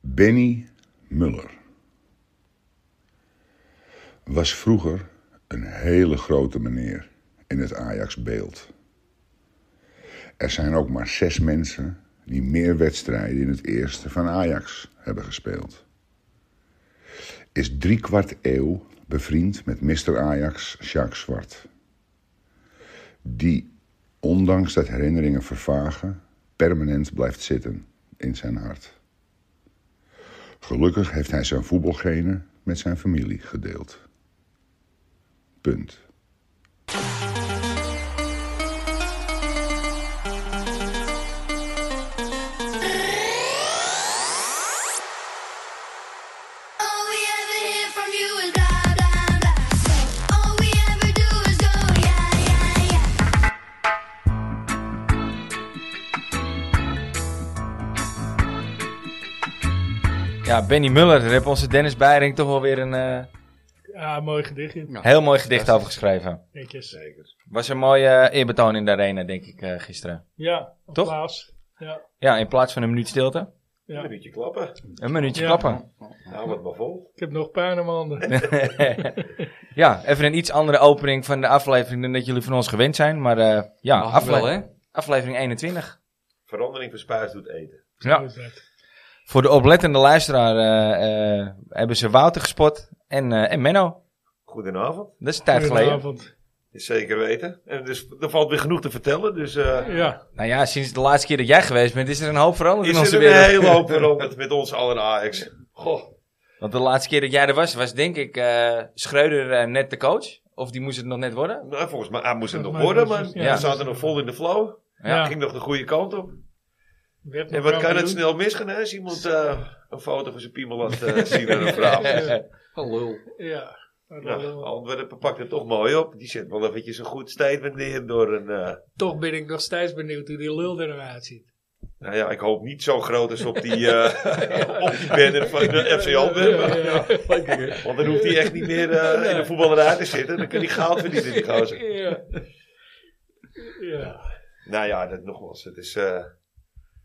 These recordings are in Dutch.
Benny Muller was vroeger een hele grote meneer in het Ajax-beeld. Er zijn ook maar zes mensen die meer wedstrijden in het eerste van Ajax hebben gespeeld. Is driekwart eeuw bevriend met Mr. Ajax Jacques Zwart. Die, ondanks dat herinneringen vervagen, permanent blijft zitten in zijn hart. Gelukkig heeft hij zijn voetbalgenen met zijn familie gedeeld. Punt. All we ever hear from you is blah blah blah. All we ever do is go yeah yeah yeah. Ja, Benny Muller, daar heeft onze Dennis Beiring toch wel weer een eh, Ja, mooi gedichtje. heel mooi gedicht over geschreven. Netjes. Was een mooie eh, eerbetoon in de arena, denk ik, eh, gisteren. Ja, Toch? applaus. Ja. Ja, in plaats van een minuut stilte, Ja. Een beetje klappen. een minuutje Ja. klappen. Nou, wat maar vol. Ik heb nog pijn aan mijn handen. ja, even een iets andere opening van de aflevering dan dat jullie van ons gewend zijn. Maar eh, ja, Mag het wel, afle- aflevering 21. Verandering van spuis doet eten. Ja. Voor de oplettende luisteraar eh, eh, hebben ze Wouter gespot en, eh, en Menno. Goedenavond. Dat is een tijd geleden. Goedenavond. Is zeker weten. En dus, er valt weer genoeg te vertellen. Dus eh, Ja, Nou ja, sinds de laatste keer dat jij geweest bent, is er een hoop veranderd in is onze er een wereld. hele hoop veranderd met ons allen Ajax. Goh. Want de laatste keer dat jij er was, was denk ik eh Schreuder eh, net de coach. Of die moest het nog net worden. Nou, volgens mij ah, moest het nog Volgens mij worden, was maar het- we ja. zaten nog vol in de flow. Ja. Ging nog de goede kant op. werd nog En wat kan kampioen. het snel misgaan hè, als iemand eh, een foto van zijn piemel laat eh, zien aan een vrouw. Hallo. Ja. Nou, Antwerpen pakt het toch mooi op. Die zet wel eventjes een goed statement neer door een... eh, Toch ben ik nog steeds benieuwd hoe die lul er nou uitziet. nou ja, ik hoop niet zo groot als op die, eh, op die banner van de FC Antwerpen. Ja, ja, Want dan hoeft hij echt niet meer eh, in de voetballerij te zitten. Dan kan hij goud verdienen, die gozer. ja. Ja. Nou ja, dat nogmaals. Het is eh,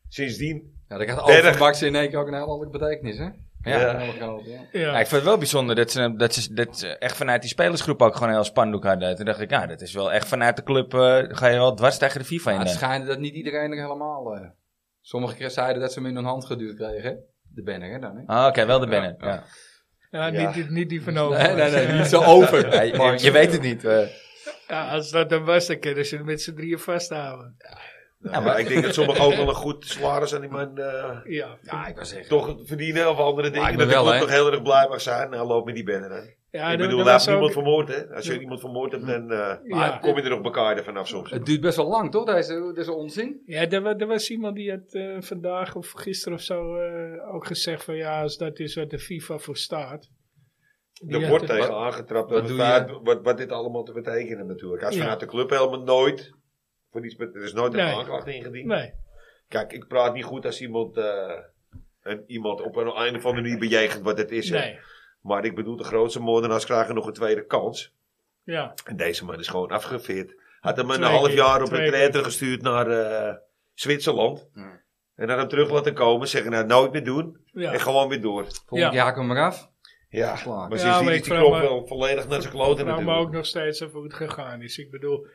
sindsdien... Ja, dat gaat Berg. Overbaks in één keer ook een heel andere betekenis, hè? Ja. Ja. Heel groot, ja. Ja, Ja. ik vond het wel bijzonder dat ze, dat, ze, dat ze echt vanuit die spelersgroep ook gewoon een heel spandoek hadden. Toen dacht ik, ja, dat is wel echt vanuit de club. eh, ga je wel dwars tegen de FIFA in. eh. Maar het dan. schijnde Ah, dat niet iedereen er helemaal... eh, sommige keer zeiden dat ze hem in hun hand geduwd kregen, hè? De banner, hè, dan, hè? Ah, Oké, wel de binnen. Ja, Ja. Ja, Ja. Niet, niet, niet die van over. Nee, nee, nee, niet zo over. Ja, je- je, je weet het niet. eh. Ja, als dat dan was, dan kunnen ze het met z'n drieën vasthouden. Nou, Ja, ja, maar- ik denk dat sommigen ook wel een goed salaris aan die man eh, Ja. Ja, ik was echt... toch verdienen. Of andere dingen. me dat wel, ik hè. toch heel erg blij mag zijn. Nou, loop met die banner aan. ja ik dat- bedoel, dat daar was heeft niemand ook- vermoord, hè. Als je iemand vermoord hebt, dan eh, Ja. kom je er nog elkaar vanaf soms. Het duurt best wel lang, toch? Deze, deze onzin. Ja, er, wa- er was iemand die had eh, vandaag of gisteren of zo eh, ook gezegd van ja, als dat is wat de FIFA voor staat. Die Er had wordt het- tegen aangetrapt. wat Wat, doe wat, wat, dit allemaal te betekenen natuurlijk. Hij is Ja. vanuit de club helemaal nooit... Voor iets, met- er is nooit een Nee. aanklacht ingediend. Nee, Kijk, ik praat niet goed als iemand, eh, een, iemand op een, een of andere manier bejegend wat het is. hè. nee. Maar ik bedoel, de grootste moordenaars krijgen nog een tweede kans. Ja, En deze man is gewoon afgeveerd. Had hem een Twee half keer, jaar op twee een trainer keer. gestuurd naar eh, Zwitserland. Ja. En had hem terug laten komen. Zeggen, nou nooit meer doen. ja. En gewoon weer door. Ja. Volgend jaar haken we hem eraf. Ja, Slagen. Ja, maar sindsdien maar is ik die vraag knop me- wel volledig naar zijn vraag kloten me ook natuurlijk. nog steeds even hoe het gegaan is. Ik bedoel,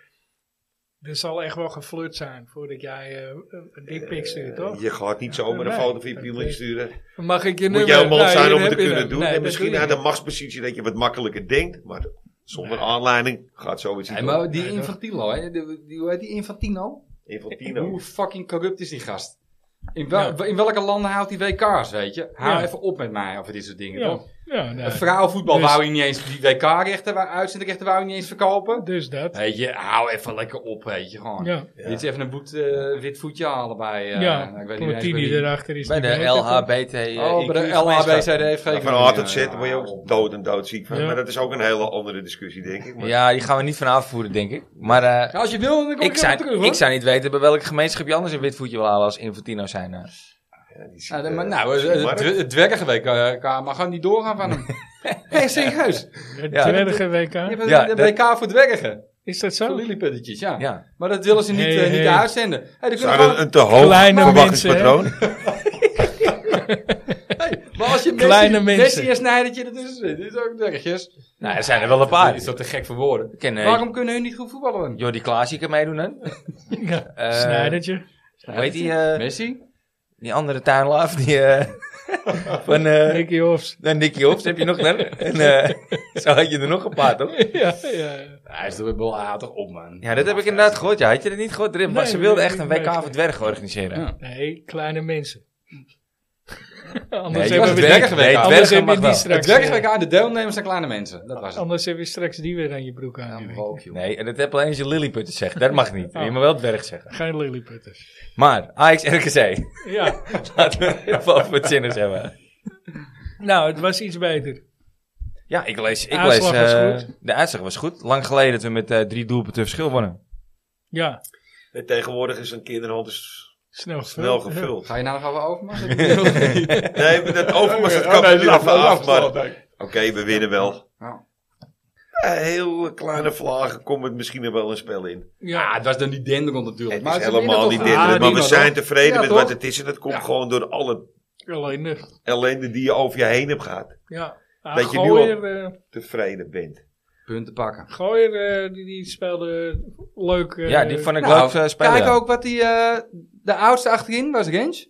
er zal echt wel geflirt zijn voordat jij eh een dikpik stuurt, toch? Eh, Je gaat niet zomaar een Nee. foto van je piemel sturen. Mag ik je Moet nummer? jij helemaal Nee, zijn hier om het te heb je kunnen hem. doen. Nee, en dat misschien doe je uit de niet. machtspositie dat je wat makkelijker denkt. Maar zonder aanleiding gaat zoiets niet. Hey, op. maar die Nee, toch? Infantino, hè? Die, die, hoe heet die Infantino? Infantino. Hoe fucking corrupt is die gast? In, wel- in welke landen haalt hij WK's, weet je? Hou Ja. even op met mij over dit soort dingen, Ja, toch? ja nee. Een Vrouwenvoetbal Dus- wou hij niet eens, die WK-rechten, wou- uitzendrechten wou hij niet eens verkopen. Dus dat. Weet je, hou even lekker op, weet je, gewoon. Ja, Ja. Dit is even een boet, eh, wit voetje halen bij... eh, nou, ja. ik weet niet eens Platini bij wie. erachter is bij die de wel ook even- LHBT. eh, Oh, bij de IQ gemeenschap. LHBCDFG. Ja, van hard het zitten word je ook dood en doodziek van. Ja. Maar dat is ook een hele andere discussie, denk ik. Maar Ja, die gaan we niet van afvoeren, denk ik. Maar eh, Als je wil, dan kom ik, ik, zou, er terug, hoor. ik zou niet weten bij welke gemeenschap je anders een wit voetje wil halen als Infantino zijn. eh. ja, die ziet, Nou, eh, maar, nou die het, markt. het, het dwergenweek eh, maar gaan niet doorgaan van hem. hey, serieus. Je Het Ja. dwergen WK. hebt een- Ja, een dat- WK voor dwergen. Is dat Voor zo? lilliputtetjes, ja. Ja. Maar dat willen ze niet, Hey, eh, niet hey. uitzenden. Hey, dan kunnen we Zijn er gewoon, een te hoog Kleine verwachtingspatroon? hey, als je Kleine Messi, mensen. Messi en Snijdertje ertussen zit. Dit is ook nergens. Nou, er zijn er wel een Dit paar. is dat te gek voor woorden. Ken, eh, Waarom kunnen hun niet goed voetballen? Jordi Klaas, je kan meedoen, hè? Ja. Eh, Snijdertje. Weet die, eh, Messi? die andere tuinlaaf, die... eh, van eh, Nicky Hofs. nou, Nicky Hofs heb je nog, hè? En, eh, zo had je er nog een paar, toch? Ja, ja, ja. Hij is er wel aardig op, man. Ja, dat heb ik inderdaad gehoord. Ja, had je dat niet gehoord? Drim? maar Nee, ze wilden nee, echt een nee, WK nee. voor dwergen organiseren. Ja. Nee, kleine mensen. Nee, anders je hebben was we dwergen die- weg. anders Dwergen hebben we mag die wel. Het straks. werkelijk aan de deelnemers zijn kleine mensen. Dat was eh, het. anders hebben we straks die weer aan je broek aan. Ja, rook, joh. Nee, en dat heb alleen als je Lilliputten zegt. Dat mag niet. Je mag wel dwerg zeggen. Geen lilliputters. Maar, Ajax RKC. Ja, Laten we het even over het zinnig hebben. nou, het was iets beter. Ja, ik lees... Ik lees Uitslag was eh, goed. De uitslag was goed. Lang geleden dat we met eh, drie doelpunten verschil wonnen. Ja, En tegenwoordig is een kinderhand dus snel, snel gevuld. Ga je nou nog over Overmars? Nee, maar dat Overmars, Oh, dat kan niet af, af, maar... Oké, we winnen wel. Ja. Ja, heel kleine vlagen komt het misschien er wel een spel in. Ja, het was dan niet denderend natuurlijk. Het is ze winnen helemaal toch niet wel. dit. Ah, maar we toch? zijn tevreden Ja, met toch? wat het is. En dat komt Ja. gewoon door alle Alleen de, ellende die je over je heen hebt gehad. ja. Ah, Weet je nu Gooier, eh, Tevreden bent. Punten pakken. Gooier, eh, die, die speelde leuk. eh, ja, die vond ik Nou, leuk eh, spelen. Kijk ook wat die, eh, de oudste achterin was, Rens.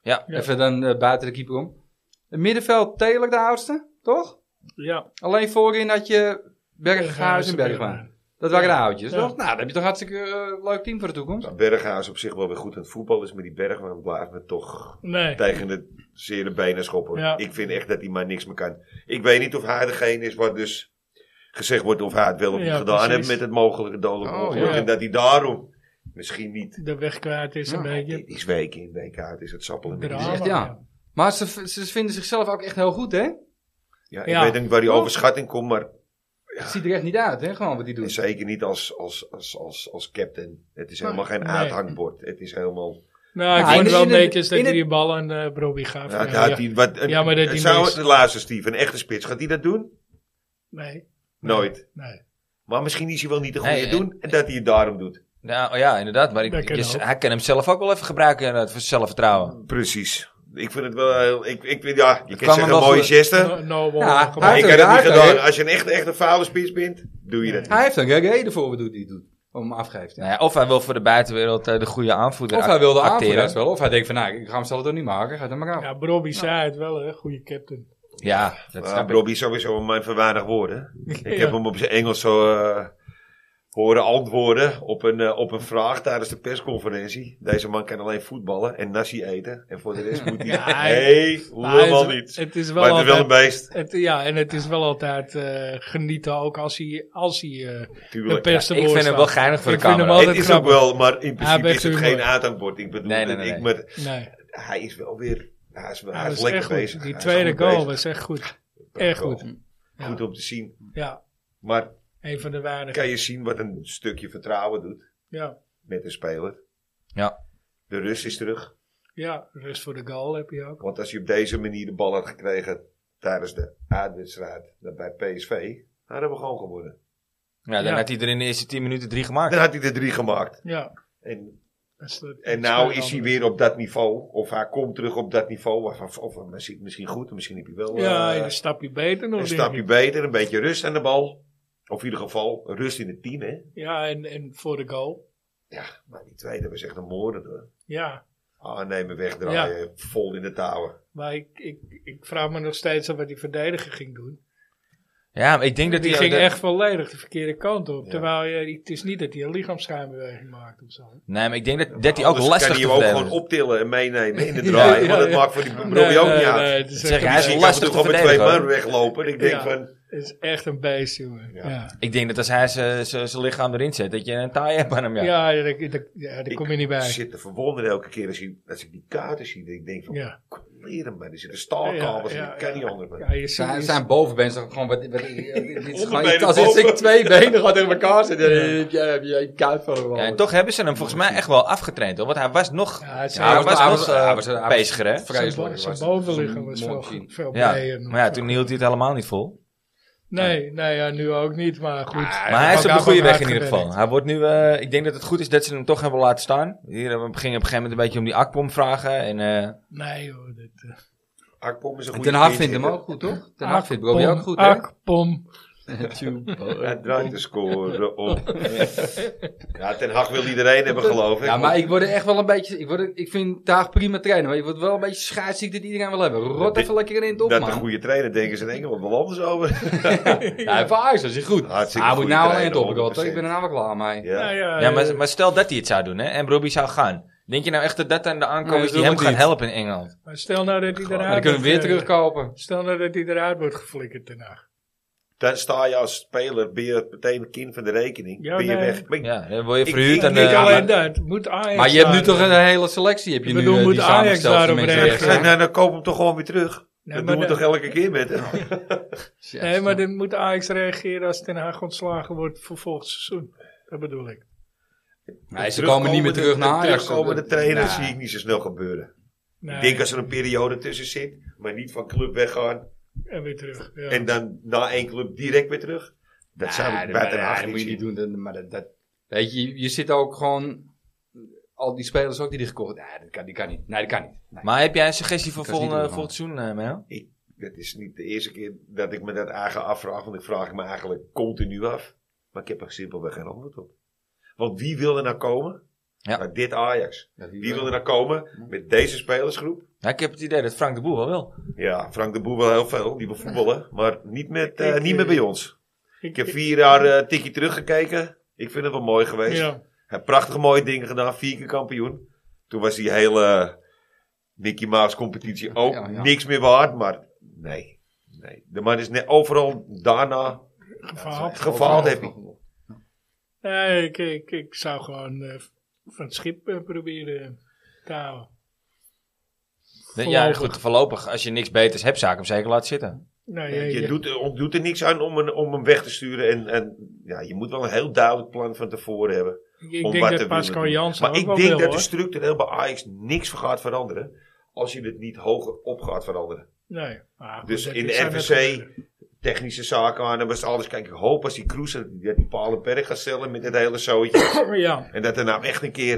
Ja. Even dan eh, buiten de keeper om. Het middenveld Telek de oudste, toch? Ja, Alleen voorin had je Berghuis en Bergman. Dat waren de oudjes, Ja. toch? Nou, dan heb je toch hartstikke eh, leuk team voor de toekomst. Nou, Berghuis op zich wel weer goed aan het voetbal is. Maar die Bergman blijft me toch Nee. tegen de zere benen schoppen. Ja. Ik vind echt dat hij maar niks meer kan. Ik weet niet of hij degene is wat dus gezegd wordt of hij het wel of niet Ja, gedaan heeft precies. met het mogelijke dodelijk Oh, ongeluk. ja. En dat hij daarom misschien niet... De weg kwijt is een Ja, beetje Dit is week in, week uit is het sappelen. met die drama. echt, ja. Maar ze, v- ze vinden zichzelf ook echt heel goed, hè? Ja, ik Ja. weet niet waar die overschatting komt, maar Het ziet er echt niet uit, hè? Gewoon wat die en doen. zeker niet als, als, als, als, als captain. Het is helemaal geen nee. uithangbord. Het is helemaal... Nou, ik Nou, vond in het wel de- in de- netjes dat in hij de- die bal aan eh Brobbey gaf. Ja, Ja, ja. gaat die, wat, een, Ja, maar dat die zou mis- de laatste Steve, een echte spits, gaat die dat doen? Nee, Nooit. nee. Maar misschien is hij wel niet de goede Nee, en- doen en dat hij het daarom doet. Nou, ja, inderdaad. Maar ik, Dat kan je- ook. hij kan hem zelf ook wel even gebruiken inderdaad, voor zelfvertrouwen. Precies. Ik vind het wel heel... Ik, ik, vind- ja, je kan kwam hem zeggen wel een mooie goed- geste, No, Nobel Ja, gemaakt. maar hij- ik kan het niet Uiteraard, gedaan. hè? Als je een echt, echt een falen spits bent, doe je dat niet. Hij heeft een reden voor wat die het doet. Om hem afgeeft. Nou ja, of hij wil voor de buitenwereld eh, de goede aanvoerder Of hij wilde act- aanvoeren, dat is wel. Of hij denkt van, nou, ik ga hem zelf toch niet maken. Ga dan maar af. Ja, Brobbey zei het wel, hè. Goede captain. Ja, dat Maar snap ik. Robbie is sowieso mijn verwaardig woorden. Ik Ja. heb hem op zijn Engels zo eh, horen antwoorden op een, eh, op een vraag tijdens de persconferentie. Deze man kan alleen voetballen en nasi eten. En voor de rest moet hij hij- helemaal Maar het- niets. Het is wel Maar het is wel een altijd... beest. Het, ja, en het is wel altijd eh, genieten, ook als hij, als hij eh, de Tuurlijk. pers te Ik woord vind hem staat. wel geinig voor Ik de vind hem camera. het altijd is ook grappig. wel, maar in principe heeft is het humor. geen uithangbord. Ik bedoel, Nee, nee, nee, ik, nee. maar Nee, hij is wel weer... Hij is, hij dat is is lekker echt goed. bezig. Die Hij is tweede goed goal bezig. was echt goed. Echt goed. Ja. Goed om te zien. Ja, Maar een van de weinigen. kan je zien wat een stukje vertrouwen doet Ja, met een speler. Ja. De rust is terug. ja, rust voor de goal heb je ook. Want als je op deze manier de bal had gekregen tijdens de uitwedstrijd dan bij PSV, dan hadden we gewoon gewonnen. Ja, dan Ja. had hij er in de eerste 10 minuten drie gemaakt. Dan had hij de drie gemaakt. Ja. En, dat is de- en nou is hij weer op dat niveau, of hij komt terug op dat niveau, of, of, of misschien, misschien goed, misschien heb je wel eh, Ja, een stapje beter nog. een denk stapje ik. beter, een beetje rust aan de bal. Of in ieder geval rust in de tien, hè. Ja, en, en voor de goal. Ja, maar die tweede was echt een moorden hoor. Ja, Ah, nee, me wegdraaien, vol in de touwen. maar ik, ik, ik vraag me nog steeds af wat die verdediger ging doen. Ja, maar ik denk dat die hij... ging dat- echt volledig de verkeerde kant op. Ja. Terwijl je, het is niet dat hij een lichaamsschijnbeweging maakt of zo. Nee, maar ik denk dat, dat hij ook Anders lastig kan te je hem ook verdedigen gewoon is. optillen en meenemen in de draai. ja, want dat ja. maakt voor die Robbie Nee, ook nee, niet uit. nee, het is Zeg, echt- hij is Ik lastig lastig te toch met twee verdedigen, man hoor. weglopen. Ik denk Ja. van, Het is echt een beest, jongen. Ja. Ja, ja. Ik denk dat als hij zijn- zijn zijn lichaam erin zet, dat je een taai hebt aan hem. Ja. daar, daar- ja, daar Ik kom je niet bij. ik zit te verwonderen elke keer als, je, als ik die kaarten zie. Dat ik denk van, Ja. leer hem maar. Er zitten staalkabels in. Ik kan niet anders. man. Ja, je ziet- Zijn, je zijn bovenbeen is toch gewoon... Wat, wat, dit is gewoon Onderbenen als dit boven. twee benen gewoon tegen elkaar zitten, dan heb je- heb je een kuit van hem. Ja, en toch hebben ze hem volgens mij echt wel afgetraind, hoor. Want hij was nog, Ja, hij is- hij was, hij was- hij nog was- eh, hij was- hij was- beziger, hè. ziet- zijn, bo- vreselijk zijn was het. bovenliggen was Zo'n veel, mooi zien. veel Ja. blijer nog. Maar ja, toen hield hij het helemaal niet vol. Nee, nee ja, nu ook niet, maar goed. Maar Ah, hij is op de Elkaar goede gewoon weg in ieder geval. uitgewerkt. Hij wordt nu, eh, ik denk dat het goed is dat ze hem toch hebben laten staan. Hier eh, we gingen op een gegeven moment een beetje om die akpom vragen. En eh, Nee, hoor. Dit, eh, Akpom is een goede Den Haag pinch vindt hem hitter. ook goed, toch? Den Haag vindt Bobby Pom, ook goed, hè? Ak, pom. Hij draait de score op. ja, Ten Hag wil iedereen hebben, geloof ik. Ja, maar ik word er echt wel een beetje... Ik, word er- ik vind Taag prima trainen, maar je wordt wel een beetje schaatsziek dat iedereen wil hebben. Rot Dat- even lekker in het op, dat een man. goede trainer denken ze in Engeland wel anders over. Ja, voor Ajax is hij goed. Hartstikke hij moet goede nou alleen trainer, het opgerotten. Ik ben er 100%. nou wel klaar mee. Ja. Nou ja, Ja, eh, maar, maar stel dat hij het zou doen, hè? En Robbie zou gaan. Denk je nou echt dat dat dan de aankoop Nee, is dat die doen hem we gaat niet. helpen in Engeland? maar stel nou dat hij Maar eruit dan kunnen we weer wordt, eh, terugkopen. Stel nou dat hij eruit wordt geflikkerd daarna. Dan sta je als speler, ben je meteen kind van de rekening. Ja, ben je nee. weg. Ben- Ja, dan word je Ik- verhuurd ik aan eh, denk de... Niet ja, alleen aan- dat. Moet Ajax eh, Maar je hebt nu daar- toch een hele selectie, heb je Ik nu bedoel, eh, moet die Ajax samengesteld van daarom mensen. Ja, reageren? rechts, hè? zeg, nou, dan koop hem toch gewoon weer terug. Nee, dat maar doen we de- toch elke keer met hem. Nee, maar dan moet Ajax reageren als Ten Haag ontslagen wordt voor volgend seizoen. Dat bedoel ik. Nee, ze komen niet meer terug naar Ajax. eh, Terugkomende de trainer Nee. zie ik niet zo snel gebeuren. Nee, Ik denk als er een periode tussen zit, maar niet van club weggaan. En weer terug. Ja. En dan na één club direct weer terug. Dat Ja, zou maar- ik bij Den ja, Haag dat niet moet je niet zien. doen. dat- maar dat, dat, weet je, je zit ook gewoon... Al die spelers ook die die gekocht Nee, dat kan, die kan niet. Nee, dat kan niet. Nee. Maar heb jij een suggestie voor Dat is niet volgende, te doen, volgend seizoen, eh, Mel? Ik, dat is niet de eerste keer dat ik me dat eigen afvraag. Want ik vraag het me eigenlijk continu af. Maar ik heb er simpelweg geen antwoord op. Want wie wil er nou komen? Ja. Naar dit Ajax. Dat die- Wie wil er nou komen met deze spelersgroep? Ja, ik heb het idee dat Frank de Boer wel wil. Ja, Frank de Boer wel heel veel. Die wil voetballen. Maar niet, met, eh, Ik- niet meer bij ons. ik, Ik heb vier jaar eh tikkie teruggekeken. Ik vind het wel mooi geweest. ja. Hij heeft prachtige mooie dingen gedaan. Vier keer kampioen. Toen was die hele Mickey Mouse competitie ook Ja, ja. niks meer waard. Maar nee, nee. De man is net overal daarna gefaald. gefaald. Heeft hij. Nou, Nee, ik, ik, ik zou gewoon eh, van het schip eh, proberen te Ja, houden. Voorlopig. goed, voorlopig. Als je niks beters hebt, zou ik hem zeker laten zitten. Nee, Je je, je- doet, er- ontdoet er niks aan om, een, om hem weg te sturen. En, en ja, je moet wel een heel duidelijk plan van tevoren hebben. ik om denk wat te dat willen Pascal doen. Jansen Maar ook ik wel denk wil, dat hoor. er structureel bij Ajax niks voor gaat veranderen. Als je het niet hoger op gaat veranderen. Nee. maar goed, Dus dat in is de aan het NVC, gebeuren. technische zaken aan. En was alles. Kijk, ik hoop als die cruiser dat die Palenberg gaat stellen met het hele zootje. Ja, en dat er nou echt een keer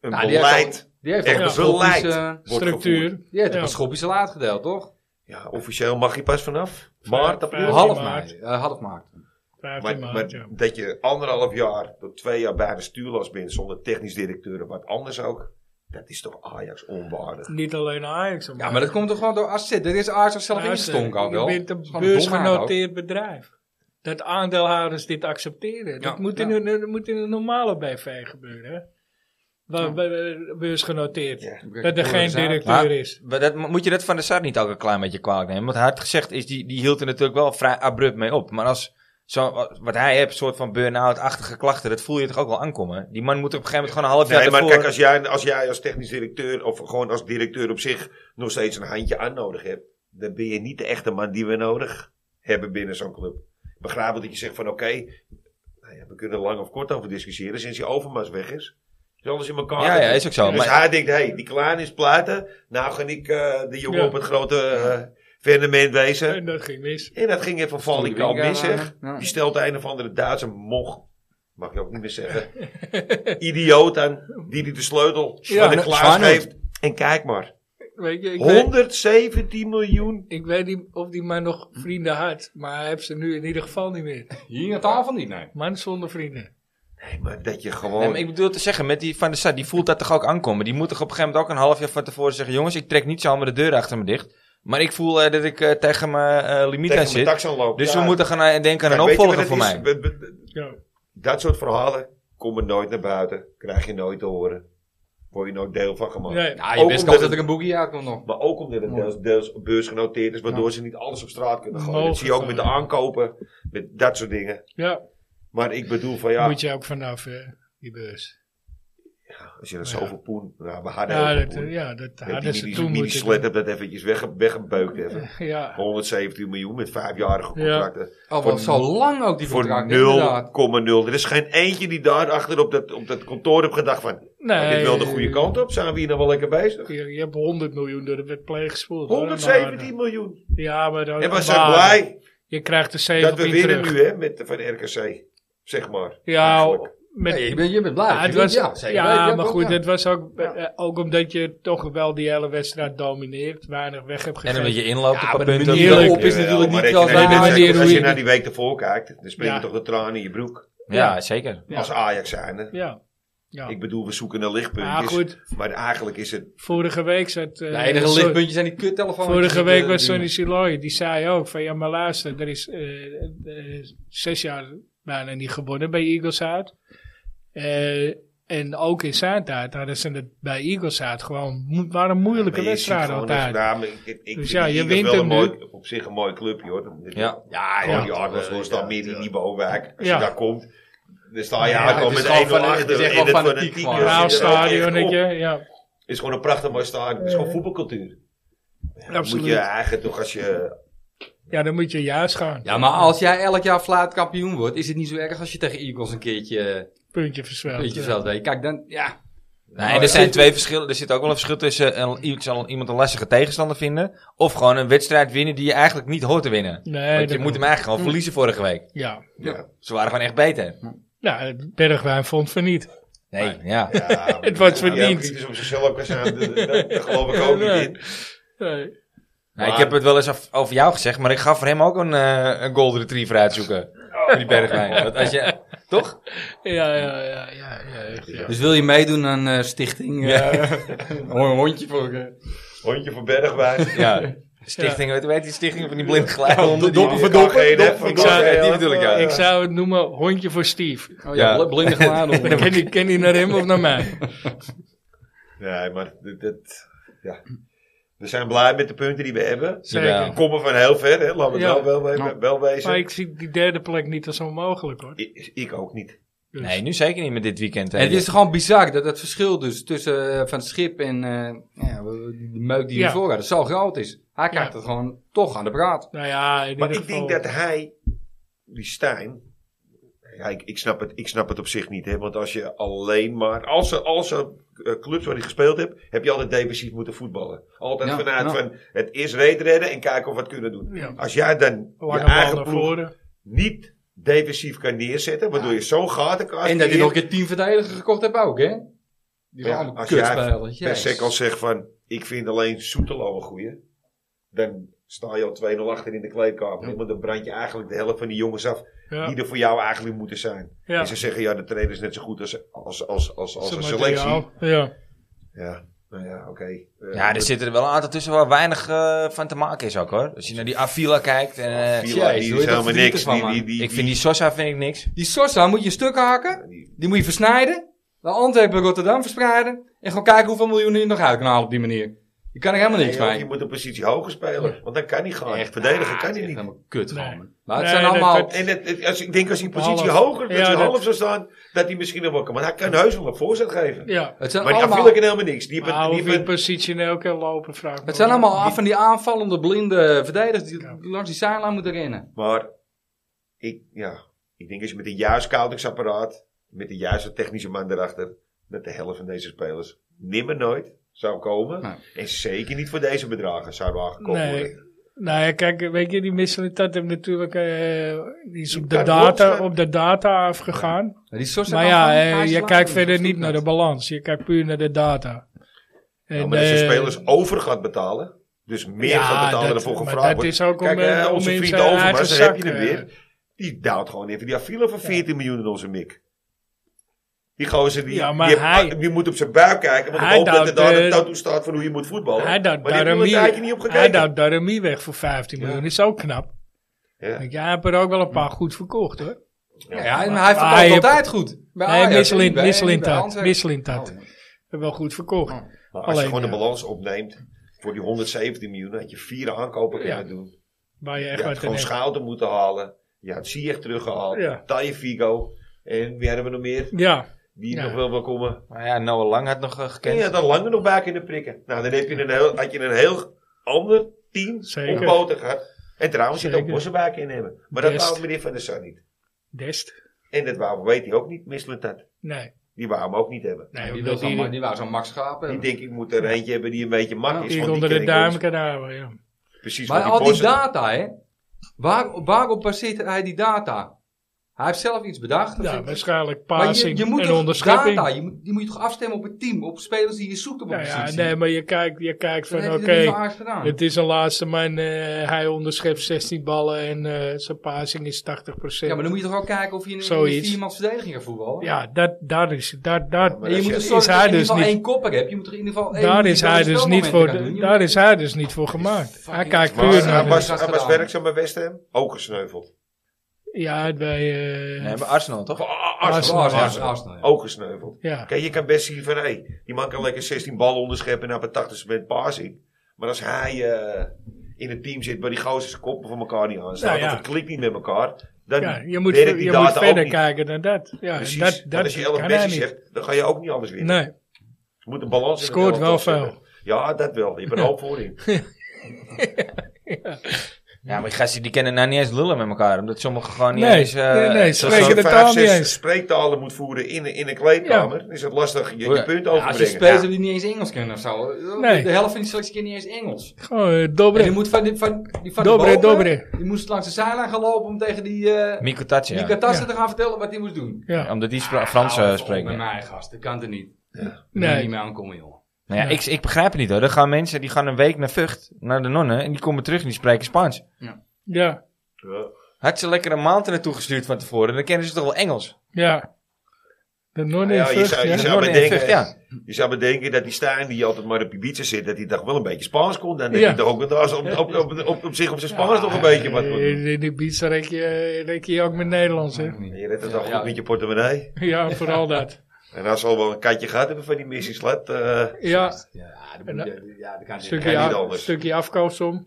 een Nou, die heeft beleid, al- Die heeft echt al een een beleid schoppies, eh, wordt gevoerd. structuur. Die heeft al Ja. een schoppies salaat gedeeld, toch? Ja, officieel mag je pas vanaf maart, april. Ja, half maart. maart. Eh, half maart. 15 Maar, maart, maar ja. dat je anderhalf jaar tot twee jaar bij de stuurlast bent zonder technisch directeur of wat anders ook. Dat is toch Ajax onwaardig. Niet alleen Ajax. Ja, maar dat komt toch gewoon door AZ. Er is Ajax zelf ingestonken al wel. Je bent Dat is een gewoon domhaar ook. beursgenoteerd bedrijf. Dat aandeelhouders dit accepteren. dat, Ja, moet in ja. een, dat moet in een normale BV gebeuren. hè. Waar, waar- waar- beursgenoteerd. Dat er geen Maar- directeur is. Maar dat, moet je dat van de Sar niet ook een klein beetje kwalijk nemen? Want hard gezegd is, die, die hield er natuurlijk wel vrij abrupt mee op. Maar als zo, wat hij heeft, soort van burn-out-achtige klachten, dat voel je toch ook wel aankomen? Die man moet er op een gegeven moment gewoon een half jaar Nee, maar daarvoor- kijk, als jij, als jij als technisch directeur of gewoon als directeur op zich nog steeds een handje aan nodig hebt, dan ben je niet de echte man die we nodig hebben binnen zo'n club. Ik Begrijp wel dat je zegt van oké, nou ja, we kunnen er lang of kort over discussiëren sinds die Overmars weg is. Is alles in elkaar. Ja, ja, gezet. is ook zo, Dus maar- hij denkt, hé, hey, die Klaan is platen, nou ga ik eh, de jongen Ja. op het grote eh venement wezen. En dat ging mis. En dat ging even van die kant mis, eh, zeg. Ja. Die stelt een of andere Duitse moch, mag je ook niet meer zeggen, idioot aan, die die de sleutel Ja, van de nou, klaas Zwanhout. geeft. En kijk maar, Weet je, ik, weet, 117 miljoen. ik weet niet of die man nog vrienden had. Maar hij heeft ze nu in ieder geval niet meer. Hier aan tafel niet, nee. Man zonder vrienden. Nee, maar dat je Nee, gewoon... maar ik bedoel te zeggen, met die Van der Sar, die voelt dat toch ook aankomen. Die moet toch op een gegeven moment ook een half jaar van tevoren zeggen... jongens, ik trek niet zomaar de deur achter me dicht. Maar ik voel eh, dat ik eh, tegen mijn eh, limiet tegen aan mijn zit. tax aanloop. Dus Ja, we moeten gaan eh, denken aan kijk, een weet je opvolger voor wat het mij. is? B- b- Ja. Dat soort verhalen komen nooit naar buiten, krijg je nooit te horen. Word je nooit deel van gemaakt. Nee. Oh, Ja, je Ook best omdat kans dat het- er een boekie uitkomt nog. Oh, Maar ook omdat het deels, deels beursgenoteerd is, waardoor ze niet alles op straat kunnen gooien. Mogen dat zie je ook met de gooien. aankopen, met dat soort dingen. Ja, Maar ik bedoel van ja, moet je ook vanaf, hè, die beurs. als je er zoveel poen... Nou, we hadden Ja, heel veel dat, poen. ja, dat Ja, hadden die ze mini, toen mini moeten slet doen. heb dat eventjes wegge- weggebeukt even. Eh, Ja, 117 miljoen met vijfjarige Ja. contracten. Oh, Voor- wat zo lang ook die Voor 0,0. contract, inderdaad. Er is geen eentje die daar achter op dat, op dat kantoor heeft gedacht van... nou, dit Nee. wel de goede kant op, zijn we hier nou wel lekker bezig? Je, je hebt 100 miljoen door de wet gespoeld. hoor, 117 miljoen. maar- eh, Ja, maar dan. En we zijn maar blij Je krijgt de dat we 17 winnen terug. nu hè, met, van RKC. Zeg maar. Ja, eigenlijk. met, Ja, je, bent, je bent blij. Ja, Je het bent- was, ja, ja, zeker weten, maar ook, goed, ja. het was ook, Ja. eh, ook omdat je toch wel die hele wedstrijd domineert, weinig weg hebt En gegeven. omdat je inloopt Ja, op maar een de punt manier dat waarop op is Jawel, natuurlijk maar niet als je wel naar wij die waren wedstrijd- hier Als hoe je je- naar die week ervoor kijkt, dan springen Ja. toch de tranen in je broek. Ja, zeker. Ja. Als Ajax zijnde. Ja. ja. Ik bedoel, we zoeken een lichtpunt. maar is- goed, Maar eigenlijk is het... vorige week zat... eh, De enige Son- lichtpuntjes zijn die kuttelefoons. Vorige die, week eh, was die- Sonny Siloy, die zei ook van ja maar luister, er is eh, eh, zes jaar bijna niet gewonnen bij Eagles uit. Eh, en ook in zijn tijd hadden ze het bij Eagles uit gewoon, mo- waren moeilijke maar je ziet wedstrijden gewoon dat- altijd. nou, maar ik- ik- ik Dus vind ja, die je Eagles wint wel hem een nu. mooi- Op zich een mooi clubje hoor. Ja. Ja, Ja. ja. Die Argos was dan meer die Nieuwbouwwijk. Als Ja. je daar komt, dan sta je Ja, eigenlijk al het is met 1-0 gewoon van- achter. het is echt En wel het fanatiek fanatieke gewoon. zit er ook Raal echt op. stadionnetje, ja, Het is gewoon een prachtig mooi stadion. Het is gewoon voetbalcultuur. Moet je absoluut. eigenlijk toch als je... Ja, dan moet je juist gaan. Ja, maar als jij elk jaar fluit kampioen wordt, is het niet zo erg als je tegen Eagles een keertje, eh, Puntje versweld. weet je zelf, weet je. Kijk, dan, ja. Nou, en er zijn twee verschillen. Er zit ook wel een verschil tussen een- iets- al- iemand een lastige tegenstander vinden. Of gewoon een wedstrijd winnen die je eigenlijk niet hoort te winnen. Nee, Want je dat- moet hem eigenlijk gewoon verliezen vorige week. Ja. Ja, Ze waren gewoon echt beter. Nou, Bergwijn vond van niet. Nee, ja. ja, Het wordt maar- verdiend. Ja, kritisch op zichzelf kan zijn, dat, dat- dat geloof ik ook niet in. Nee. Nou, ik heb het wel eens af- over jou gezegd, maar ik gaf voor hem ook een, eh, een golden retriever uitzoeken. Voor die Bergwijn. Want als je, toch? Ja, ja, ja, ja, ja, echt, ja. Dus wil je meedoen aan eh, stichting? eh, een hondje voor eh, Hondje voor Bergwijn. Ja. Stichting, weet weet je, die stichting van die blind geluiden. doppen voor doppen. Ik zou- die bedoel ik, ja. Ik zou het noemen hondje voor Steve. oh, ja. Ja. bl- blinde gladen. Ken die, ken die naar hem of naar mij? Nee, maar dat, dat- ja. we zijn blij met de punten die we hebben. We Zeker. komen van heel ver, hè. laten we het Ja. Nou, wel, wel, we- wel wezen. Maar ik, ik zie die derde plek niet als onmogelijk hoor. ik ook niet. Dus- Nee, nu zeker niet met dit weekend. hè. Het is gewoon bizar dat het verschil dus tussen eh, Van Schip en eh ja, die meuk die we Ja. voor hadden zo groot is. Hij krijgt Ja. het gewoon toch aan de praat. Nou ja, in Maar ieder ik denk geval- dat hij, die Stijn. Ja, ik, ik, snap het, ik snap het op zich niet, hè? Want als je alleen maar. Als er, als er eh, clubs waar hij gespeeld hebt, heb je altijd defensief moeten voetballen. Altijd Ja, vanuit ja. van het eerst reed redden en kijken of we het kunnen doen. Ja. Als jij dan je Lange bal eigen naar ploeg voren. niet defensief kan neerzetten, waardoor je zo'n gatenkast. En dat hij creëert, nog een keer tien verdedigers gekocht heeft ook, hè? Die Ja, gaan allemaal als kut jij spelen. Per sec al Jezus. zegt van, ik vind alleen Soetelo een goeie. Dan sta je al 2-0 achter in de kleedkamer. hè, Want dan brand je eigenlijk de helft van die jongens af. Ja. Die er voor jou eigenlijk moeten zijn. Ja. En ze zeggen, ja, de trainer is net zo goed als, als, als, als, als een Zijn selectie. materiaal. Ja. Ja, nou ja, oké. Eh, Ja, er dus- zitten er wel een aantal tussen waar weinig eh, van te maken is ook hoor. Als je naar die Avila kijkt. En, eh, Villa, Jezus, die hoe is je dat helemaal niks. verdient Die, ervan, die, die, ik vind die Sosa vind ik niks. Die Sosa moet je stukken hakken. die- Die moet je versnijden. Naar Antwerpen en Rotterdam verspreiden. En gewoon kijken hoeveel miljoenen je nog uit kan halen op die manier. Je kan er helemaal niks Nee, joh, mee. je moet een positie hoger spelen. Want dan kan hij gaan. Echt, Verdedigen ah, kan het is hij echt niet. Helemaal kut Nee. gewoon. man. Maar het Nee, zijn dat allemaal... kan- En het, het- als, ik denk als die positie Half. hoger, dat Ja, hij dat- half zou staan, dat hij misschien nog wel kan. Want hij kan heus wel een voorzet geven. ja. Nou, Het zijn Maar die allemaal... viel ik helemaal niks. Die hebben- Maar die hoe hebben- die positioneel kan lopen, vraag me Het zijn af. allemaal af van die aanvallende blinde verdedigers die langs die zijlijn moeten rennen. Maar ik, ja, ik denk als je met een juist scoutingsapparaat, met de juiste technische man erachter, dat de helft van deze spelers nimmer nooit zou komen. Nee. En zeker niet voor deze bedragen zouden we aangekomen Nee. worden. Nou ja, kijk, weet je, die Michelin dat hem natuurlijk, eh, die is Die op de, kan data, opstaan. op de data afgegaan. Maar die Sosa Maar kan ja, gewoon eh, een je kijkt paar slagen, verder dat is niet naar de goed. balans. Je kijkt puur naar de data. En, Ja, Nou, maar als je eh, spelers over gaat betalen, dus meer Ja, gaat betalen dat- dan voor gevraagd maar dat wordt. is ook om, Kijk, eh, eh, om onze in vriend zijn eigen Overmars, daar heb je zak, hem eh. weer. Die daalt gewoon even. Die afvielen van 14 miljoen in onze mik. Die gozer, die, Ja, maar die, ah, hij- die moet op zijn buik kijken. Want ik Hij hoop dat er duwt, daar eh, een tattoo staat van hoe je moet voetballen. Hij duwt maar daar hebben we Darami- eigenlijk niet op hij gekeken. duwt Darami weg voor 15 Ja. miljoen. Is ook knap. Ja. Want jij hebt er ook wel een paar goed verkocht hoor. Ja, ja, en hij hij verkoopt heeft- altijd goed. Bij Nee, Ajax, Michelin, bij- Michelin bij dat. Antwerpen. Michelin dat. Oh, Hebben wel goed verkocht. Maar als Alleen, je gewoon ja. de balans opneemt voor die 117 miljoen, had je vier aankopen Ja. kunnen doen. Waar je Je echt had wat aan gewoon hebt. Schouten moeten halen. Je had Ziyech teruggehaald. Ja. Ja. Figo. En wie hebben we nog meer? Ja, Wie Ja. nog wel wil komen? Maar ja, Noah Lang had nog eh, En gekend. je had er langer nog bij kunnen prikken. Nou, dan heb je een heel, had je een heel ander team Zeker. op boter gehad. En trouwens zit ook Zeker. Bossenbaak in hebben. Maar dat Best. wou meneer Van der Sar niet. Dest. En dat wou, weet hij ook niet, mislukt dat. Nee. Die wou hem ook niet hebben. nee die, omdat wil zo'n, die- Ma- die wou zo'n Max Schaap Die hebben. denk ik moet er eentje hebben die een beetje mak is. die want onder ken de ik wel eens. duim kan houden. Ja. Precies, Maar want al die Bossen- data, hè. Waar, waarop baseert hij die data? Hij heeft zelf iets bedacht. dat Ja, vind ik- waarschijnlijk maar je, passing je moet en toch onderschepping. data, je moet, die moet je toch afstemmen op het team, op spelers die je zoekt op een Nou ja, positie. nee, maar je kijkt, je kijkt dat van heeft oké, hij er niet van Ajax gedaan. het is een laatste man, eh, hij onderschept 16 ballen en eh, zijn passing is 80%. ja, maar dan moet je toch ook kijken of je in een- in een Zoiets. viermans verdediging gaat voetballen. Ja, dat, daar is, daar, daar, maar En je dat moet is- er is zorgen dat je hij in ieder dus geval niet- één koppig hebt. Je moet er in ieder geval één daar is hij dus niet voor, daar is hij dus niet voor gemaakt. Hij kijkt puur hij naar... was, de- gast hij was gedaan. werkzaam bij West Ham. Ook gesneuveld. Ja, bij... eh, Nee, bij Arsenal toch? Arsenal, Arsenal, Arsenal, Arsenal, ja. Ook gesneuveld. ja. Kijk, je kan best zien van, hé, die man kan lekker 16 ballen onderscheppen en op een 80 met passing. Maar als hij eh, in het team zit waar die gozer zijn koppen van elkaar niet aan staat, Nou ja. of het klikt niet met elkaar, dan Ja, je moet, werkt die je data moet ook verder niet. kijken dan dat. Ja, Precies. dat, Want dat als je 11 kan hij Messi's niet. hebt, dan ga je ook niet anders winnen. Nee, Je moet een balans in het Scoort elftal wel zetten. veel. Ja, dat wel. Je bent een hoop voorin. Ja, maar die gasten die kennen nou niet eens lullen met elkaar. Omdat sommigen gewoon niet Nee, eens... eh, nee, nee, zoals- Als spreken je de vijf, taal niet zes eens. spreektalen moet voeren in, in een kleedkamer, dan is het lastig je, je punt Ja, als je overbrengen. spelers Ja. hebt die niet eens Engels kunnen of zo. Nee. De helft van die selectie kent niet eens Engels. Gewoon eh, En dobre. die moet van, die, van, die van Dobre, de boven, dobre. die moest langs de zijlijn gaan lopen om tegen die eh Mikko Tatje, ja. Mika Tassen Ja. te gaan vertellen wat hij moest doen. Ja. Omdat die spra- Frans eh, Hou even op spreken. Met mij, gast. Dat kan er niet. Nee. Nee. niet meer aankomen, joh. Nou ja, Ja. ik, ik begrijp het niet hoor. Er gaan mensen die gaan een week naar Vught, naar de nonnen, en die komen terug en die spreken Spaans. Ja, Ja. Had ze lekker een maand er naartoe gestuurd van tevoren, dan kennen ze toch wel Engels? ja. De Noorden Ja, je vlucht, zou- je ja. zou- De nonnen in bedenken- Vught, ja. Je zou bedenken dat die Stijn, die altijd maar op Ibiza zit, dat hij toch wel een beetje Spaans kon. En dat Ja. hij toch ook wel daar op, op, op, op, op zich op zijn Spaans nog een beetje wat kon doen. Eh, In de pizza rek je, rek je ook met Nederlands, hè? Je redt het Ja, toch goed ja. met je portemonnee. Ja, vooral dat. En als ze al wel een katje gehad hebben van die missie slat, eh, Ja, Ja, dat En eh, moet dat- je- ja, dat kan niet. stukje, niet af, anders. stukje afkoopsom.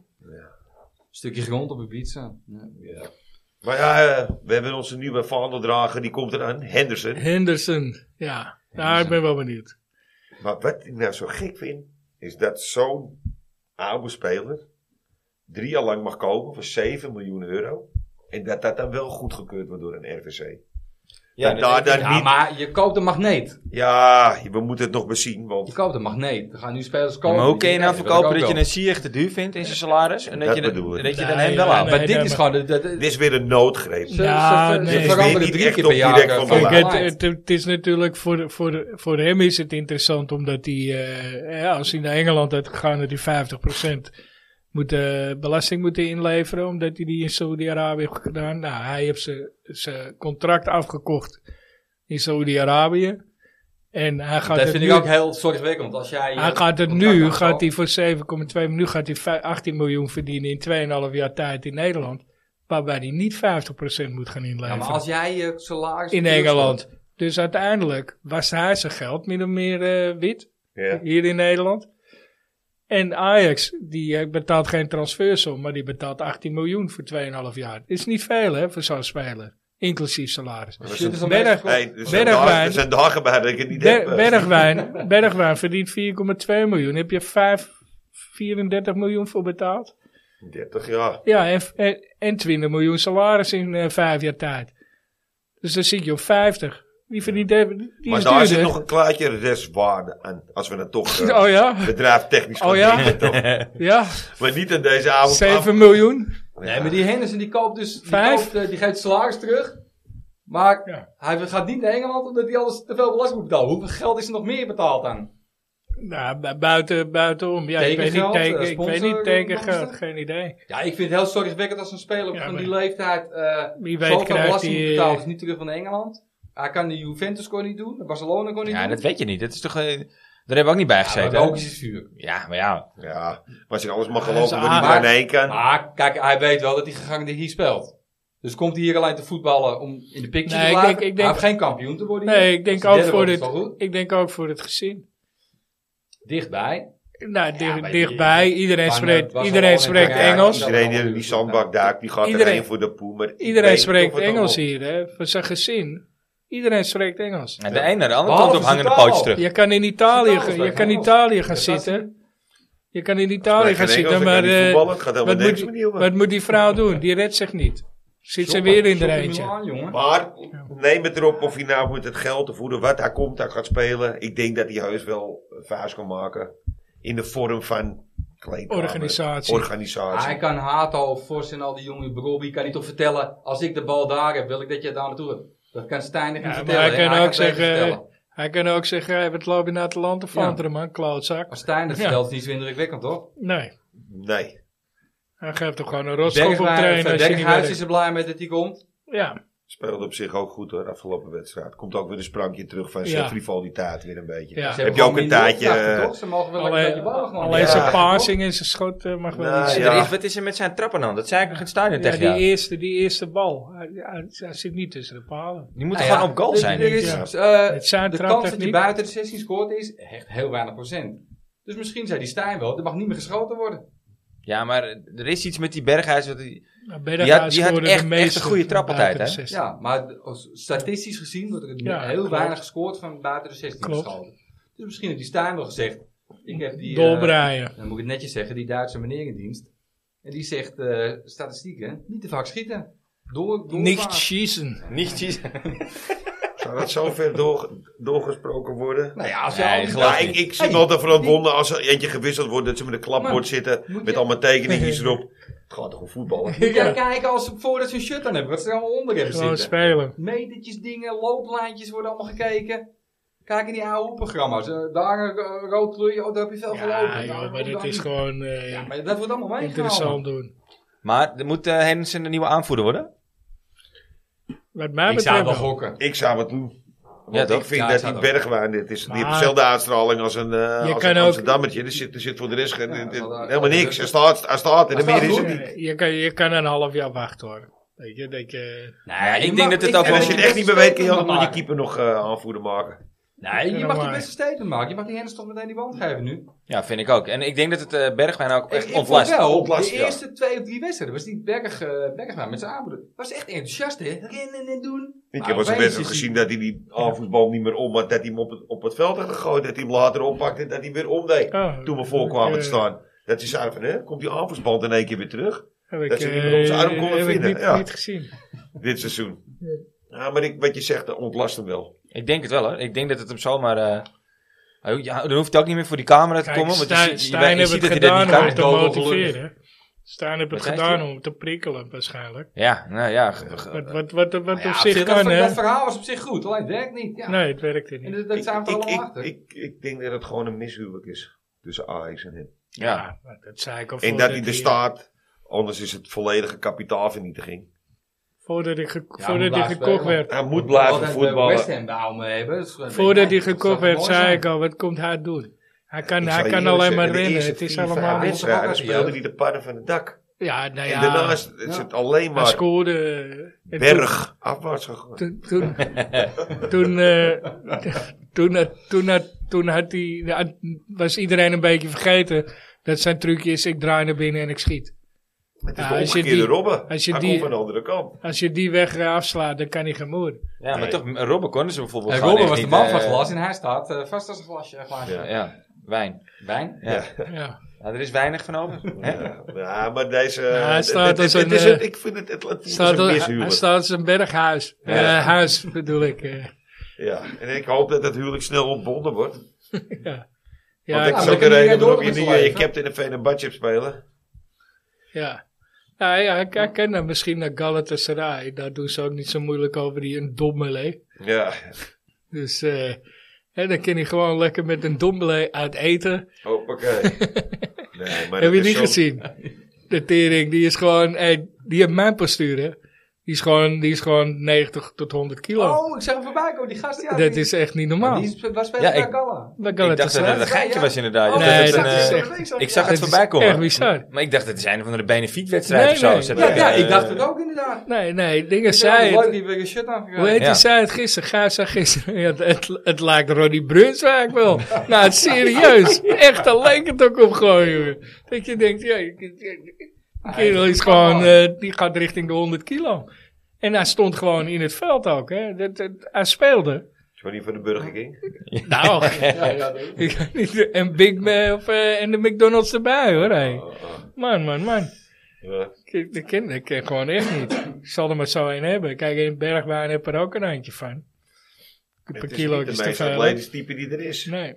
Stukje grond op een pizza. Ja. Maar ja, eh, we hebben onze nieuwe vaandeldrager, die komt eraan, Henderson. Henderson, ja. Nou, ik ben wel benieuwd. Maar wat ik nou zo gek vind, is dat zo'n oude speler drie jaar lang mag komen voor 7 miljoen euro. En dat dat dan wel goedgekeurd wordt door een RVC. Ja, dat daar dan Ja, niet... maar je koopt een magneet. Ja, we moeten het nog bezien, want Je koopt een magneet. Er gaan nu spelers Ja, kopen. maar hoe kun je Ja, nou die verkopen wil dat ik je ook een Sier te duur vindt in zijn salaris? En dat, Dat je, de, bedoel ik. dat je dan Nee, hem wel ja, haalt? wel. nee. Maar dit is gewoon... de- de- dit de- is weer een noodgreep. Ze, Ja, ze, ze, nee. ze Dit is veranderen niet drie echt keer op per jaar. direct eh, van van Kijk, beleid. beleid. het, het, het is natuurlijk voor, voor, voor hem is het interessant, omdat hij, eh, ja, als hij naar Engeland had gegaan, had hij 50% moet, eh, belasting moeten inleveren, omdat hij die in Saudi-Arabië heeft gedaan. Nou, hij heeft zijn- zijn contract afgekocht in Saudi-Arabië. En hij gaat dat het vind nu, ik ook heel zorgwekkend. Als jij, eh, hij gaat het contract nu, afkoopt. gaat hij voor 7,2 miljoen, nu gaat hij vij- 18 miljoen verdienen in 2,5 jaar tijd in Nederland. Waarbij hij niet 50% moet gaan inleveren Ja, maar als jij je salaris... in Engeland. Dus uiteindelijk was hij zijn geld min of meer eh, wit Ja. hier in Nederland. En Ajax, die eh, betaalt geen transfersom, maar die betaalt 18 miljoen voor 2,5 jaar. Is niet veel hè, voor zo'n speler, inclusief salaris. Shit is al Berg- meegekomen. Nee, er zijn, Bergwijn. dagen, er zijn dagen bij dat ik het niet heb. Ber- eh. Bergwijn, Bergwijn verdient 4,2 miljoen. Heb je 5, 34 miljoen voor betaald? 30 jaar. Ja, en, en, en 20 miljoen salaris in eh, vijf jaar tijd. Dus dan zit je op 50. Die verdient even, die Maar is daar duurder. zit nog een klaartje restwaarde aan. Als we het toch eh, Oh ja? bedrijftechnisch gaan Oh ja? denken, toch? Ja, Maar niet aan deze avond. 7 miljoen. Nee, maar die Henderson die koopt dus... Die, Vijf? koopt, eh, die geeft salaris terug. Maar Ja. hij gaat niet naar Engeland omdat hij alles te veel belasting moet betalen. Hoeveel geld is er nog meer betaald aan? Nou, bu- buiten, buitenom. Ja, ik weet niet, Tekengeld, teken, eh, ik weet sponsor- niet tekengeld, kosten? geen idee. Ja, ik vind het heel zorgwekkend als een speler Ja, van maar- die leeftijd eh Wie weet zoveel krijgt belasting hij, moet eh, betalen. Is niet terug van Engeland. Hij kan de Juventus kon niet doen, de Barcelona kon niet Ja, doen. dat weet je niet. Dat is toch... eh, daar hebben we ook niet bij ja, gezeten. maar hè? ook is het vuur. Ja, maar ja. Ja, maar als je alles mag dat is geloven, wat niet aardig. meer aan één kan. Maar kijk, hij weet wel dat hij gegangen hier speelt. Dus komt hij hier alleen te voetballen om in de picture Nee, te ik blijven? denk- ik hij denk- heeft geen kampioen te worden hier. Nee, ik denk, Als ook derde voor wordt, is het, wel goed. ik denk ook voor het gezin. Dichtbij. Nou, dicht- maar die- dichtbij, iedereen Van, eh, spreekt, Barcelona iedereen en spreekt Barcelona. Engels. Ja, Iedereen die in die zandbak duikt, die gaat Iedereen- er een voor de poe. maar ik Iedereen weet niet spreekt of het allemaal- Engels hier, hè. Voor zijn gezin. Iedereen spreekt Engels. En de een naar de ander Behalve komt op hangende Zidane. pootjes terug. Je kan in Italië, Italië gaan- je spreekt kan in Engels. Italië gaan Dat was- zitten. Je kan in Maar Italië ik gaan kan zitten, Engels, maar ik kan eh, niet voetballen, het gaat helemaal wat niks moet, meer nieuw. wat moet die vrouw doen? Die redt zich niet. Zit ze weer in de eentje. Maar neem het erop of hij nou met het geld te voeden, wat hij komt, hij gaat spelen. Ik denk dat hij heus wel een vuist kan maken. In de vorm van kleedkamer, Organisatie. organisatie. Hij kan Hato, Vos en al die jonge Brobbey kan niet toch vertellen. Als ik de bal daar heb, wil ik dat jij daar naartoe hebt. Dat kan Stijn Ja, niet maar vertellen. hij en kan ook het even zeggen, eh, vertellen. Hij kan ook zeggen, hey, wat loop je naar het land of Ja. andere man, klootzak. Als Stijn dat Ja. vertelt, is het niet zo indrukwekkend, hoor. Nee, Nee. hij geeft hem gewoon een rotschop op trainen als je niet eh, Berghuis werkt. is er blij mee dat hij komt. Ja, Speelde op zich ook goed hoor, afgelopen wedstrijd. Komt ook weer een sprankje terug van Ja. zijn frivoliteit weer een beetje. ja. Ze Heb hebben je ook gewoon een minder opdrachten, taartje- toch? Ze mogen wel lekker Alleen, die ballen gewoon. alleen Ja. zijn passing en zijn schot eh, mag wel Nou, iets. ja. Ja, Er is, wat is er met zijn trappen dan? Dat zei ik nog in het stadion tegen die, jou. Die, eerste, die eerste bal, hij, hij- hij zit niet tussen de palen. moet Nou ja, gewoon op goal er- zijn. Er denk ik. is, Ja. eh, Het zijn de kans dat traptechniek. hij buiten de 16 scoort is echt heel weinig procent. Dus misschien zei die Stijn wel, er mag niet meer geschoten worden. Ja, maar er is iets met die Berghuis. wat die- Nou, Die had- Berghuis die had scoorde echt- de echt een meeste goede trap buiten altijd, de hè? 16. Ja, maar d- als- statistisch gezien wordt er Ja, heel klopt. weinig gescoord van buiten de 16 Klopt. geschoten. Dus misschien heeft die Stijn wel gezegd, ik heb die... eh, Dolbraaien. dan moet ik het netjes zeggen, die Duitse meneer in dienst. En die zegt, eh, statistieken, niet te vaak schieten. Door, door Niet schießen. Niet precies. Zou dat zo ver door, doorgesproken worden? Nou ja, als je Nee, al- geloof Ja, ik, ik zie wel ervan het wonder als er eentje gewisseld wordt dat ze met een klapbord Maar, zitten. moet Met je- allemaal tekeningetjes erop. Het gaat toch om voetballen? Moet jij kijken als, voordat ze een shirt aan hebben, wat ze er allemaal onder hebben Gewoon zitten. spelen. Metertjes, dingen, looplijntjes worden allemaal gekeken. Kijk in die oude programma's. eh, daar een eh, rood kleurje, oh, daar heb je veel Ja, gelopen. Nou, joh, maar dat dat is gewoon eh, Ja, maar dat wordt allemaal meegenomen. interessant doen. Maar er moet eh Henderson een nieuwe aanvoerder worden? Wat mij Ik zou betreft wel wel. gokken. Ik zou het doen. Want Ja, ik toch? vind Ja, ik dat zou die het Bergwijn, dit is, die heeft Maar- dezelfde uitstraling als een, eh Je als kan een ook- Amsterdammertje. Er zit, er zit voor de rest geen- Ja, dit- dit- maar daar- helemaal niks. Hij staat, hij staat en Hij de meer staat is goed. het niet. Eh, Je kan, je kan een half jaar wachten hoor. Weet je, dat je... Nee, ik denk dat het ook En wel- als je het echt niet meer weet, kun je ook ook nog je keeper nog eh aanvoerder maken. Nee, je Ja, mag die maar- beste statement maken. Je mag die Hens toch meteen die band geven nu. Ja, vind ik ook. En ik denk dat het eh, Bergwijn ook Ik- echt ik vond ontlast. wel, Ontlast, de ja. eerste twee of drie wedstrijden was die Berg, eh, Bergwijn met zijn aanbroeder. Was echt enthousiast, hè? Rennen en doen. Ik heb Maar wel eens een opeens wedstrijd is gezien dat hij die aanvoersbal niet meer om had. Dat hij hem op het, op het veld had gegooid. Dat hij hem later oppakte en dat hij weer omdeed. Oh, Toen we voor kwamen eh, te staan. Dat ze zeiden van, hè, komt die aanvoersband in één keer weer terug? Heb ik, Dat ze die eh, met onze arm konden heb ik vinden, niet, ja. niet gezien. dit seizoen. Ja, maar ik, wat je zegt, dat ontlast hem wel. Ik denk het wel hoor. Ik denk dat het hem zomaar. eh, hij- ja, dan hoeft hij ook niet meer voor die camera te Kijk, komen. Want je Stijn, ziet- je, Stijn je heeft ziet het dat hij dat gedaan niet om kan. hem te Dobbel gelukkig. motiveren. Stijn heeft het Wat zei gedaan hij? om te prikkelen waarschijnlijk. Ja, nou ja. ge- ge- Wat, wat, wat, wat Nou Ja, op zich dat, kan hè. dat verhaal was op zich goed, alleen het werkt niet. Ja. Nee, het werkte En niet. dat, dat ik, zijn we ik, allemaal ik, achter. ik, ik denk dat het gewoon een mishuwelijk is tussen Ajax en hem. ja. maar Nou, dat zei ik al En voordat dat hij er hij- staat, anders is het volledige kapitaalvernietiging. Voordat ik, ge- Ja, voordat moet hij blijven gekocht spelen. werd. Hij moet blijven Altijd bij West voetballen. Ham de oude mee hebben. Dat is gewoon- Voordat hij dat zou gekocht werd, mooi zei zijn. ik al, wat komt hij doen? Hij kan, Ik hij zal je kan eerlijk alleen maar zeggen, de rennen. eerste Het is vier, vijf allemaal... wedstrijden. wedstrijden Ja. speelde hij de pannen van het dak. Ja, nou ja. En daarnaast is Ja. het alleen Hij maar scoorde... eh, en toen- berg afwaarts gegaan. toen, toen, toen, eh, toen, had- toen, had- toen had hij, ja, was iedereen een beetje vergeten dat zijn trucje is: ik draai naar binnen en ik schiet. Het is Ja, de als je omgekeerde die- Robben. Hij als je komt die- van de andere kant. Als je die weg eh, afslaat, dan kan hij geen moer. Ja, maar toch, Robben konden ze bijvoorbeeld En gewoon Robben echt was de niet, man eh, van glas en hij staat eh, vast als een glasje. glaasje. Ja. Ja, wijn. Wijn. Ja. Ja. Ja, er is weinig van over. Hè? Ja, ja, maar deze... hij het- staat het- als het- een, het is eh, het- Ik vind het, het, het voelt als Staat, een al- mishuwelijk. hij staat als een berghuis. Eh, Ja. huis bedoel ik. eh. Ja, en ik hoop dat het huwelijk snel ontbonden wordt. ja. Want Ja, dat ja, is maar ook dan de kan reden je waarop door je met niet z'n eh, je leven. captain en Fenerbahce hebt spelen. ja. Nou ja, hij, hij kan dan misschien naar Galatasaray. Daar doen ze ook niet zo moeilijk over die een dommele. Ja. Dus eh, hè, dan kan hij gewoon lekker met een dommele uit eten. Hoppakee. Nee, maar Heb je dat is niet zo- gezien? De tering, die is gewoon, hey, die heeft mijn postuur, hè. Die is gewoon, die is gewoon 90 tot 100 kilo. Oh, ik zag hem voorbij komen, die gast. Ja, dat die- is echt niet normaal. maar Die spe- waar speelt Ja, hij ik- bij Galla? Dat kan Ik het dacht dat het een geintje was inderdaad. Oh, Ik nee, dacht dat dat het is een, eh, echt- ik zag het Dat is voorbij komen. echt bizar. Maar ik dacht, het is een van de benefietwedstrijden Nee, of zo. nee. Ze Ja, hebben, ja, eh, ik dacht het ook inderdaad. Nee, nee, dingen Zij zei leuk het. die weer een shirt aan Hoe heet Ja. die zei het gisteren? Gaaf zei gisteren. Ja, het, het lijkt Ronnie Brunswijk wel. nou, het is serieus. Echt, daar leek het ook op gewoon, jongen. Dat je denkt, ja, ik- ik- ik- die kerel is gewoon, eh, die gaat richting de 100 kilo. En hij stond gewoon in het veld ook, hè. Dat, dat- hij speelde. Johnny van de Burger King. Nou, Ja, ja, dat- ik kan niet- en Big Mac of, eh, en de McDonald's erbij hoor. hé. Oh, oh. Man, man, man. Ja. Ik- Dat ken ik ken gewoon echt niet. Ik zal er maar zo een hebben. Kijk, in Bergwijn heb er ook een eindje van. Een Het paar is niet de kilo's te meest veel. atletisch type die er is. Nee.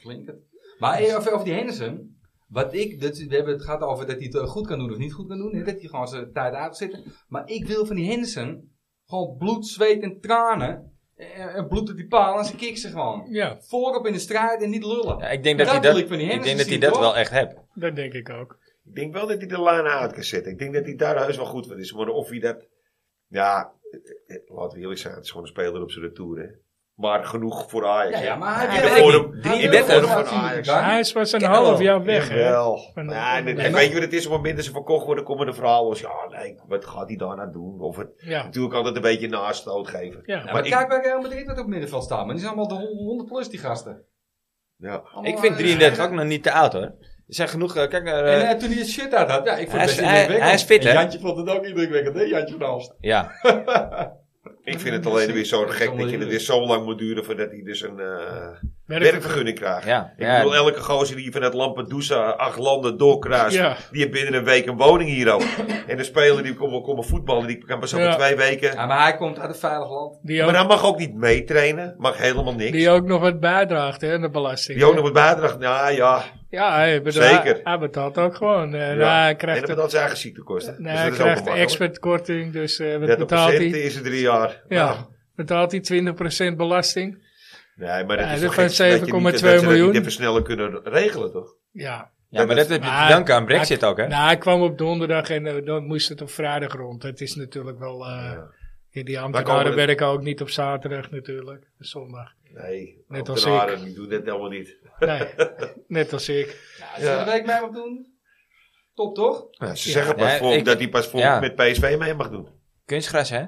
Flink het. Maar eh, over, over die Henderson. Wat ik, dat, we hebben het gehad over dat hij het eh, goed kan doen of niet goed kan doen. hè, Dat hij gewoon zijn tijd uit zitten. Maar ik wil van die Hensen gewoon bloed, zweet en tranen. eh, En bloed op die paal en ze kick ze gewoon. Ja. Voorop in de strijd en niet lullen. Ja, ik denk dat, hij wil dat, dus ik van die ik denk Henderson dat, hij zien, dat toch? wel echt hebt. Dat denk ik ook. Ik denk wel dat hij de Lana uit kan zetten. Ik denk dat hij daar heus wel goed van is. Maar of hij dat... Ja, het- het- laten we eerlijk zijn. Het is gewoon een speler op zijn retour, hè. Maar genoeg voor Ajax. Ja, ja, maar hij in de wil vorm, niet. drie Hij in wil de vorm van gewoon zien dat hij Ajax. kan. Hij was een Ja, half wel. jaar weg. hè? Jawel. Van- Ja, en, en Ja. weet je wat het is? Op het moment dat ze verkocht worden, komen de verhalen als... Ja, nee, wat gaat hij daarna doen? Of het, Ja. natuurlijk altijd een beetje naaststoot geven. Ja. Ja, Maar maar ik- kijk bij Real Madrid wat op het middenveld staat. Maar die zijn allemaal de 100 plus die gasten. Ja. Allemaal, Ik vind eh, 33 ook nog niet te oud hoor. Er zijn genoeg, eh, kijk naar... eh, En eh, toen hij het shit uit had, ja, ik vond Hij het is- best hij- indrukwekkend. hij is fit, En hè? Jantje vond het ook indrukwekkend, hè? Jantje van Alst. ja, Ik vind het alleen weer zo gek dat je het moeilijk. weer zo lang moet duren voordat hij dus een eh, Werk- werkvergunning krijgt. ja. Ik ja. bedoel, elke gozer die vanuit Lampedusa acht landen doorkruist, Ja. die heeft binnen een week een woning hier ook. en een speler die komt wel komen voetballen, die kan pas over Ja. twee weken. Ja, maar hij komt uit een veilig land. Die Maar ook, hij mag ook niet meetrainen, mag helemaal niks. die ook nog wat bijdraagt hè, aan de belasting. Die ook nog wat bijdraagt, nou ja. Ja, hij, bedoel, Zeker. hij- hij betaalt ook gewoon. eh, ja. nou, hij en krijgt, dat betaalt zijn eigen ziektekosten. nee, dus hij dat krijgt is ook makkelijk. expertkorting, dus eh, wat 30% betaalt hij? is er drie jaar. Nou, Ja, betaalt hij 20% belasting? Nee, maar dat Ja, is dat toch van gek dat je niet- 7,2 dat ze dat miljoen. niet even sneller kunnen regelen, toch? Ja. ja, maar dat heb je Maar- te danken aan Brexit ook hè. Nou, hij kwam op donderdag en eh, dan moest het op vrijdag rond. Dat is natuurlijk wel... eh, Die Waar ambtenaren komen we- werken ook niet op zaterdag natuurlijk, zondag. Nee, Net net als als ik. Die doen dat helemaal niet. Nee, net als ik. Ja, als je er een week mee mag doen, top toch? ze zeggen Ja, pas volgend- ik- dat hij pas volgend ja. met PSV mee mag doen. Kunstgras hè.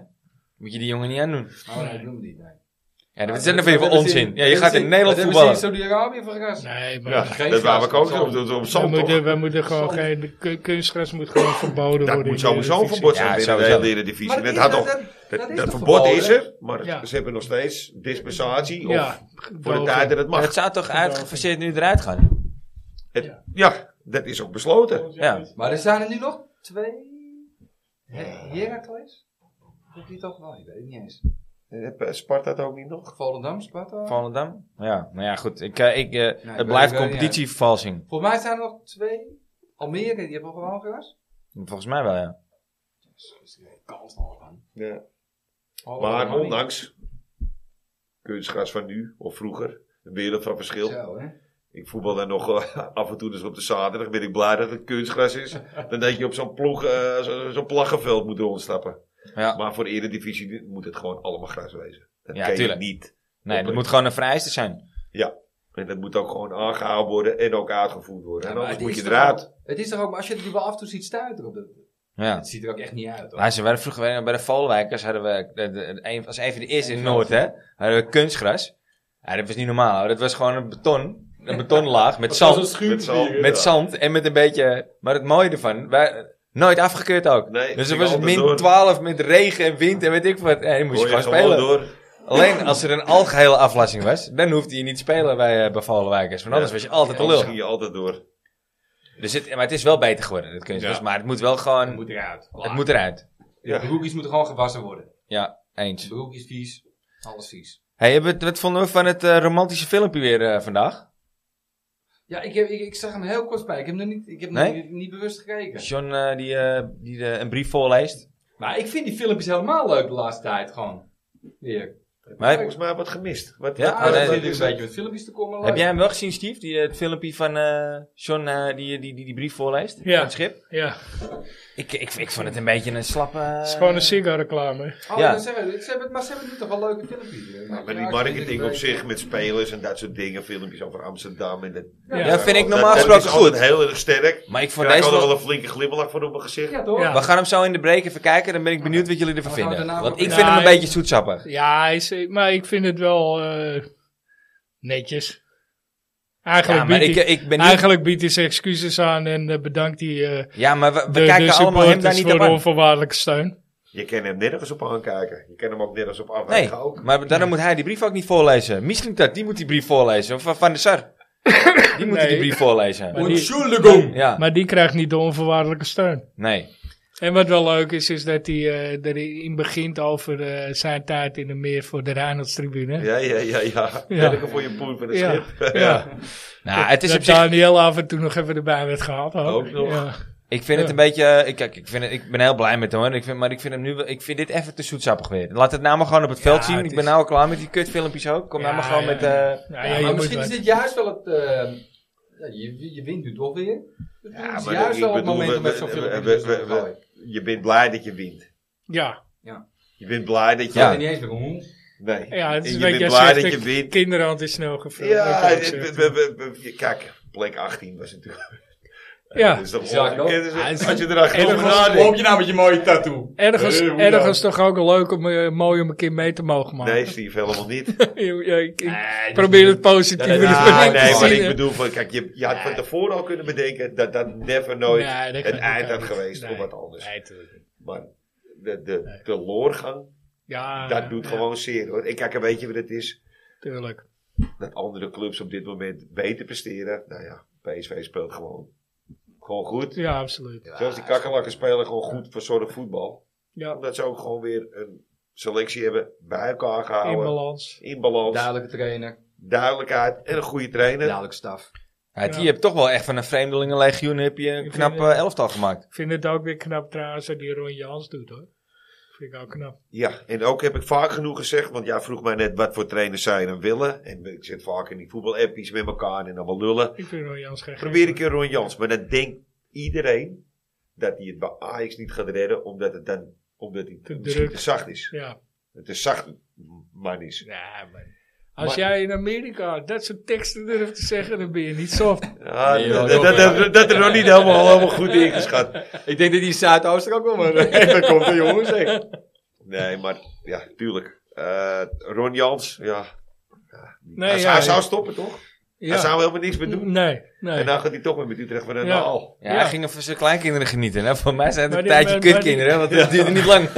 Moet je die jongen niet aandoen. Oh, nee, ik noem die. Nee. Ja, dat is net even onzin. Ja, je gaat in Nederland Dat voetballen. hebben ze in Saudi-Arabië voor gast. Nee, maar Ja, geen dat waren we gras, ook op zand. op, op we, zand, moeten, toch? we moeten gewoon Zand. geen... de kun- kunstgras moet gewoon verboden Dat worden. moet in de sowieso een Eredivisie. verbod zijn Ja, binnen de sowieso. hele Eredivisie. Maar Dat, dat is- had toch- dat- dat, dat is dat, toch verbod verboden? is er, maar Ja. ze hebben nog steeds dispensatie of Ja, voor de boven. tijd dat het Maar mag. het zou toch uitgefaseerd nu eruit gaan? Het- ja, dat is ook besloten. Ja. Maar er zijn er nu nog twee. Her- Heracles? Of die toch wel? Ik weet het niet eens. Heb Eh, Sparta dat ook niet nog? Volendam, Sparta? Volendam? Ja, nou ja, goed. Ik, eh, ik, eh, weet- het blijft ik weet niet. competitievervalsing. Volgens mij zijn er nog twee. Almere, die hebben gewoon gras. Volgens mij wel, ja. Kans nog van. Ja. Oh, Maar man. ondanks kunstgras van nu of vroeger, een wereld van verschil. Zo, hè. Ik voetbal dan nog eh, af en toe, dus op de zaterdag ben ik blij dat het kunstgras is. Dan denk je op zo'n ploeg, eh, zo- zo'n plaggenveld moet ontstappen. Ja. Maar voor de Eredivisie moet het gewoon allemaal gras wezen. Dat Ja, kan tuurlijk. je niet. Nee, dat moet gewoon een vereiste zijn. En dat moet ook gewoon aangehouden worden en ook uitgevoerd worden. Ja, en maar anders het moet je is toch eruit. ook- Het is toch ook, maar als je het nu wel af en toe ziet stuiten op de... Ja. Het ziet er ook echt niet uit, hoor. Maar ze waren vroeger weet ik nog, bij de Valwijkers hadden we, de, de- de- een- als een van de eerste in Noord, hè, hadden we kunstgras. Ja, dat was niet normaal. hoor. Dat was gewoon een beton, een betonlaag met zand, Met zand. met Ja. zand en met een beetje, maar het mooie ervan, wij, nooit afgekeurd ook. Nee, dus er ging was altijd min door. 12 met regen en wind en weet ik wat. En je moest je Hoor je gewoon gewoon spelen. door. Alleen als er een algehele aflassing was, dan hoefde je niet te spelen bij, eh bij Valwijkers. Want Ja. anders was je altijd de Anders lul. ging je altijd door. Dus het, maar het is wel beter geworden, het kunstgras. dus- Maar het moet wel gewoon, Het moet eruit. het moet eruit. Ja. De broekjes moeten gewoon gewassen worden. Ja, eens. De broek is vies. Alles vies. Hey, hebben we het- wat vonden we van het eh, romantische filmpje weer eh, vandaag? Ja, ik, heb, ik, ik zag hem heel kort bij. Ik heb hem nog niet, ik heb Nee? nog niet, niet bewust gekeken. John eh, die, eh, die eh, een brief voorleest. Maar ik vind die filmpjes helemaal leuk de laatste tijd, gewoon. Weer. Maar, Volgens mij wat gemist. Wat, Ja, Ah, maar wat- nee, er wat zit is een dat? beetje met filmpjes te komen. leuk. heb jij hem wel gezien, Steve? Die, eh, het filmpje van eh, John eh, die, die, die die brief voorleest? Ja. Van het schip? Ja, Ik, ik, ik vond het een beetje een slappe... het is gewoon een sigarenreclame. Oh, Ja. dan zeggen we- ze hebben, maar ze hebben nu toch wel leuke filmpjes. eh, Ja, maar maar Nou, die ik vind marketing het op een zich met spelers en dat soort dingen, filmpjes over Amsterdam. En dat, Ja, Ja, vind ik Eh, dat- normaal dat gesproken is altijd goed. heel erg sterk. Maar ik vond Daar had deze wel... wel- wel een flinke glimlach van op mijn gezicht. beetje- Ja, toch? Ja. We gaan hem zo in de break even kijken. Dan ben ik benieuwd wat jullie ervan Dan gaan we vinden. daarna Want nog- ik vind hem een Nee. beetje zoetsappig. Ja, hij is, maar ik vind het wel eh, netjes. Eigenlijk, Ja, maar biedt ik, hij, ik ben niet... eigenlijk biedt hij zijn excuses aan en eh, bedankt hij eh, Ja, maar we, we de, de kijken allemaal hem daar supporters niet voor op de aan. onvoorwaardelijke steun. Je kan hem nergens op aankijken. Je kan hem ook nergens op Nee, afwegen ook. maar daarom moet hij die brief ook niet voorlezen. Misschien dat, die moet die brief voorlezen. Of van- Van de Sar. Die moet Nee. die brief voorlezen. Maar die, Entschuldigung. Ja, maar die krijgt niet de onvoorwaardelijke steun. nee. En wat wel leuk is, is dat hij eh, erin begint over eh, zijn tijd in de meer voor de Reinhardstribune. Ja, ja, ja, ja. Ja. Lekker voor je poen van het Ja, schip. ja. Nou, het is dat op zich... Daniel af en toe nog even erbij werd gehaald. Ook, Ook nog. Ja. Ik vind het een beetje... eh, Ik, kijk, ik, vind het, ik ben heel blij met hem, hoor. Ik vind, maar ik vind, hem nu, wel- ik vind dit even te zoetsappig weer. Laat het nou maar gewoon op het veld zien. het Ik is- ben nou al klaar met die kutfilmpjes ook. Kom nou Ja, maar gewoon ja, met... ja. eh, Ja, Ja, ja, je maar moet misschien is wat- dit juist wel het. eh, ja, je, je wint nu toch weer. Dus Ja, het is maar juist ik wel het bedoel, moment we- om met we- zo'n we- filmpje we- te we- we- gooien. Je bent blij dat je wint. ja. Je bent blij dat je... Ja. Ik weet niet eens meer hoe. Nee. ja, het is En een beetje je bent als blij zegt, dat je de wint. Kinderhand is snel gevuld. Ja, Dat kan ik het- zeggen. we- we- we- we- kijk, plek 18 was natuurlijk... Ja. Dus dat Die zag ik ook. Ja, dus Hij is- Als je erachter Ergens- nadenkt... je nou met je mooie tattoo? Ergens, Eh, hoe ergens toch ook leuk om, eh, mooi om een keer mee te mogen maken. Nee, Steve, helemaal niet. ja, ik, ik Nee, probeer het Ja, positief nee, in de ja, verlengde nee, te maar zien, ik hè. bedoel, van, kijk, je, je had van tevoren al kunnen bedenken dat dat never nooit Nee, dat een kan- eind dat had kan geweest niet. of Nee. wat anders. Nee, tuurlijk niet. Maar de, de, de loorgang, Ja, dat doet ja, gewoon zeer hoor. En kijk, en weet je wat het is? Tuurlijk. Dat andere clubs op dit moment beter presteren. Nou ja, PSV speelt gewoon, gewoon goed. Ja, absoluut. Zelfs die kakkelakken spelen gewoon goed verzorgd voetbal. Ja, Omdat ze ook gewoon weer een selectie hebben bij elkaar in gehouden. balans. In balans, Duidelijke trainer, duidelijkheid en een goede trainer. duidelijke staf. Ja, die Ja. hebt toch wel echt van een vreemdelingenlegioen heb je een Ik knap vind, eh, eh, elftal gemaakt. Ik vind het ook weer knap trouwens dat die Ron Jans doet hoor. Vind ik ook knap. Ja, en ook heb ik vaak genoeg gezegd, want jij vroeg mij net wat voor trainers zij dan willen. En ik zit vaak in die voetbalappies met elkaar en allemaal lullen. Ik vind Ron Jans geen Probeer gek, ik een Ron Jans, maar dan denkt iedereen dat hij het bij Ajax niet gaat redden, omdat het dan omdat hij Te misschien druk. te zacht is. hoor. Ja. Het te zacht man is. Ja, maar als Maar- jij in Amerika dat soort teksten durft te zeggen, dan ben je niet soft. Ja, Nee, Ah, dat, joh, dat, joh. dat, dat er nog niet helemaal, helemaal goed ingeschat. Ik denk dat die Zuidooster ook wel maar even komt, hè, jongens. hè. Nee, maar ja, tuurlijk. Eh, Ron Jans, ja. Nee, hij, ja, hij ja. zou stoppen, toch? Ja. Hij zou helemaal niks meer doen. Nee, nee. En dan gaat hij toch weer met Utrecht van een Ja. al. Ja, Ja. hij ging er voor zijn kleinkinderen genieten. Hè? Voor mij zijn het Maar een die- tijdje maar- maar die- kutkinderen, want het duurde niet lang.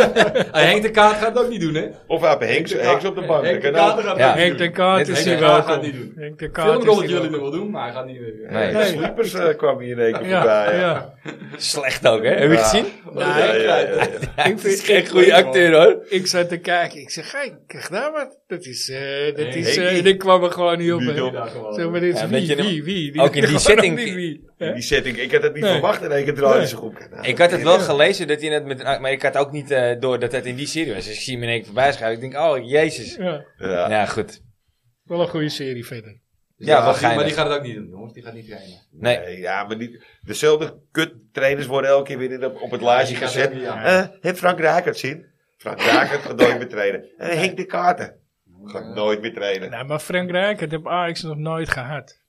Hey, Henk de Kaart gaat het ook niet doen, hè? Of hij heeft Henks, Henks op de bank. Henk de Dat kan Kaart ook. gaat Ja. het ook Henk niet de doen. Kaart Dit is is- hier Henk de Kaart welkom. gaat het niet doen. Henk de Kaart Film is wil het hier jullie nog welkom. wel doen, maar hij gaat niet weer. Nee. De Nee. sleepers eh, kwamen hier in één keer Ja, voorbij. Ja. ja. Slecht ook, hè? Heb je het gezien? Ja, ja, ja, ja. Ja, Ik het is vind- geen ik- goede acteur, hoor. Ik zat te kijken. Ik zeg, hey, krijg daar wat. Dat is, eh, dat Nee, is, eh, Henkie. en ik kwam er gewoon niet op. Niet hè. op. Zeg maar, dit is Ja, wie, weet je wie, nou- wie, wie. ook in die Gewoon setting- niet wie. In Hè? die setting, ik had het niet Nee. verwacht in één keer draaien ze goed. Nou, Ik had het wel gelezen, dat hij net met, ah, maar ik had ook niet eh, door dat het in die serie was. Dus ik zie hem in één keer voorbij schuiven. Ik denk, oh, jezus. Ja, Ja. Ja, goed. wel een goede serie verder. Ja, wel maar geinig. die gaat het ook niet doen, jongens. Die gaat niet trainen. Nee. Nee, ja, maar niet, dezelfde kuttrainers worden elke keer weer in de- op het lijstje die gaat gezet. ook niet, Eh, ja. heeft Frank Rijkaard zien? Frank Rijkaard gaat nooit meer trainen. Eh, Henk de Kaarten gaat nooit meer trainen. Nou, maar Frank Rijk, het heb Ajax nog nooit gehad.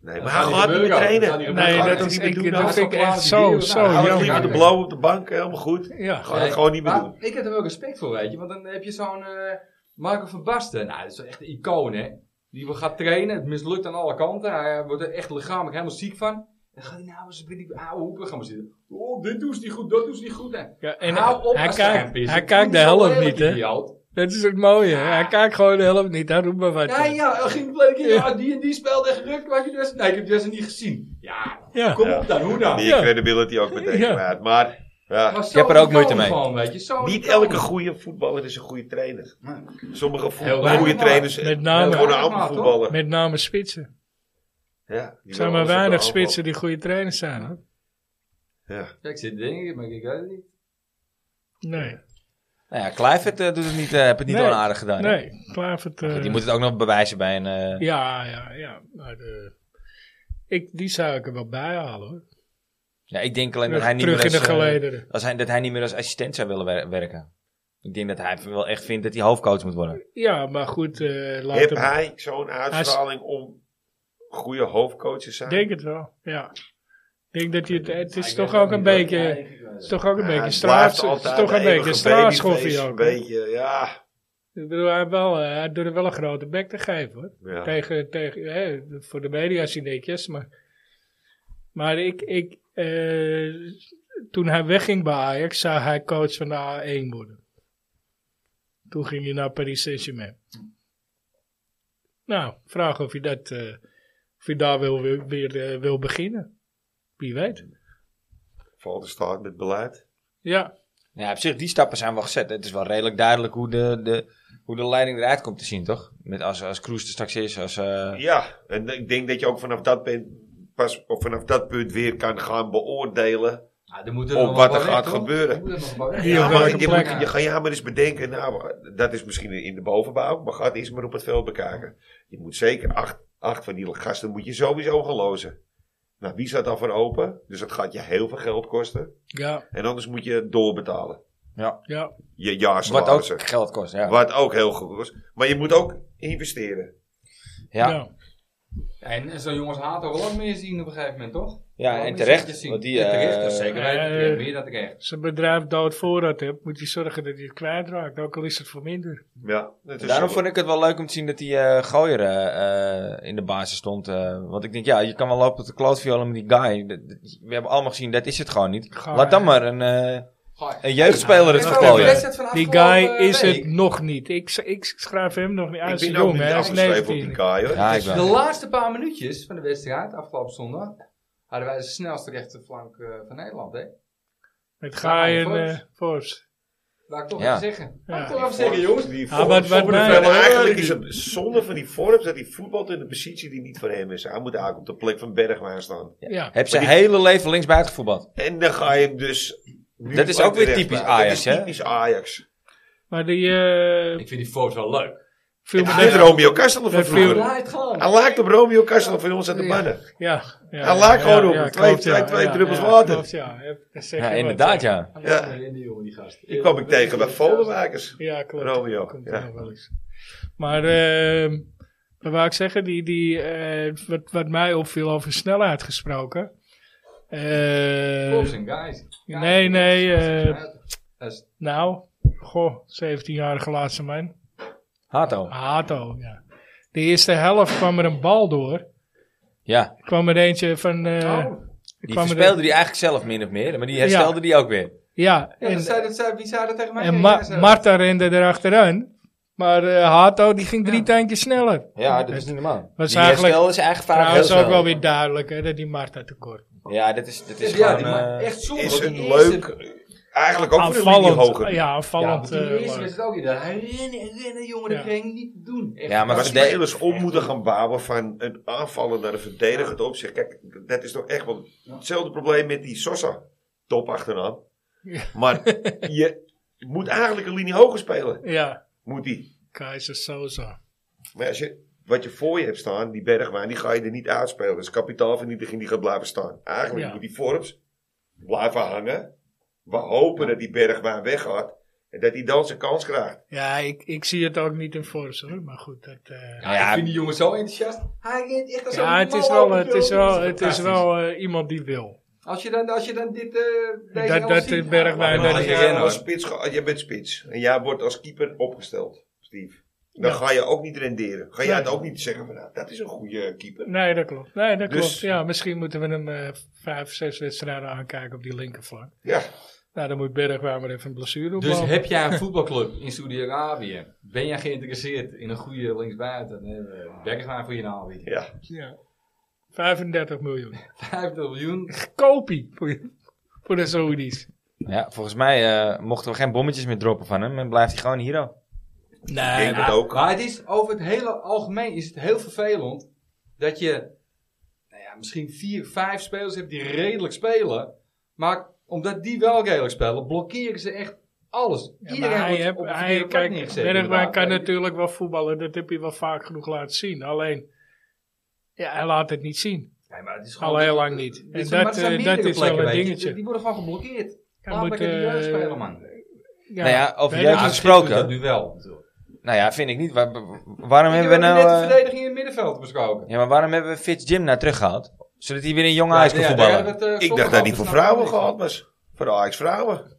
Nee, dat maar hij gaat gaat niet niet meer gebeuren, dat trainen. gaat Hij niet Nee, gaat gebeuren. dat, het is, Oh, niet meer ik, dat doen. Hij vind ik is echt van zo, Klaas zo die Hou het jammer. liever de blauw op de bank, helemaal goed. Ja. Gaat het gewoon niet meer maar doen. Ik heb er wel respect voor, weet je. Want dan heb je zo'n eh, Marco van Basten. Nou, dat is wel echt een icoon, hè. Die wil gaat trainen. Het mislukt aan alle kanten. Hij eh, wordt er echt lichamelijk helemaal ziek van. Dan gaat hij nou eens bij die oude hoeken gaan we zitten. Oh, dit doet ze niet goed, dat doet ze niet goed. hè. Ja, en Hou op hij, als hij kijkt, een pis. hij Ik kijkt vind de het wel helft lelijk, niet, hè? idioot. Dat is het mooie. hè. Hij kijkt gewoon de helft niet. Daar doet maar wat. Ja, aan. ja, er ging een keer, ja, die en die speelde echt druk. Wat je dus... Nee, ik heb Jesse niet gezien. Ja, Ja. kom Ja. op dan, hoe dan? Die Ja. credibility ook meteen Ja. kwijt. Maar ja, Maar Je hebt er zo'n ook moeite icoon mee. Gewoon, weet je, zo'n niet icoon. elke goede voetballer is een goede trainer. Sommige voet- Heel weinig, goede maar trainers eh, Met Ja, name, worden maar- allemaal voetballer. met name spitsen. Ja, die Er zijn willen maar alles weinig op de aanval. spitsen die goede trainers zijn. Hoor. Ja. Ja, ik zit te denken, maar ik weet het niet. Nee. Nou ja, Kluivert eh, doet het niet, eh, heb het niet Nee. onaardig gedaan. hè? Nee. Klavert. eh, Die moet het ook nog bewijzen bij een... eh, Ja, ja, ja. Maar de, ik, die zou ik er wel bij halen hoor. ja, ik denk alleen dat hij Terug, niet meer terug in de als, eh, gelederen. als hij, dat hij niet meer als assistent zou willen wer- werken. Ik denk dat hij wel echt vindt dat hij hoofdcoach moet worden. Ja, maar goed. eh laat Heb hem- hij zo'n uitstraling om goede hoofdcoach te zijn? Ik denk het wel. Ja. Ik denk dat hij het, het is Ik toch weet ook een niet, hoor. beetje, Ja, het ik- ik- is toch ook een Ja, beetje het straat, blijft het is altijd toch een eeuwige beetje babyface, straatschoffie Een ook. hè. beetje, ja. Ik bedoel, hij, heeft wel, eh, hij doet er wel een grote bek te geven hoor. Ja. Tegen, tegen, hè, voor de media is hij netjes, maar, maar ik, ik eh, toen hij wegging bij Ajax, zou hij coach van de A1 worden. Toen ging hij naar Paris Saint-Germain. Nou, vraag of je dat, eh, of je daar wil, wil- weer eh, wil beginnen. Wie weet. Valt de staat met beleid. Ja, Ja, op zich, die stappen zijn wel gezet. Het is wel redelijk duidelijk hoe de, de, hoe de leiding eruit komt te zien, toch? Met als, als Kroes er straks is, als... eh, Ja, en ik denk dat je ook vanaf dat punt, pas, of vanaf dat punt weer kan gaan beoordelen. Ja, er moeten Op nog wat een er paar gaat weg, hoor. gebeuren. Er moeten nog een paar weg. Hier Ja, op maar welke je, plek? moet- je gaat ja maar eens bedenken, nou, dat is misschien in de bovenbouw, maar gaat eerst maar op het veld bekijken. Je moet zeker acht, acht van die gasten moet je sowieso gaan lozen. Nou, wie staat dan voor open? Dus dat gaat je heel veel geld kosten. ja, En anders moet je doorbetalen. ja. Je wat jaarsalarissen. ook geld kost, ja. Wat ook heel goed was. Maar je moet ook investeren. Ja, ja. ja. En en zo'n jongens haat er wel wat meer zien op een gegeven moment, toch? Wel en meer zetjes terecht. zien. Want die, Ja, terecht, eh, dat is zeker weten. eh, Je hebt meer dan terecht. Als een bedrijf dood voorraad hebt, moet je zorgen dat hij het kwijtraakt. Ook al is het voor minder. Ja, dat is Daarom zo. vond ik het wel leuk om te zien dat die eh Gooier eh, eh, in de basis stond. eh, want ik denk, ja, je kan wel lopen tot de klootviolen met die guy. Dat- dat- We hebben allemaal gezien, dat is het gewoon niet. Gaar. Laat dan maar een, eh, Goh, een jeugdspeler het Ik heb ook de vertellen. wedstrijd van Die guy afgelopen is week. het nog niet. Ik, s- ik schrijf hem nog niet. Hij ik is ben ook jong, hè. niet hij is afgeschreven op die 19. kaai hoor. Ja, ik De wel. laatste paar minuutjes van de wedstrijd, afgelopen zondag, hadden wij de snelste rechterflank eh, van Nederland, hè? Met Guy en Forbes. eh, Forbes. Laat ik toch Ja. even zeggen. Laat ik toch Ja. even zeggen, jongens. Die Ja, Forbes- wat- wat Forbes- mij- en eigenlijk is het zonde van die Forbes dat hij voetbalt in de positie die niet voor hem is. Hij moet eigenlijk op de plek van Bergwijn staan. Ja. Heb zijn Maar die- hele leven linksbuiten gevoetbald. En dan ga je hem dus... nu Dat is ook weer terecht typisch maken. Dat Ajax, is hè? typisch Ajax. Maar die eh Ik vind die foto's wel leuk. viel me Hij heeft net- Romeo Kastelen van Dat viel- vroeger. Laat het gaan. Hij lijkt op Romeo Kastelen van ons aan de mannen. Ja. ja, Hij laakt gewoon op. klopt, Twee- twee- twee druppels ja, water. klopt, ja. Ja, dat zeg Ja, je wat, inderdaad, ja. ja. Hij Ja. lijkt erin, die jongen, die gast. Die kwam ik tegen bij Voldemakers. Ja, klopt. Romeo, Komt ja. er nog wel eens. Maar ehm wat wou ik zeggen, die, die, eh, wat, wat mij opviel over snelheid gesproken. Eh, Forbes en guys. nee, nee, eh, Dat is- nou, goh, 17-jarige laatste man. Hato. Hato, ja. De eerste helft kwam er een bal door. Ja, Kwam er eentje van... eh, Oh. die kwam er- verspeelde die eigenlijk zelf min of meer. Maar die herstelde die ook weer. Ja, Ja, en- eh, dat zei, dat zei, wie zei dat tegen mij? En Ja, Ma- jij zei dat. Marta rende erachteraan. Maar eh, Hato die ging drie tandjes sneller. Ja, dat is niet normaal. Was die eigenlijk- herstelde zijn eigen vader heel Trouwens ook snel. wel weer duidelijk hè, dat die Marta tekort. Ja, dat is, dat is Ja, die gewoon... maakt eh, echt zonde. Is want een die eerste- leuk... Eigenlijk ook voor een linie Aanvallend. hoger. Ja, Ja, aanvallend. want die eh, eerste leuk. was het ook niet. Hij rennen, rennen, jongen, dat Ja. ging je niet doen. Echt. Ja, maar Maar Verde- spelers om moeten gaan bouwen van een aanvaller naar een verdedigend opzicht. Kijk, dat is toch echt wel hetzelfde probleem met die Sosa. Top achternaam. Maar je moet eigenlijk een linie hoger spelen. ja, Moet die. Keizer Sosa. Maar als je, wat je voor je hebt staan, die Bergwijn, die ga je er niet uitspelen. Dat is kapitaalvernietiging die gaat blijven staan. Eigenlijk Ja. moet die Forbes blijven hangen. We hopen dat die Bergwijn weggaat. En dat hij dan zijn kans krijgt. Ja, ik, ik zie het ook niet in Force hoor. Maar goed, dat... eh, Ja, ik vind die jongen zo enthousiast. Hij rent echt als ja, een het is malle wel, over het het is veld. wel, Dat het is fantastisch. wel eh, iemand die wil. Als je dan, als je dan dit, eh deze Dat- helft dat ziet, de Bergwijn ja, dat Maar als is jij erin, als hoor. spits ge- jij bent spits. En jij wordt als keeper opgesteld, Steve. Dan Ja. ga je ook niet renderen. Ga jij Nee. het ook niet zeggen van nou, dat is een goede keeper. Nee, dat klopt. Nee, dat Dus- klopt. Ja, misschien moeten we hem eh, vijf, zes wedstrijden aankijken op die linkerflank. Ja, Nou, dan moet Bergwijn maar even een blessure opbouwen. Dus heb jij een voetbalclub in Saudi-Arabië? Ben jij geïnteresseerd in een goede linksbuiten? Eh, Bergwijn voor je naam. weet je. ja. Ja. 35 miljoen. 50 miljoen. Kopie voor, je- voor de Saoedi's. Ja, volgens mij eh, mochten we geen bommetjes meer droppen van hem. En blijft hij gewoon een hero. Ik Nee, denk het ook. Maar het is over het hele algemeen is het heel vervelend dat je nou ja, misschien vier, vijf spelers hebt die redelijk spelen. Maar omdat die wel redelijk spelen, blokkeren ze echt alles. Iedereen hij wordt heeft, op de hij, verkeerde plek kijk, neergezet. Bergwijn inderdaad. kan Hij- natuurlijk wel voetballen. Dat heb je wel vaak genoeg laten zien. Alleen, ja, hij laat het niet zien. Nee, maar het is Al heel lang niet. Dit En zijn- maar dat, het zijn eh, dat meerdere is wel plekken, een weet je. dingetje. Die, die worden gewoon geblokkeerd. Hij Laat moet, lekker die eh, jeugd spelen, man. Ja, Nou ja, over Bergwijn- jeugd Ja, gesproken. Dat nu wel. natuurlijk. Nou ja, vind ik niet. Waar- waarom Ik hebben heb we nou... net de eh, verdediging in het middenveld besproken. ja, maar waarom hebben we Fitz Jim nou teruggehaald? Zodat hij weer een jong Ajax kan Ja, daar voetballen. hebben we het, eh, Ik zondag dacht dat die over. voor Snap ik vrouwen wel. gehad was. Voor Ajax vrouwen.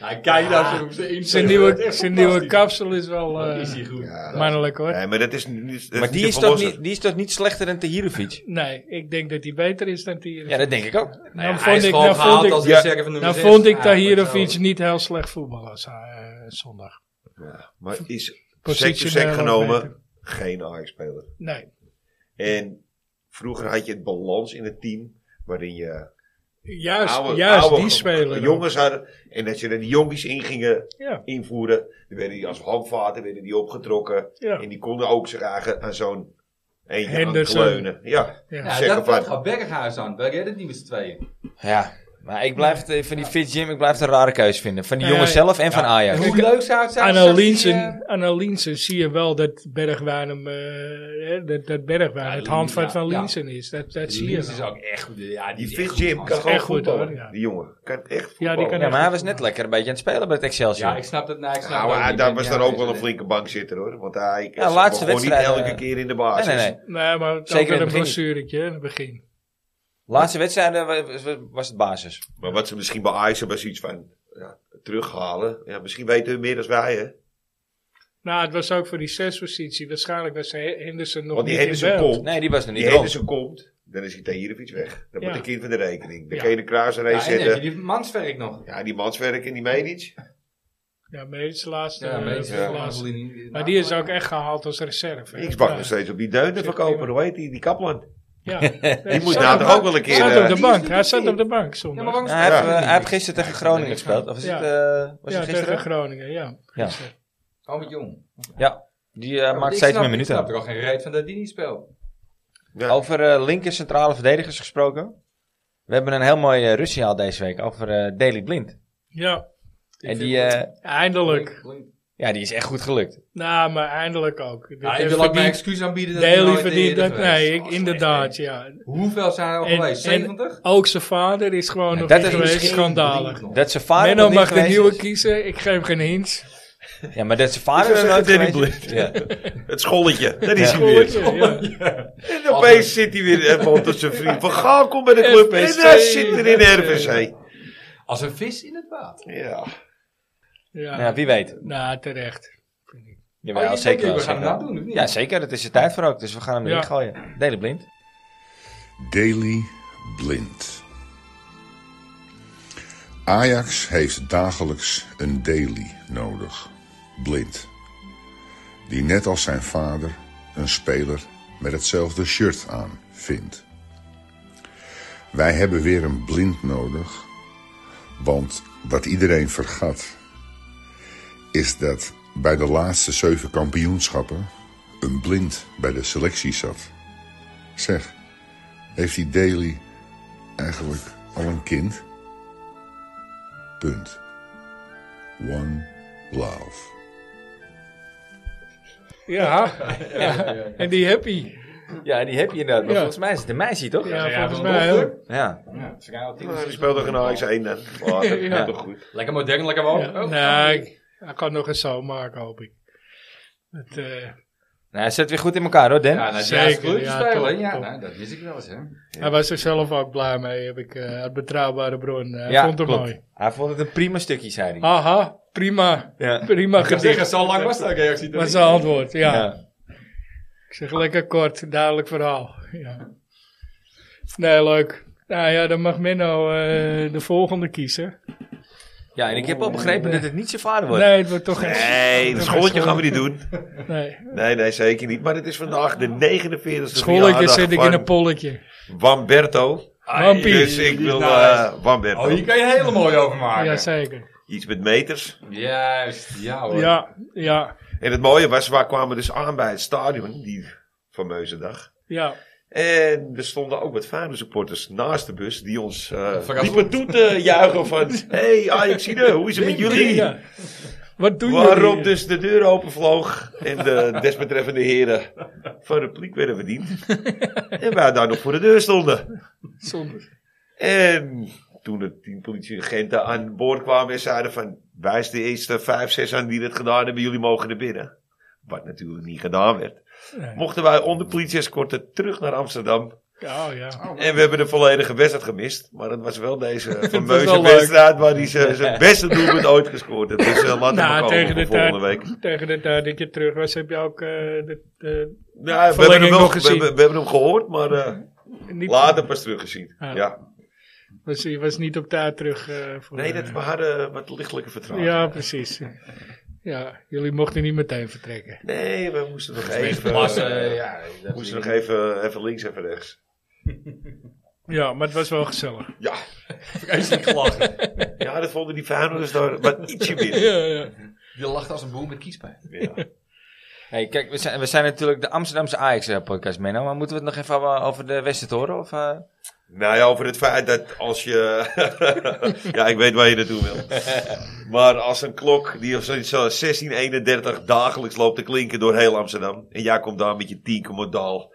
Nou, kijk daar zo op zijn zijn nieuwe, zijn nieuwe kapsel is wel eh, Is hij goed. mannelijk hoor. Nee, maar dat is niet. dat maar die te is, toch verlossen. niet, die is toch niet slechter dan Tahirovic? Nee, ik denk dat hij beter is dan die. Ja, dat denk ik ook. dan nou hij vond is ik, gewoon dan vond gehaald ik, als ja. reserve van nummer dan zes. vond ik Ja, Tahirovic zo. niet heel slecht voetballen eh, zondag. Maar is Positioneel sec voor sec genomen beter. geen Ajax-speler. Nee. En vroeger had je het balans in het team waarin je Juist, Oude- juist oude die ge- speler. Jongens hadden. En dat je er die jonkies in gingen Ja. invoeren. Dan werden die als handvaten werden die opgetrokken. Ja. En die konden ook zich eigen aan zo'n eentje aan Henderson. kleunen. Ja. Ja. ja. Ja, Zeggen dat, dat van, gaat Berghuis aan. Wij redden het niet met z'n tweeën. Ja, maar ik blijf het, eh, van die Fit Jim, ik blijf het een rare keus vinden. Van die Ja, jongens ja. zelf en van Ajax. Hoe leuk zou het zijn? Aan als die, eh, Linsen, aan Linsen zie je wel dat Bergwijn hem, eh, hè, dat, dat Bergwijn Ja, het Lin- handvat ja, van ja. Linsen is. Dat, dat zie je Linsen is wel. ook echt goed. Ja, die die is echt Fit goed, Jim man. kan gewoon echt goed, voetballen. hoor, ja. Die jongen kan echt Ja, voetballen. die kan Ja, maar hij was net lekker een beetje aan het spelen bij het Excelsior. Ja, ik snap dat. Nee, ik snap Nou, dat hij- niet. daar Ik was ben- dan ja, ook wel weet een je, flinke bank zitten hoor. Want hij Ja, ja, laatste gewoon niet wedstrijd, elke eh, keer in de basis. Nee, nee, nee. Nee, maar het Zeker in ook wel het een begin. blessuretje hè, in het begin. Laatste wedstrijd eh, wa- was- was het basis. Maar wat ze misschien bij Ajax hebben, is iets van ja, terughalen. Ja, misschien weten we meer dan wij hè. Nou, het was ook voor die zespositie. Waarschijnlijk was Henderson nog Want die niet in Henderson beeld. komt. Nee, die was er niet Die rond. Henderson komt. Dan is hij tegen iets weg. Ja. Dan wordt een kind van de rekening. Dan Ja. kun je de kruis Ja, erin en dan heb zetten. je die manswerk nog. Ja, die manswerk en die Medic. Ja, Meets laatste. Ja, eh, mensen ja. van laatste. Angelini- Maar die is ook echt gehaald als reserve. hè. Ik bak Ja. nog steeds op die deunen verkopen. Hoe heet die? Die Kaplan. Ja. Die moet Zat nou op- toch ook wel een keer... Zat op eh, de bank. Hij zat op de bank zondag. Ja, Ja, maar waarom Nou, hij, speelt heeft, hij eh, hij niet? heeft gisteren tegen Groningen gespeeld. Of was Ja. het, eh, was het tegen gisteren? Groningen, ja. Ja. Gewoon Oh, met jong. Ja, die eh, Ja, want maakt ik steeds snap- meer Ik snap minuten. er al geen reet van dat die niet speelt. Ja. Over eh, linker centrale verdedigers gesproken. We hebben een heel mooi eh Russiaal deze week over eh Daley Blind. Ja, En die, eh, eindelijk. ja, die is echt goed gelukt. Nou, maar eindelijk ook. Dit Ja, ik heeft wil ook mijn verdiend- excuus aanbieden. dat hij Daly nooit verdient eerder dat. Nee, geweest. ik, inderdaad, ja. Hoeveel zijn er al En- geweest? en- 70? Ook zijn vader is gewoon Ja, nog dat niet is geweest. misschien Schandalig. Dat zijn vader Menno nog niet mag de geweest nieuwe is. kiezen. Ik geef geen hints. Ja, maar dat zijn vader Ik er zou nooit zeggen geweest is. Ja. Het scholletje. Dat is hij weer. Schoortje, ja. En opeens zit hij weer even onder zijn vriend. Van Gaal komt bij de club. En FSC. hij zit er in de RVC. Als een vis in het water. Ja. Ja. Ja, wie weet. Nou, terecht. Jawel, Oh, je zeker denkt, wel. We gaan zeker het wel. nou doen, of niet? Ja, zeker. Het is de tijd voor ook. Dus we gaan hem erin Ja. gooien. Daley Blind. Daily Blind. Ajax heeft dagelijks een daily nodig. Blind. Die net als zijn vader een speler met hetzelfde shirt aan vindt. Wij hebben weer een blind nodig. Want wat iedereen vergat is dat bij de laatste zeven kampioenschappen een blind bij de selectie zat. Zeg, heeft die Daly eigenlijk al een kind? Punt. One love. Ja. En die happy. Ja, die heb je inderdaad. Maar Ja. volgens mij is het een meisje, toch? Ja, Ja. volgens maar mij nog, ook. Ja, ze gaan wel tien Nou, die zes- speelde geen Ajax 1 dan. Oh, dat is toch goed. Lekker modern, lekker warm. Oh, Nee, Nou, hij kan nog eens zo maken, hoop ik. Het, eh, Nou, hij zet weer goed in elkaar, hoor, Dan. Ja, nou, Zeker, zeker. Ja, ja, spelen. top, ja top. nou, dat wist ik wel eens, hè. Hij was er zelf ook blij mee, heb ik eh, uit betrouwbare bron. Hij Ja, vond het klopt. mooi. Ah. Hij vond het een prima stukje, zei hij. Haha, prima. Ja. Prima Ik kan zeggen, gedicht. zo lang was de reactie. Dat is zijn antwoord, ja. Ja. Ik zeg lekker kort, duidelijk verhaal. Ja. Nee, leuk. Nou ja, dan mag Menno eh, de volgende kiezen. Ja, en ik heb al begrepen dat het niet zijn vader wordt. Nee, het wordt toch geen... Nee, dat scholletje gaan we niet doen. Nee. Nee, nee, zeker niet. Maar het is vandaag de 49e Scholletje verjaardag zit ik van in een polletje. Wamberto. Wampie. Dus ik wil eh Wamberto. Oh, hier kan je een hele mooie over maken. Jazeker. Iets met meters. Juist, ja hoor. Ja, ja, En het mooie was, we kwamen dus aan bij het stadion, die fameuze dag. ja. En er stonden ook wat Feyenoord supporters naast de bus die ons eh Verrast. liepen toe te juichen van... hey, Ajaxide, hoe is het met jullie? Ja. Wat doen jullie? Waarop hier? dus de deur openvloog en de desbetreffende heren van repliek werden verdiend. en wij daar nog voor de deur stonden. Zonde. En toen de tien politieagenten aan boord kwamen en zeiden van... wijs de eerste vijf, zes aan die het gedaan hebben, jullie mogen er binnen. Wat natuurlijk niet gedaan werd. Nee. Mochten wij onder politie-escorten terug naar Amsterdam. Ja, oh ja. En we hebben de volledige wedstrijd gemist. Maar dat was wel deze fameuze wel leuk. wedstrijd waar hij zijn- zijn beste doelpunt ooit gescoord heeft. Dus eh, laat hem maar Nou, komen tegen de voor volgende tijd- week. Tegen de tijd dat je terug was, heb je ook eh, de, de- Ja, we hebben, Verlenging hem wel, nog we, gezien. hebben, we hebben hem gehoord, maar eh, niet, later pas teruggezien. Ja. Ja. was, je was niet op tijd terug. eh, voor, Nee, dat, we was. hadden wat lichtelijke vertraging. Ja, precies. Ja, jullie mochten niet meteen vertrekken. Nee, we moesten nog Even even... plassen, eh, ja. we dat moesten is- nog even, even links, even rechts. Ja, maar het was wel gezellig. Ja, Vreselijk gelachen. Ja, dat vonden die Feyenoorders daar wat ietsje minder. Ja, ja. Je lacht als een boer met kiespijn. Ja. Hey, kijk, we zijn, we zijn natuurlijk de Amsterdamse Ajax-podcast, Menno. Maar moeten we het nog even hebben over de Westertoren? Of, eh? Nou ja, over het feit dat als je... ja, ik weet waar je naartoe wil. maar als een klok die op zo'n zo'n 1631 dagelijks loopt te klinken door heel Amsterdam... en jij komt daar met je tienkemodaal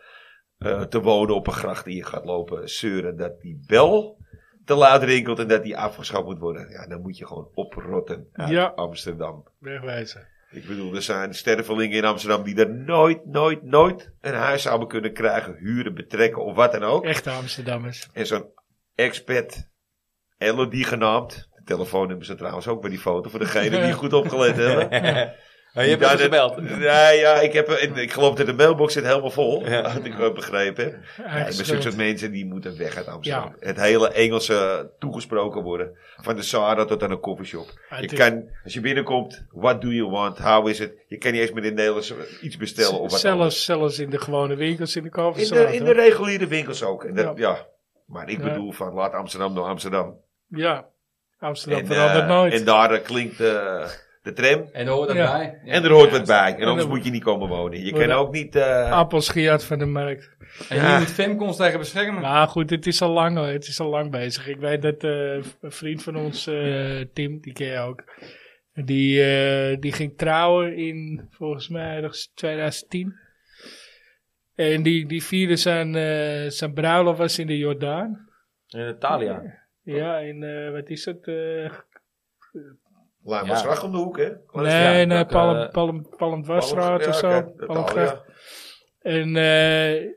eh te wonen op een gracht en je gaat lopen zeuren... dat die bel te laat rinkelt en dat die afgeschaft moet worden. Ja, dan moet je gewoon oprotten uit Ja. Amsterdam. Wegwijzen. Ik bedoel, er zijn stervelingen in Amsterdam die er nooit, nooit, nooit een huis zouden kunnen krijgen, huren, betrekken of wat dan ook. Echte Amsterdammers. En zo'n expat, Elodie genaamd. De telefoon hebben ze trouwens ook bij die foto, voor degene die goed opgelet hebben. Oh, je hebt Daar even gebeld. de- Nee, ja, ik, heb, en ik geloof dat de mailbox zit helemaal vol, Ja. had ik wel begrepen. Ja, Eigen ik ben schuld. zulke soort mensen die moeten weg uit Amsterdam. Het hele Engelse toegesproken worden. Van de Sahara tot aan een koffieshop. Ah, Je het is- kan, als je binnenkomt, what do you want, how is it? Je kan niet eens meer in het Nederlands iets bestellen of wat anders. zelfs, zelfs in de gewone winkels in de In de, Kalverstraat. in de hoor. reguliere winkels ook. En dat- ja. Maar ik Ja. bedoel van, laat Amsterdam door Amsterdam. Ja, Amsterdam En, verandert eh, nooit. en daar eh, klinkt eh, de tram. En hoor dat Ja. bij. Ja. En er hoort wat bij. En anders dan- moet je niet komen wonen. Je Wordt kan er- ook niet... eh, Appels gejat van de markt. En hier Ja. moet Femcons tegen beschermen. Maar goed, het is al lang, hoor. het is al lang bezig. Ik weet dat eh, een vriend van ons, eh, Tim, die ken je ook. Die, eh, die ging trouwen in, volgens mij, ergens 2010. En die, die vierde zijn, eh, zijn bruiloft was in de Jordaan. In Italië. Ja, in, eh, wat is dat? eh, Laat Ja. maar slag om de hoek, hè. nee, ja, nee, dat, Palm, eh, Palm, Palmdwarsstraat Ja, of zo. oké, dat al, Palmgracht. ja. En eh,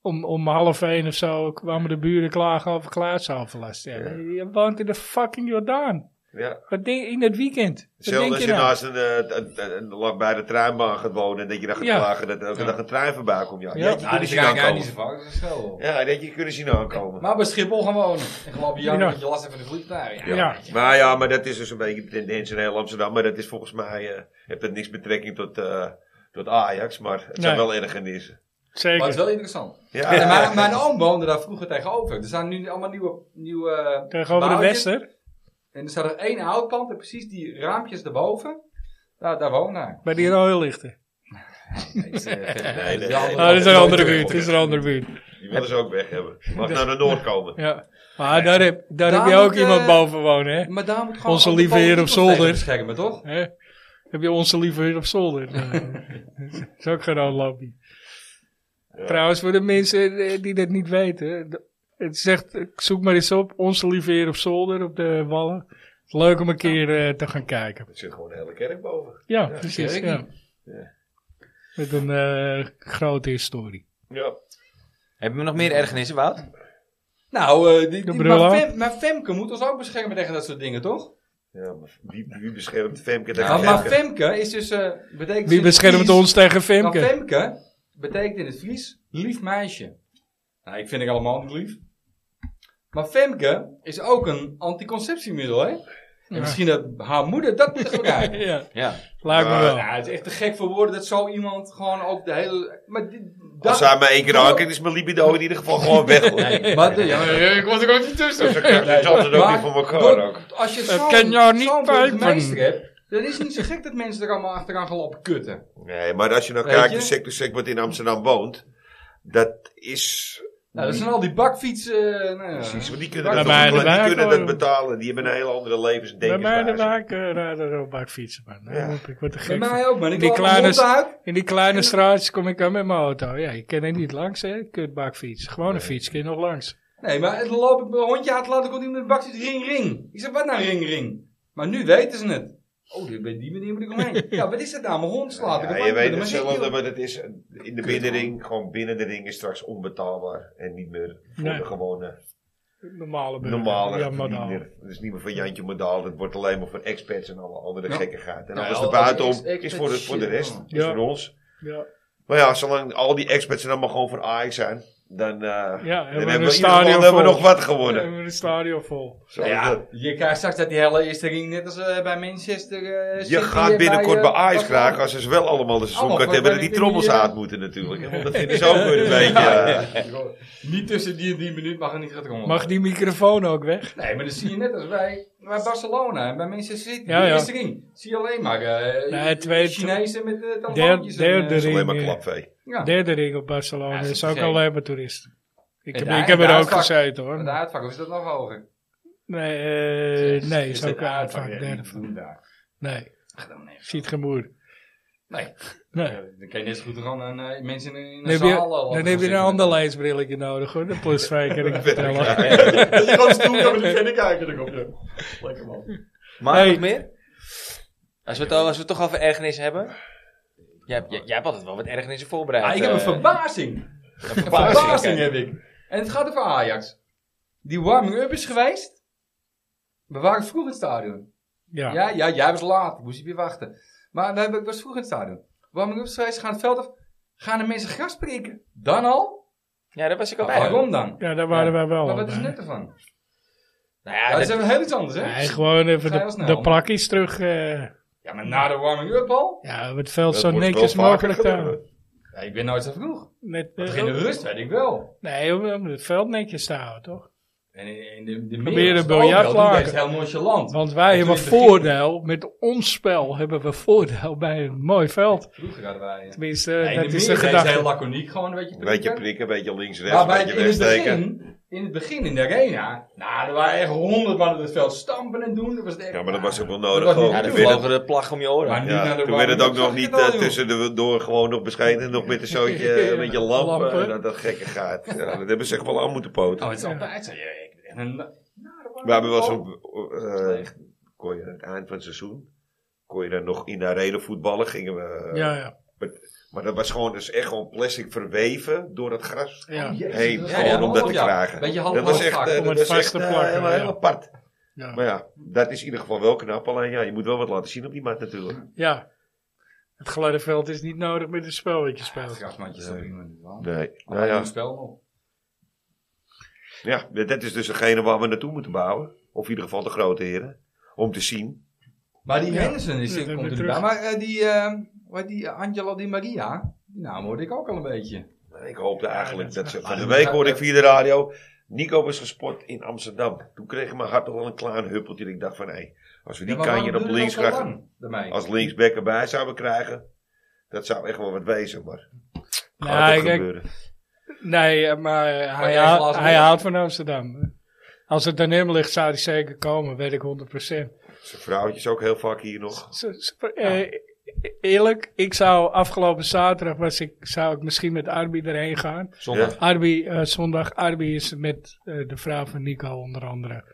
om, om half één of zo kwamen de buren klagen over klaarzaamverlast. Ja. Ja. Je woont in de fucking Jordaan. Ja. Wat denk, in het weekend. Wat Hetzelfde denk als je je nou? naast een, eh, een, een, een- lang bij de treinbaan gaat wonen en dat je dan gaat Ja. klagen dat elke dag een trein voorbij komt. Ja, Ja. ja. dat je Nou, kunnen die zien ga ik niet aankomen. zo vaak. Dat is wel. Ja, dat je kunnen zien aankomen. Maar bij Schiphol gaan wonen. En geloof je, Jan, Ja. dat je last hebt van de vliegtuigen. Ja. Maar ja, maar dat is dus een beetje de tendens in heel Amsterdam. Maar dat is volgens mij, eh, heeft dat niks betrekking tot, eh, tot Ajax. Maar het zijn Nee. wel ergernissen. Zeker. Maar het is wel interessant. Ja, En mijn, mijn oom woonde daar vroeger tegenover. Er staan nu allemaal nieuwe... nieuwe eh, Tegenover de bouwtjes. Wester, En er staat er één houtpand en precies die raampjes daarboven. Daar, daar woonde hij. bij die rode lichten. Nee, dat is, eh, geen- nee, dat is nee. een andere- Oh, dat is een Ja, andere ja, buurt. ja. Dat is een andere buurt. die willen ze ook weg hebben. Mag naar de Noord komen. Ja. Maar daar heb, daar Daar heb je ook moet, eh, iemand boven wonen, hè? Maar daar moet gewoon... Onze ook de lieve heer op politiek ons tegen zolder. beschermen, toch? Hè? Heb je onze lieve heer op zolder? dat is ook geen lobby. Trouwens, voor de mensen eh, die dat niet weten. d- Het zegt, eh, zoek maar eens op, onze lieve heer op zolder op de Wallen. Leuk om een keer eh, te gaan kijken. Er zit gewoon een hele kerk boven. Ja, precies. kerk. Ja. Ja. Met een eh, grote historie. Ja. Hebben we nog meer ergernissen, Wout? Nou, eh, die, die, bril maar, aan. Fem, maar Femke moet ons ook beschermen tegen dat soort dingen, toch? Ja, maar wie, wie beschermt Femke Maar, tegen maar Femke? Femke is dus... eh, betekent Wie beschermt ons tegen Femke? Femke? Femke betekent in het Fries lief meisje. Nou, ik vind ik allemaal niet lief. Maar Femke is ook een anticonceptiemiddel, hè? En misschien dat haar moeder dat moet gebruiken. Ja, Ja. lijkt me Ah, wel. Nou, het is echt te gek voor woorden dat zo iemand gewoon ook de hele... Maar dit, dat, Als hij maar één keer aankijkt, is mijn libido in ieder geval gewoon weg. hoor. Maar de- ja, maar ik was er ook niet Dus tussen. dan krijg je het altijd ook niet Maar voor elkaar door- ook. Als je Dat kan zo'n jou niet zo'n pijpen. burgemeester hebt, dan is het niet zo gek dat mensen er allemaal achteraan gaan lopen kutten. Nee, maar als je nou Weet kijkt, je? de sector sec wat in Amsterdam woont, dat is... Nou, dat zijn al die bakfietsen. eh, nou, ja. Precies, want die kunnen, Bij dat, mij toch- de die wijk, kunnen dat hoor. betalen. Die hebben een hele andere levens- en Bij mij de denkwijze. waak eh, rijden er ook bakfietsen, man. Nou, Ja. Ik word er Bij gek van. mij ook, man. Ik Die loop mijn kleine- hond uit. In die kleine straatjes kom ik aan met mijn auto. Ja, je kan er niet langs, hè? Kutbakfiets. Gewoon een fiets, kun je nog langs. Nee, maar dan loop ik mijn hondje uit te laten, komt iemand met een bakfiets. Ring, ring. Ik zeg, wat nou ring, ring? Maar nu weten ze het. Oh, dit- bij die manier moet ik omheen. ja, wat is dat nou? Mijn hond slaat. ik Ja, op je andere weet manier. hetzelfde, maar dat is in de binnenring, gewoon binnen de ring is straks onbetaalbaar. En niet meer voor Nee. de gewone, Normale burger. normale Ja, maar nou. bediener. Dat is niet meer van Jantje Modaal, dat wordt alleen maar voor expats en alle andere Ja. gekkigheid. En Ja, alles al- er al buitenom die ex- is voor de, voor de expat rest, shit, is ja. Oh, voor ons. Ja. Maar ja, zolang al die expats er allemaal gewoon voor Ajax zijn, dan, eh, Ja, dan hebben we hebben we, in een ieder geval- stadion dan hebben we vol. nog wat We gewonnen. hebben een stadion vol. Zo Nou is dat. ja, je krijgt straks dat die hele eerste ring, net als eh, bij Manchester. eh, Je City gaat en binnenkort bij eh, Ajax Barcelona. graag, als ze ze wel allemaal de Allemaal, seizoenkaart hebben, dat maar die ik vind trommels die, eh, uit moeten natuurlijk. hè, Want dat vinden ze ook weer een beetje... eh, Niet tussen die en die minuut mag er niet gaan komen. Mag die microfoon ook weg? Nee, maar dat zie je net als bij, bij Barcelona en bij Manchester City. Ja, de ja. eerste ring. Zie je alleen maar eh Nee, twee- Chinezen met eh Derde, telefoontjes. en, eh, derde Dat is alleen maar ring. eh, klapvee. ja. Derde ring op Barcelona. Ja, dat dat is is ook zeker. alleen maar toeristen. Ik En heb, daar- ik heb en er daar ook vak- gezeten Het hoor. uitvak, of is dat nog hoger? Nee, eh, nee is dat ook een uitvak. ja, Derde niet vak. doen daar. Nee, Ach, dan nee. ziet geen moer. Nee. Nee. Ja, Dan kan je net zo goed gewoon een, eh, mensen in, in Dan een heb zaal... je, eh, laten dan gaan heb je een zitten. ander leesbrilletje nodig hoor. De plus twee kan ik je vertellen. Dat je gewoon een stoel kan met die verder kijken erop. ja. Lekker man. Maar Nee. nog meer? Als we, het, al- als we het toch over ergernis hebben. Jij, hebt- jij, jij hebt altijd wel wat ergernissen voorbereid. Ah, ik heb een eh, verbazing. een Een verbazing kijk. heb ik. En het gaat over Ajax. Die warming-up is geweest. We waren vroeg in het stadion. Ja. Ja. Ja, jij was laat. Moest je weer wachten. Maar we hebben, ik was vroeg in het stadion. Warming-up is geweest. Gaan het veld af. Gaan de mensen gras prikken. Dan al? Ja, daar was ik al bij. hoor. Ah, Waarom dan? ja, daar waren wij wel. Maar wat is bij. het nut ervan? Nou Ja, ja, dat is dat- even heel iets anders, hè? Nee, gewoon even Ga je wel de, snel, de man. plakjes terug. eh, Ja, maar na de warming-up al? ja, het veld Dat zo wordt wel netjes vaker mogelijk eh. gedaan. houden. Ja, ik ben nooit zo vroeg. Net, Maar eh, in de rust weet ik wel. nee, om- om het veld netjes te houden toch? En in, in de, de Probeer meer- een biljart Oh, wel, laken. die is heel nonchalant. Want wij Dat hebben doe je in het begin. voordeel, met ons spel hebben we voordeel bij een mooi veld. Vroeger hadden wij... eh, Tenminste, Ja, eh, in dat de is de midden is heel gedachte. laconiek gewoon een beetje Een beetje prikken. prikken, een beetje links, rechts, Maar een bij, beetje in, het wegsteken. begin, in het begin in de arena, nou, er waren echt honderd man op het veld stampen en doen. Dat was echt, Ja, maar dat was ook wel Dat nodig. was gewoon. niet ja, Toen de te werd het- vlogen de plag om je oren. Maar niet ja, naar de toen werd het ook warming-up. nog niet Zag je het eh, al, tussen de door gewoon nog bescheiden. Nog met een zootje, eh, Ja, een beetje lampen. lampen. En dat, dat gekke gaat. Ja, dat hebben ze echt wel aan moeten joh? poten. Oh, het is altijd zo. ja, ik- en een- nou, er waren Oh, We hebben wel ook- zo'n... eh, kon je aan het eind van het seizoen... Kon je dan nog in de arena voetballen. Gingen we... Ja, ja. Maar dat was gewoon dus echt gewoon plastic verweven door het gras. ja. Jezus, Heen, dat is gewoon wel om dat te half, ja. krijgen. Beetje half Dat was echt, halfvak. eh, Oh, Om dat het was vast echt te eh, plakken, helemaal ja. heel apart. Ja. Maar ja, dat is in ieder geval wel knap. Alleen ja, je moet wel wat laten zien op die mat natuurlijk. Ja. Het gladde veld is niet nodig met het spel wat je speelt. Grasmatjes, dat brengen we niet aan. Nee, nou Maar ja. een spel nog. ja, dat is dus degene waar we naartoe moeten bouwen. Of in ieder geval de grote heren. Om te zien. Maar die Ja. Henderson is, Ja, dat komt weer er terug. bij. Maar eh, die, eh, wat die eh, Angela Di Maria, die naam hoorde ik ook al een beetje. Maar Ik hoopte eigenlijk dat ze... Van de Ah, week ja, hoorde ik ja. via de radio... Nico was gespot in Amsterdam. Toen kreeg mijn hart toch wel een klein huppeltje. Ik dacht van, hé, als we die Ja, maar kan waarom je op duurde links dat zo krijgen... lang daarmee? Als linksback erbij zouden krijgen... Dat zou echt wel wat wezen, maar... Gaat Nou, het kijk, gebeuren. Nee, eh, maar eh, hij, jij hou- glazen hij weer? houdt van Amsterdam. Als het aan hem ligt, zou hij zeker komen, weet ik 100%. Zijn vrouwtje is ook heel vaak hier nog. Zo- zo- eh, eerlijk, ik zou afgelopen zaterdag was ik, zou ik misschien met Arby erheen gaan. Zondag. Arby, eh, zondag, Arby is met eh, de vrouw van Nico onder andere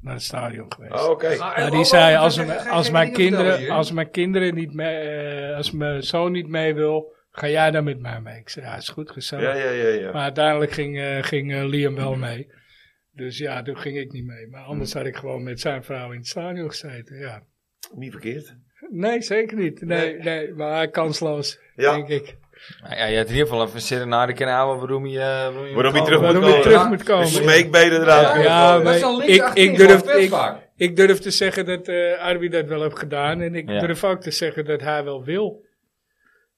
naar het stadion geweest. Oh, oké. Ah, Nou, eh, die oh, zei, oh, als, ga- m- ga- ga- als, ga- mijn ga- dingen vertellen kinderen, hier. als mijn kinderen niet mee, eh, als mijn zoon niet mee wil, ga jij dan met mij mee. Ik zei, ja, is goed, gezellig. Ja, ja, ja, ja. Maar uiteindelijk ging, eh, ging eh, Liam wel mee. Dus ja, toen ging ik niet mee. Maar anders Hmm. had ik gewoon met zijn vrouw in het stadion gezeten. Ja. Niet verkeerd. Nee, zeker niet. Nee, nee, maar kansloos, Ja. denk ik. Nou ja, je hebt in ieder geval even serenade kunnen houden waarom je... eh, waarom je, Waarom je moet terug komen. Waarom moet ik terug komen. moet De komen. dus smeekbeden eruit kunnen Ja, gooien. maar- Dat is een ik- linksachterin, ik durf- gewoon vet ik- vaak. Ik durf te zeggen dat eh Arby dat wel heeft gedaan. En ik Ja. durf ook te zeggen dat hij wel wil.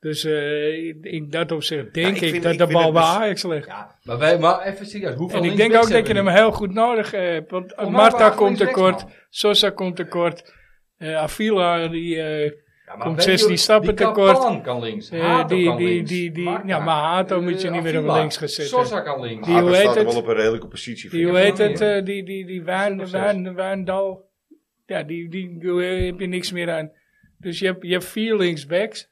Dus eh, in, in dat opzicht denk ik ik, vind- dat ik de vind bal het bij best- Ajax ligt. Ja, maar, wij, maar even serieus, hoeveel En ik denk linksbacks ook dat je hebben hem we heel goed nodig hebt. Want Volgens mij Marta waren komt linksbacks, tekort, man. Sosa komt tekort, eh Avila die... eh, nu? Ja, maar komt weet je 16 hoe- stappen die tekort. Kapan kan links, Eh, Hato die- kan die- links, die- die- Marta. ja, maar Hato moet je Eh, niet meer op Avila. links gaan zetten. Sosa kan links. Ah, Die- Haken hoe heet Ah, staat er het? wel op een redelijke positie. Die, hoe vind ik. heet Ja. het? eh, die, die, die Waan, Zes. Waan, Waandal. Ja, die, die, die eh, heb je niks meer aan. Dus je hebt, je hebt vier linksbacks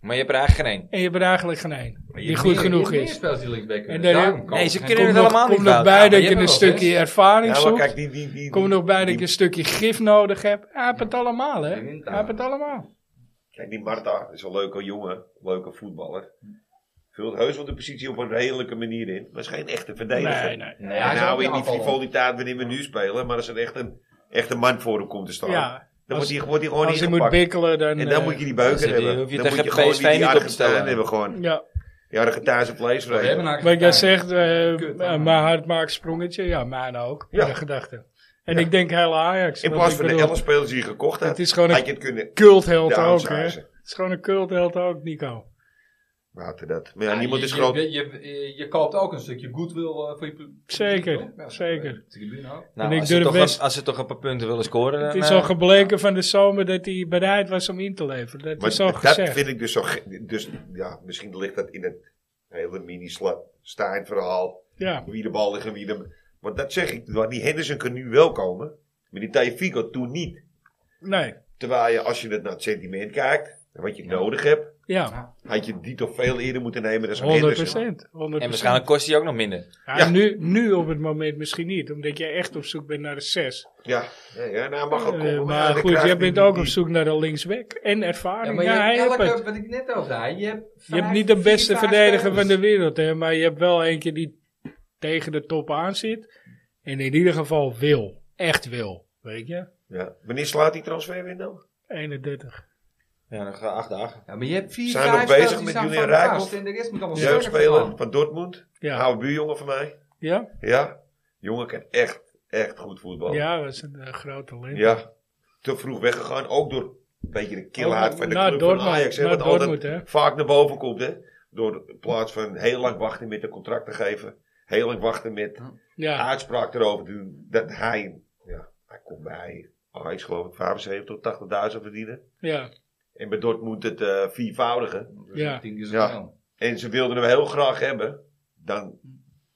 Maar je hebt er eigenlijk geen één. en je hebt er eigenlijk geen één Maar je die hebt goed meer- genoeg je hebt meer is. spelers die linksback kunnen. En daar- Daarom kan Nee, ze geen- kunnen Komt het nog, helemaal komt niet nog fout. Ja, bij maar dat je je hebt een er wel stukje zes. ervaring Ja, maar zoekt. kijk, die, die, die, Komt nog bij dat je die- een stukje gif nodig hebt. Hij heeft het allemaal, hè? Die wint Hij heeft het allemaal. Kijk, die Marta is een leuke jongen, leuke voetballer. Vult heus wel de positie op een redelijke manier in, maar is geen echte verdediger. Nee, nee. Nee, hij en is ook nou een in die aanvaller. frivoliteit waarin we nu spelen, maar als er echt een, echt een man voor hem komt te staan, Ja, dan als- wordt hij, wordt hij gewoon als je moet ingepakt. bikkelen, dan... En dan eh, moet je die dan beuken zit hij- hebben. hoef je dan tegen moet je gewoon PSV die niet op te aardige stellen. staan hebben gewoon. Ja, Die hadden getuige vleesvrij. We hebben eigenlijk Maar jij tijd. zegt, eh, Kut, eh, man. mijn hart maakt sprongetje. Ja, mijn ook. Ja. De gedachte. En Ja. ik denk hele Ajax. In want plaats ik van de bedoel, 11 spelers die je gekocht had, Het is gewoon een had je het kunnen cultheld ook, hè. downsizen. Het is gewoon een cultheld ook, Nico. Laten dat. Maar ja, Ja, niemand je- is groot. Je, je, je, je koopt ook een stukje goodwill eh, voor je publiek. Zeker, Ja, eh, zeker. Tribune ook. Nou, En ik als, ze durf toch best- een- als ze toch een paar punten willen scoren. Het dan, is nou eh, al gebleken van de zomer dat hij bereid was om in te leveren. Dat Maar is al dat gezegd. vind ik dus zo. ge- Dus ja, misschien ligt dat in het hele mini-Stijn verhaal. Ja. Wie de bal ligt en wie de. Want dat zeg ik. want Die Henderson kan nu wel komen. Maar die Taje Fico toen niet. Nee. Terwijl je, als je het naar het sentiment kijkt. En wat je nodig hebt. Ja, Had je die toch veel eerder moeten nemen dan zo'n 100 Henderson. procent. en waarschijnlijk kost hij ook nog minder. Ja, Ja. Nu, nu op het moment misschien niet, omdat jij echt op zoek bent naar de 6. Ja, ja, ja, nou mag ook Eh, komen. ja, maar dan goed, krijg jij je bent die- ook op die- zoek naar een linksback en Ja, ervaring. maar Ja, je hij hebt heeft elke, het. wat ik net al zei, je hebt, Je hebt vijf, niet de vier, beste vijf verdediger spelers. van de wereld, hè, maar je hebt wel eentje die tegen de top aan zit. En in ieder geval wil. Echt wil. Weet je? Ja. Wanneer slaat die transfer weer dan? 31. Ja, nog eh, acht dagen. Ja, maar je hebt vier, Zijn we vijf nog bezig spelers die met staan Julian van de Rijkoff? kast En de rest moet allemaal zorgen Jeugdspeler voor. van Dortmund. Ja. Oude buurjongen van mij. Ja? Ja. Jongen kan echt, echt goed voetballen. Ja, dat is een grote groot talent. Ja, te vroeg weggegaan. Ook door een beetje de kilhaat van de Naar club Dortmund, van Ajax. Hè, naar wat altijd Dortmund, hè. vaak naar boven komt. Hè, door in plaats van heel lang wachten met een contract te geven. Heel lang wachten met Ja. uitspraak erover te doen. Dat hij, ja, hij komt bij Ajax geloof ik 75 tot 80.000 verdienen. ja. En bij Dortmund het eh, viervoudige. Ja. Tien keer zo Ja. snel. En ze wilden hem heel graag hebben. Dan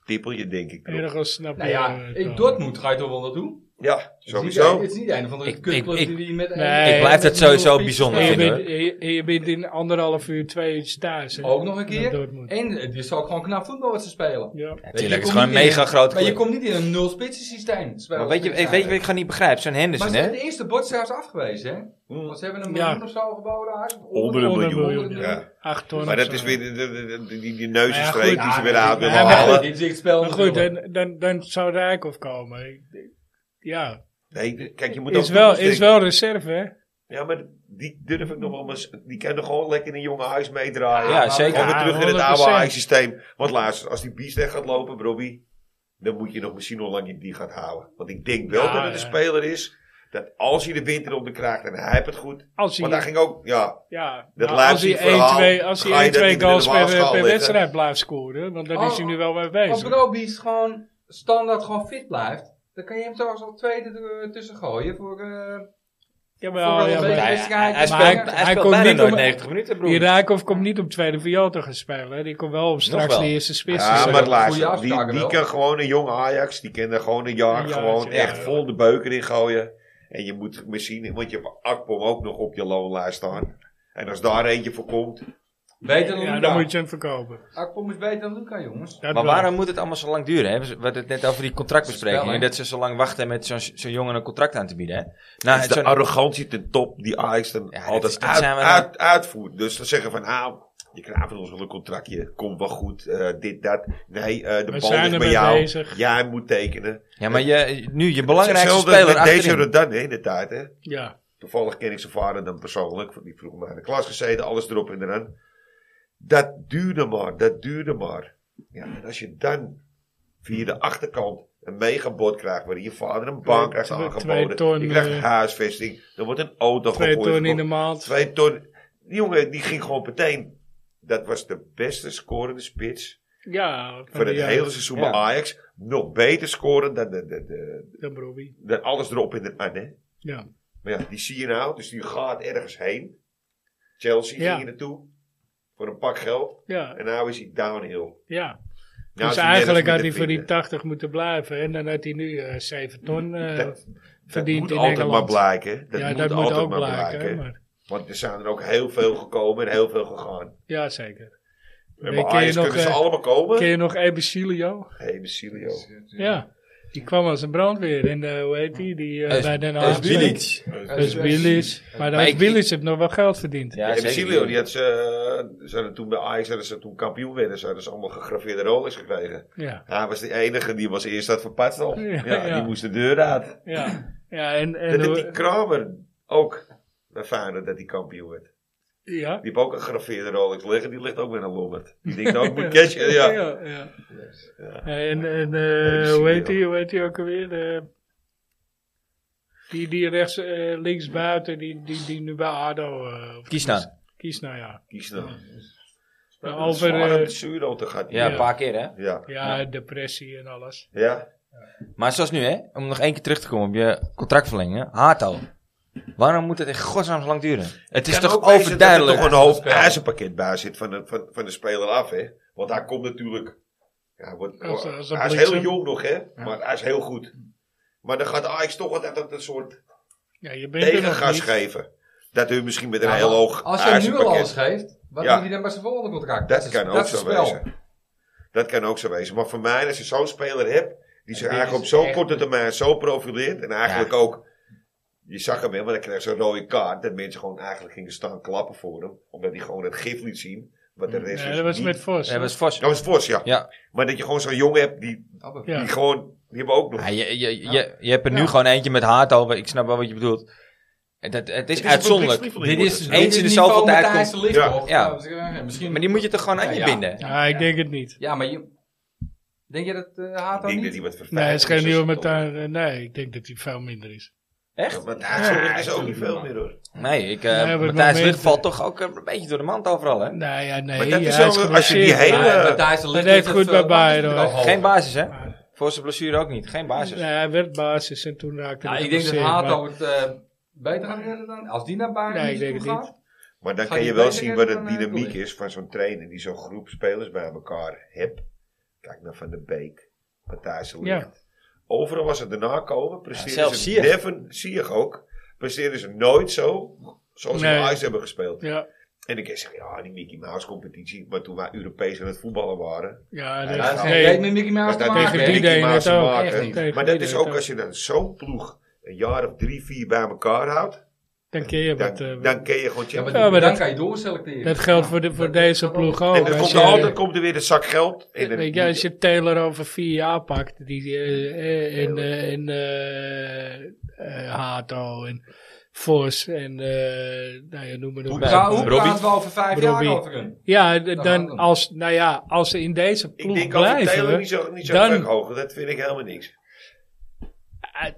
tippel je denk ik. erop. Ergens snap Nou je ja, het wel. ik, Dortmund ga je toch wel naartoe? Ja, Het is niet, sowieso. het is niet een van de Ik- kutclub ik- ik- die met... Nee, ik blijf met het sowieso nul op fiets bijzonder En je, staat. vinden, bent, en je bent in anderhalf uur, twee uur thuis. hè. Ook nog een keer. Naar Dortmund. En het is ook gewoon knap voetbal wat ze spelen. Ja. Ja, Weet je, tuurlijk, het is je komt gewoon een niet in- mega grote Maar je club. komt niet in een nul-spitsen systeem. te spelen. Maar weet je, weet, weet je wat ik gewoon niet begrijp? Zo'n Maar Henderson, ze hebben hè? de eerste bot zelfs afgewezen, hè? Want ze hebben een Ja. miljoen of zo geboden. Ajax. Onder een Onder een miljoen. miljoen, Ja. Acht ton Maar of dat zo. is weer de, de, de- de- die, die Ja, neuzenstreek goed. die ze Ja, weer uit maar- willen maar- halen. Dit is het spel Maar goed, natuurlijk. dan, dan, dan zou Rijkoff komen. Ik- ik- Ja, Nee, de- kijk, je moet is ook wel, toekomst is wel reserve, hè? denken. Ja, maar die durf ik nog wel eens... Die kan er gewoon lekker in een jonge huis meedraaien. Ja, zeker. Gewoon weer Ja, terug in het oude 100%. huissysteem. Want laatst, als die bies weg gaat lopen, Robbie... Dan moet je nog misschien hoe lang je die gaat houden. Want ik denk wel Ja, dat het ja. een speler is... Dat als hij de winter op de kraakt en hij heeft het goed... Als hij, Want daar ging ook... Ja, ja, dat nou, als laatste hij verhaal, 1, 2, als ga hij je 1, dat 2 in de goals per, waagschaal per leggen? wedstrijd blijft scoren, want dan Oh, is hij nu wel mee Als bezig. Brobies gewoon standaard gewoon fit blijft, dan kan je hem trouwens al tweede er, eh, tussen gooien voor... eh Jawel, voor wel een jawel. beetje Hij, hij, wedstrijden. hij speelt, Maar hij- hij hij speelt komt bijna niet nooit om- 90 minuten, Die broer. Rijkoff komt niet op tweede viool te gaan spelen. hè. Die komt wel om straks wel. de eerste spits te ja zijn. maar goede laatst, die, afspraken die wel. kan gewoon een jonge Ajax... Die kan er gewoon een jaar Een jaartje, gewoon ja, echt ja. vol de beuken in gooien. En je moet misschien... Want je hebt Akpom ook nog op je loonlijst staan. En als daar eentje voor komt... Beter dan Ja, Luca. dan moet je hem verkopen. Akpom is beter dan Luca, jongens. Dat Maar wel. waarom moet het allemaal zo lang duren? Hè? We hadden het net over die contractbesprekingen. Spel, En hè? dat ze zo lang wachten met zo'n zo'n jongen een contract aan te bieden. Hè? Nou, Het het is de zo'n- arrogantie ten top die Ajax dan Ja, dat altijd is- dat uit- zijn we dan- uit- uitvoert. Dus dan zeggen van, ah, je krijgt van ons wel een contractje. Komt wel goed, eh, dit, dat. Nee, eh, de We bal zijn is er bij mee jou. bezig. Jij moet tekenen. ja, maar je, nu je belangrijkste Hetzelfde speler met deze achterin. Rodan hè, in de tijd. Hè. Ja, Toevallig ken ik zijn vader dan persoonlijk. Die vroeg me in de klas gezeten, alles erop en eraan. Dat duurde maar, dat duurde maar. Ja, en als je dan via de achterkant een megabod krijgt... waarin je vader een baan krijgt Twee- twee aangeboden... ton, je krijgt eh, huisvesting, er wordt een auto twee gegooid. ton in de maand. Twee ton. Die jongen die ging gewoon meteen. Dat was de beste scorende spits Ja, van van die het jaar. hele seizoen bij Ja. Ajax. Nog beter scoren dan, de, de, de, Dan Brobbey. dan alles erop in de aan. Hè? Ja. Maar ja, die zie je nou. Dus die gaat ergens heen. Chelsea Ja. ging je naartoe. Voor een pak geld. Ja, En nou is hij downhill. ja. Nou dus is hij nergens eigenlijk meer had te hij voor die vinden. 80 moeten blijven. En dan had hij nu eh 7 ton eh, Dat- verdiend dat in moet altijd Engeland. maar blijken. Dat ja, moet dat moet altijd ook maar blijken. blijken. hè, maar- Want er zijn er ook heel veel gekomen en heel veel gegaan. ja, zeker. Weet En bij je, ken je Ajax nog, kunnen ze eh, allemaal komen. Ken Dus- je nog Ebesilio? Hé, hey, Basilio. Ja. Die kwam als een brandweer. En eh, hoe heet die? die eh, Eus- bij Den Dat Haag. is Bilic. Dat is Bilic. Maar Maar dat ik- Bilic heeft nog wel geld verdiend. Ja, Ja, zeker. Silio, die had ze, eh, ze hadden toen bij Ajax, hadden ze toen kampioen werden, ze hadden ze allemaal gegraveerde rollers gekregen. Ja. Hij was de enige, die was eerst dat verpatst al. Ja, Ja, ja. die moest de deur uit. Ja, ja en, en Dat deed hoe- die Kramer ook bij Feyenoord, dat hij kampioen werd. Ja. Die heeft ook een grafeerde Rolex liggen. Die ligt ook met een lommerd. Die denkt, nou, ik moet cashen. Ja. ja, ja. En, en eh, hoe, heet die, hoe heet die ook alweer? De- die, die rechts, eh, links buiten, die, die, die nu bij ADO... eh, of- Kies nou. Kies nou, ja. Kies nou. Nou, Over over, de eh, zuurrood te gaan. Ja, Ja. een paar keer hè. Ja. ja, depressie en alles. Ja. Maar zoals nu hè, om nog één keer terug te komen op je contractverlenging. Hato. Waarom moet het in godsnaam zo lang duren? Het is Kan toch ook wezen overduidelijk. Dat er toch een hoop azenpakket bij zit van de, van, van de speler af, hè? Want hij komt natuurlijk. Ja, hij wordt, Als- als een hij is bliksem. heel jong nog, hè? Maar hij is heel goed. Maar dan gaat Ajax toch altijd dat een soort Ja, je bent er nog tegengas niet. geven. Dat hun misschien met een Ja, heel maar hoog Als jij nu al azenpakket- alles geeft, wat Ja. doet hij dan bij zijn volgende contract? Dat is- kan ook dat is zo het spel. wezen. Dat kan ook zo wezen. Maar voor mij, als je zo'n speler hebt, die zich dit eigenlijk op is zo'n echt- korte termijn zo profileert. En eigenlijk ook, je zag hem wel, maar dan kreeg ze een rode kaart. Dat mensen gewoon eigenlijk gingen staan klappen voor hem. Omdat hij gewoon het gif liet zien. Wat de rest Mm. Ja, is dat was niet. met Vos. Ja, dat is fors. Dat was Vos, ja. Ja. Maar dat je gewoon zo'n jongen hebt, die, Appel. Ja. die gewoon, die hebben ook nog. Ja, je, je, je, je hebt er nu gewoon eentje met Hato. Ik snap wel wat je bedoelt. Het, het, het is, uitzonderlijk. publiekslieveling Dit wordt het. is dus- Eens in de dit zoveel niveau tijd Matthijs komt- de Ligt, Ja. toch? Ja. Ja, dus misschien- Maar die moet je toch gewoon aan je Ja, ja. binden? Ja, ik denk het niet. Ja, maar je... Denk jij dat eh Hato Ik denk niet? dat hij wat verfijnd Nee, het is geen nieuwe met eh, Ja, daar. Nee, ik denk dat hij veel minder is. Echt? Maar daar is ook niet veel meer hoor. Nee, ik, eh, Nee, op het Matthijs moment- Licht valt toch ook een beetje door de mand overal, hè? Nou ja, nee. Maar dat is hij wel- als je die geblesseerd. hele- Ja, eh, Matthijs de Ligt eh, dat heeft ligt goed bij veel- Bayern, ligt wel hoor. hoog. Geen basis, hè? Voor zijn blessure ook niet. Geen basis. Nee, hij werd basis en toen raakte Ja, hij ik denk dat geblesseerd, Hato het eh, beter gaat redden dan... Als die naar Bayern Nee, ik toe denk het gaat, niet. Maar dan Gaat kan je die wel beter zien wat redden de dan, eh, dynamiek Gullit? is van zo'n trainer die zo'n groep spelers bij elkaar hebt. Kijk naar Van der Beek, Matthijs de Ligt. Ja. Overal was het daarna komen, presteerden zelfs ze, Ziyech. Devin, Ziyech ook, presteerden ze nooit zo zoals ze Nee. in Ajax hebben gespeeld. Ja, En ik zeg, ja, die Mickey Mouse competitie, maar toen wij Europees aan het voetballen waren, ja, dat- Ja, Hij heeft geen nee. reet met Mickey Mouse was te dat maken. tegen Tegen die hè? Mickey deed Mouse het te ook, maken. echt niet. Tegen Maar dat die is deed ook het als je dan zo'n ploeg een jaar of drie, vier bij elkaar houdt, Dan ken je dan, wat. eh, dan ken je gewoon Ja, maar, Ja, maar dan dat- kan je doorselecteren. dat geldt voor, de, voor deze ploeg ook. En dan Oh, Als komt, je, er altijd, komt er weer een zak geld. En dan- weet je, als je Taylor over vier jaar pakt, die, eh, eh, en, eh, en eh, eh, Hato en Vos en eh, nou ja, noem maar op. Hoepa. Ja, hoe Robbie. praten we over vijf jaar Robbie. over hem? Ja, d- gaat dan hem. als, nou ja, als ze in deze Ik ploeg denk over blijven. Taylor niet zo, niet zo dan- druk hoger. Dat vind ik helemaal niks. Eh,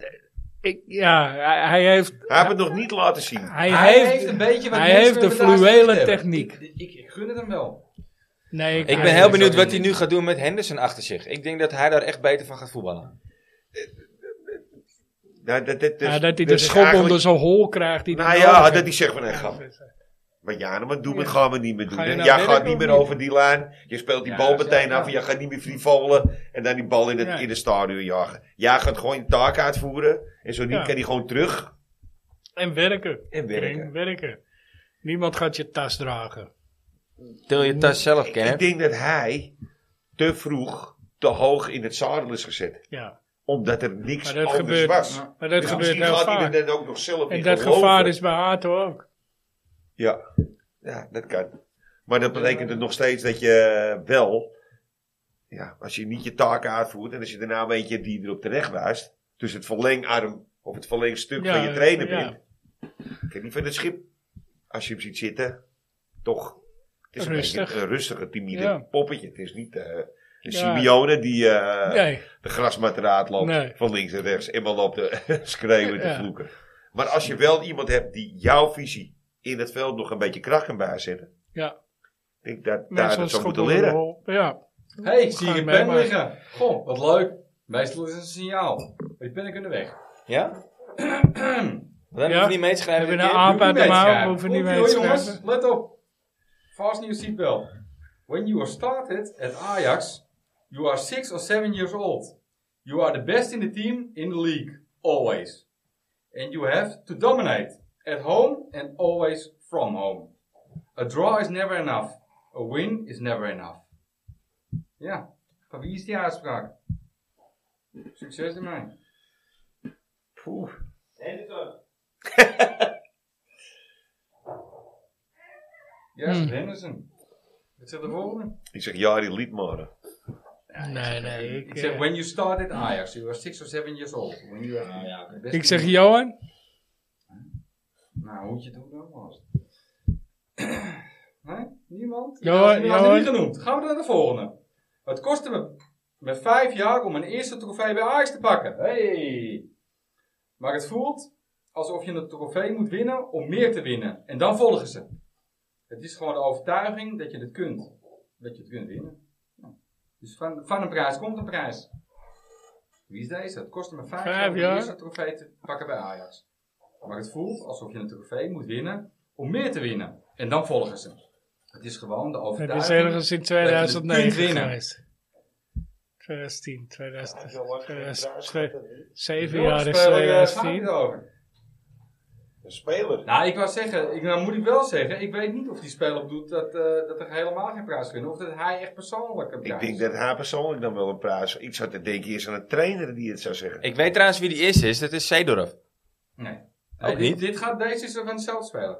ik, ja, hij- hij heeft, Hij heeft het nog niet laten zien. hij, Hij heeft, heeft een beetje wat hij mensen heeft de met Matthijs fluwele Ligt hebben. techniek. Ik, ik, ik gun het hem wel. Nee, Ik hij- ben heel dat benieuwd zou wat ik hij niet nu gaat doen met Henderson achter zich. Ik denk dat hij daar echt beter van gaat voetballen. Nou, dat, dat, dat, ja, dat hij de dat is schop eigenlijk- onder zo'n hol krijgt. Die Nou hij ja, nodig dat heeft. hij zegt van, nee, gaan we. Maar ja, nou, maar doe maar, gaan we niet meer doen. Ga je hè. nou Jij werken gaat niet of meer niet? over die lijn. Je speelt die Ja, bal dat is meteen wel af. ja. Jij gaat niet meer frivolen. En dan die bal in het, Nee. in het stadion jagen. Jij gaat gewoon je taak uitvoeren. En zo niet Ja. kan hij gewoon terug. En werken. En werken. En werken. Niemand gaat je tas dragen. Til je tas zelf, Ik Kenneth. denk dat hij te vroeg, te hoog in het zadel is gezet. Ja. Omdat er niks Maar dat anders gebeurt. was. Maar dat Dus gebeurt misschien heel gaat hij vaak. er dan ook nog zelf En in dat geloven. gevaar is bij Hato ook. Ja. ja, dat kan. Maar dat betekent het nog steeds dat je wel, ja, als je niet je taken uitvoert en als je daarna een beetje die erop terecht wijst, dus het verlengarm of het verlengstuk Ja, van je trainer ja. bent, kan niet van het schip, als je hem ziet zitten, toch. Het is een, Rustig. beetje een rustige, timide Ja. poppetje. Het is niet eh een Ja. Simeone die eh, Nee. de grasmat eruit loopt Nee. van links en rechts en wel op de schreeuwen te Ja. vloeken. Maar als je wel iemand hebt die jouw visie in het veld nog een beetje kracht kan bijzetten, Ja. denk ik dat daar Mensen dat als zou schop moeten onder de leren. hol. Ja. Hé, hey, ik zie Gaan hier een wij pen maar. liggen. Goh, wat leuk. Meestal is het een signaal. Die pennen kunnen weg. Ja? Dan Ja. hoef je niet mee te We schrijven. hebben dit een keer. aap uit de mouw. We hoeven niet Komt-ie, mee hoor, te jongens. schrijven. Let op. Fast new seatbelt. When you are started at Ajax, you are six or seven years old. You are the best in the team in the league. Always. And you have to dominate. At home and always from home. A draw is never enough. A win is never enough. Ja, van wie is die uitspraak? Succes ermee. Poeh. Ja, Hmm. yes, Henderson. Wat zegt de volgende? Ik zeg, ja, die liet maar. Nee, nee. Ik, Ik zeg, eh, when you started Ajax, you were six or seven years old. When you were, nou ja, best- ik zeg Johan. Nou, hoe je het ook dan was. Niemand? Ja, Ja, die ja, had hoor. je niet genoemd. Gaan we naar de volgende. Het kostte me met vijf jaar om mijn eerste trofee bij Ajax te pakken. Hey. Maar het voelt alsof je een trofee moet winnen om meer te winnen. En dan volgen ze. Het is gewoon de overtuiging dat je het kunt. Dat je het kunt winnen. Ja. Dus van, van een prijs komt een prijs. Wie is deze? Het kostte me vijf, Vijf jaar om mijn jaar? eerste trofee te pakken bij Ajax. Maar het voelt alsof je een trofee moet winnen om meer te winnen. En dan volgen ze. Het is gewoon de Het overtuiging. is ergens in dat 2009 je het kunt winnen. geweest. 2010, 2000, Zo lang geen prijs gehad, 2007 hè, niet? jaar is Jongens, spelen, eh, gaat het 2010. over. Een speler. Nou, ik wou zeggen, ik, nou moet ik wel zeggen, ik weet niet of die speler doet dat, eh, dat er helemaal geen prijs kunnen. Of dat hij echt persoonlijk een Ik prijs denk dat hij persoonlijk dan wel een prijs. Ik zat te denken eerst aan een trainer die het zou zeggen. Ik weet trouwens wie die eerste is. Dat is Seedorf. Nee. Eh, Ook Dit- niet? Dit gaat, deze is van hetzelfde speler.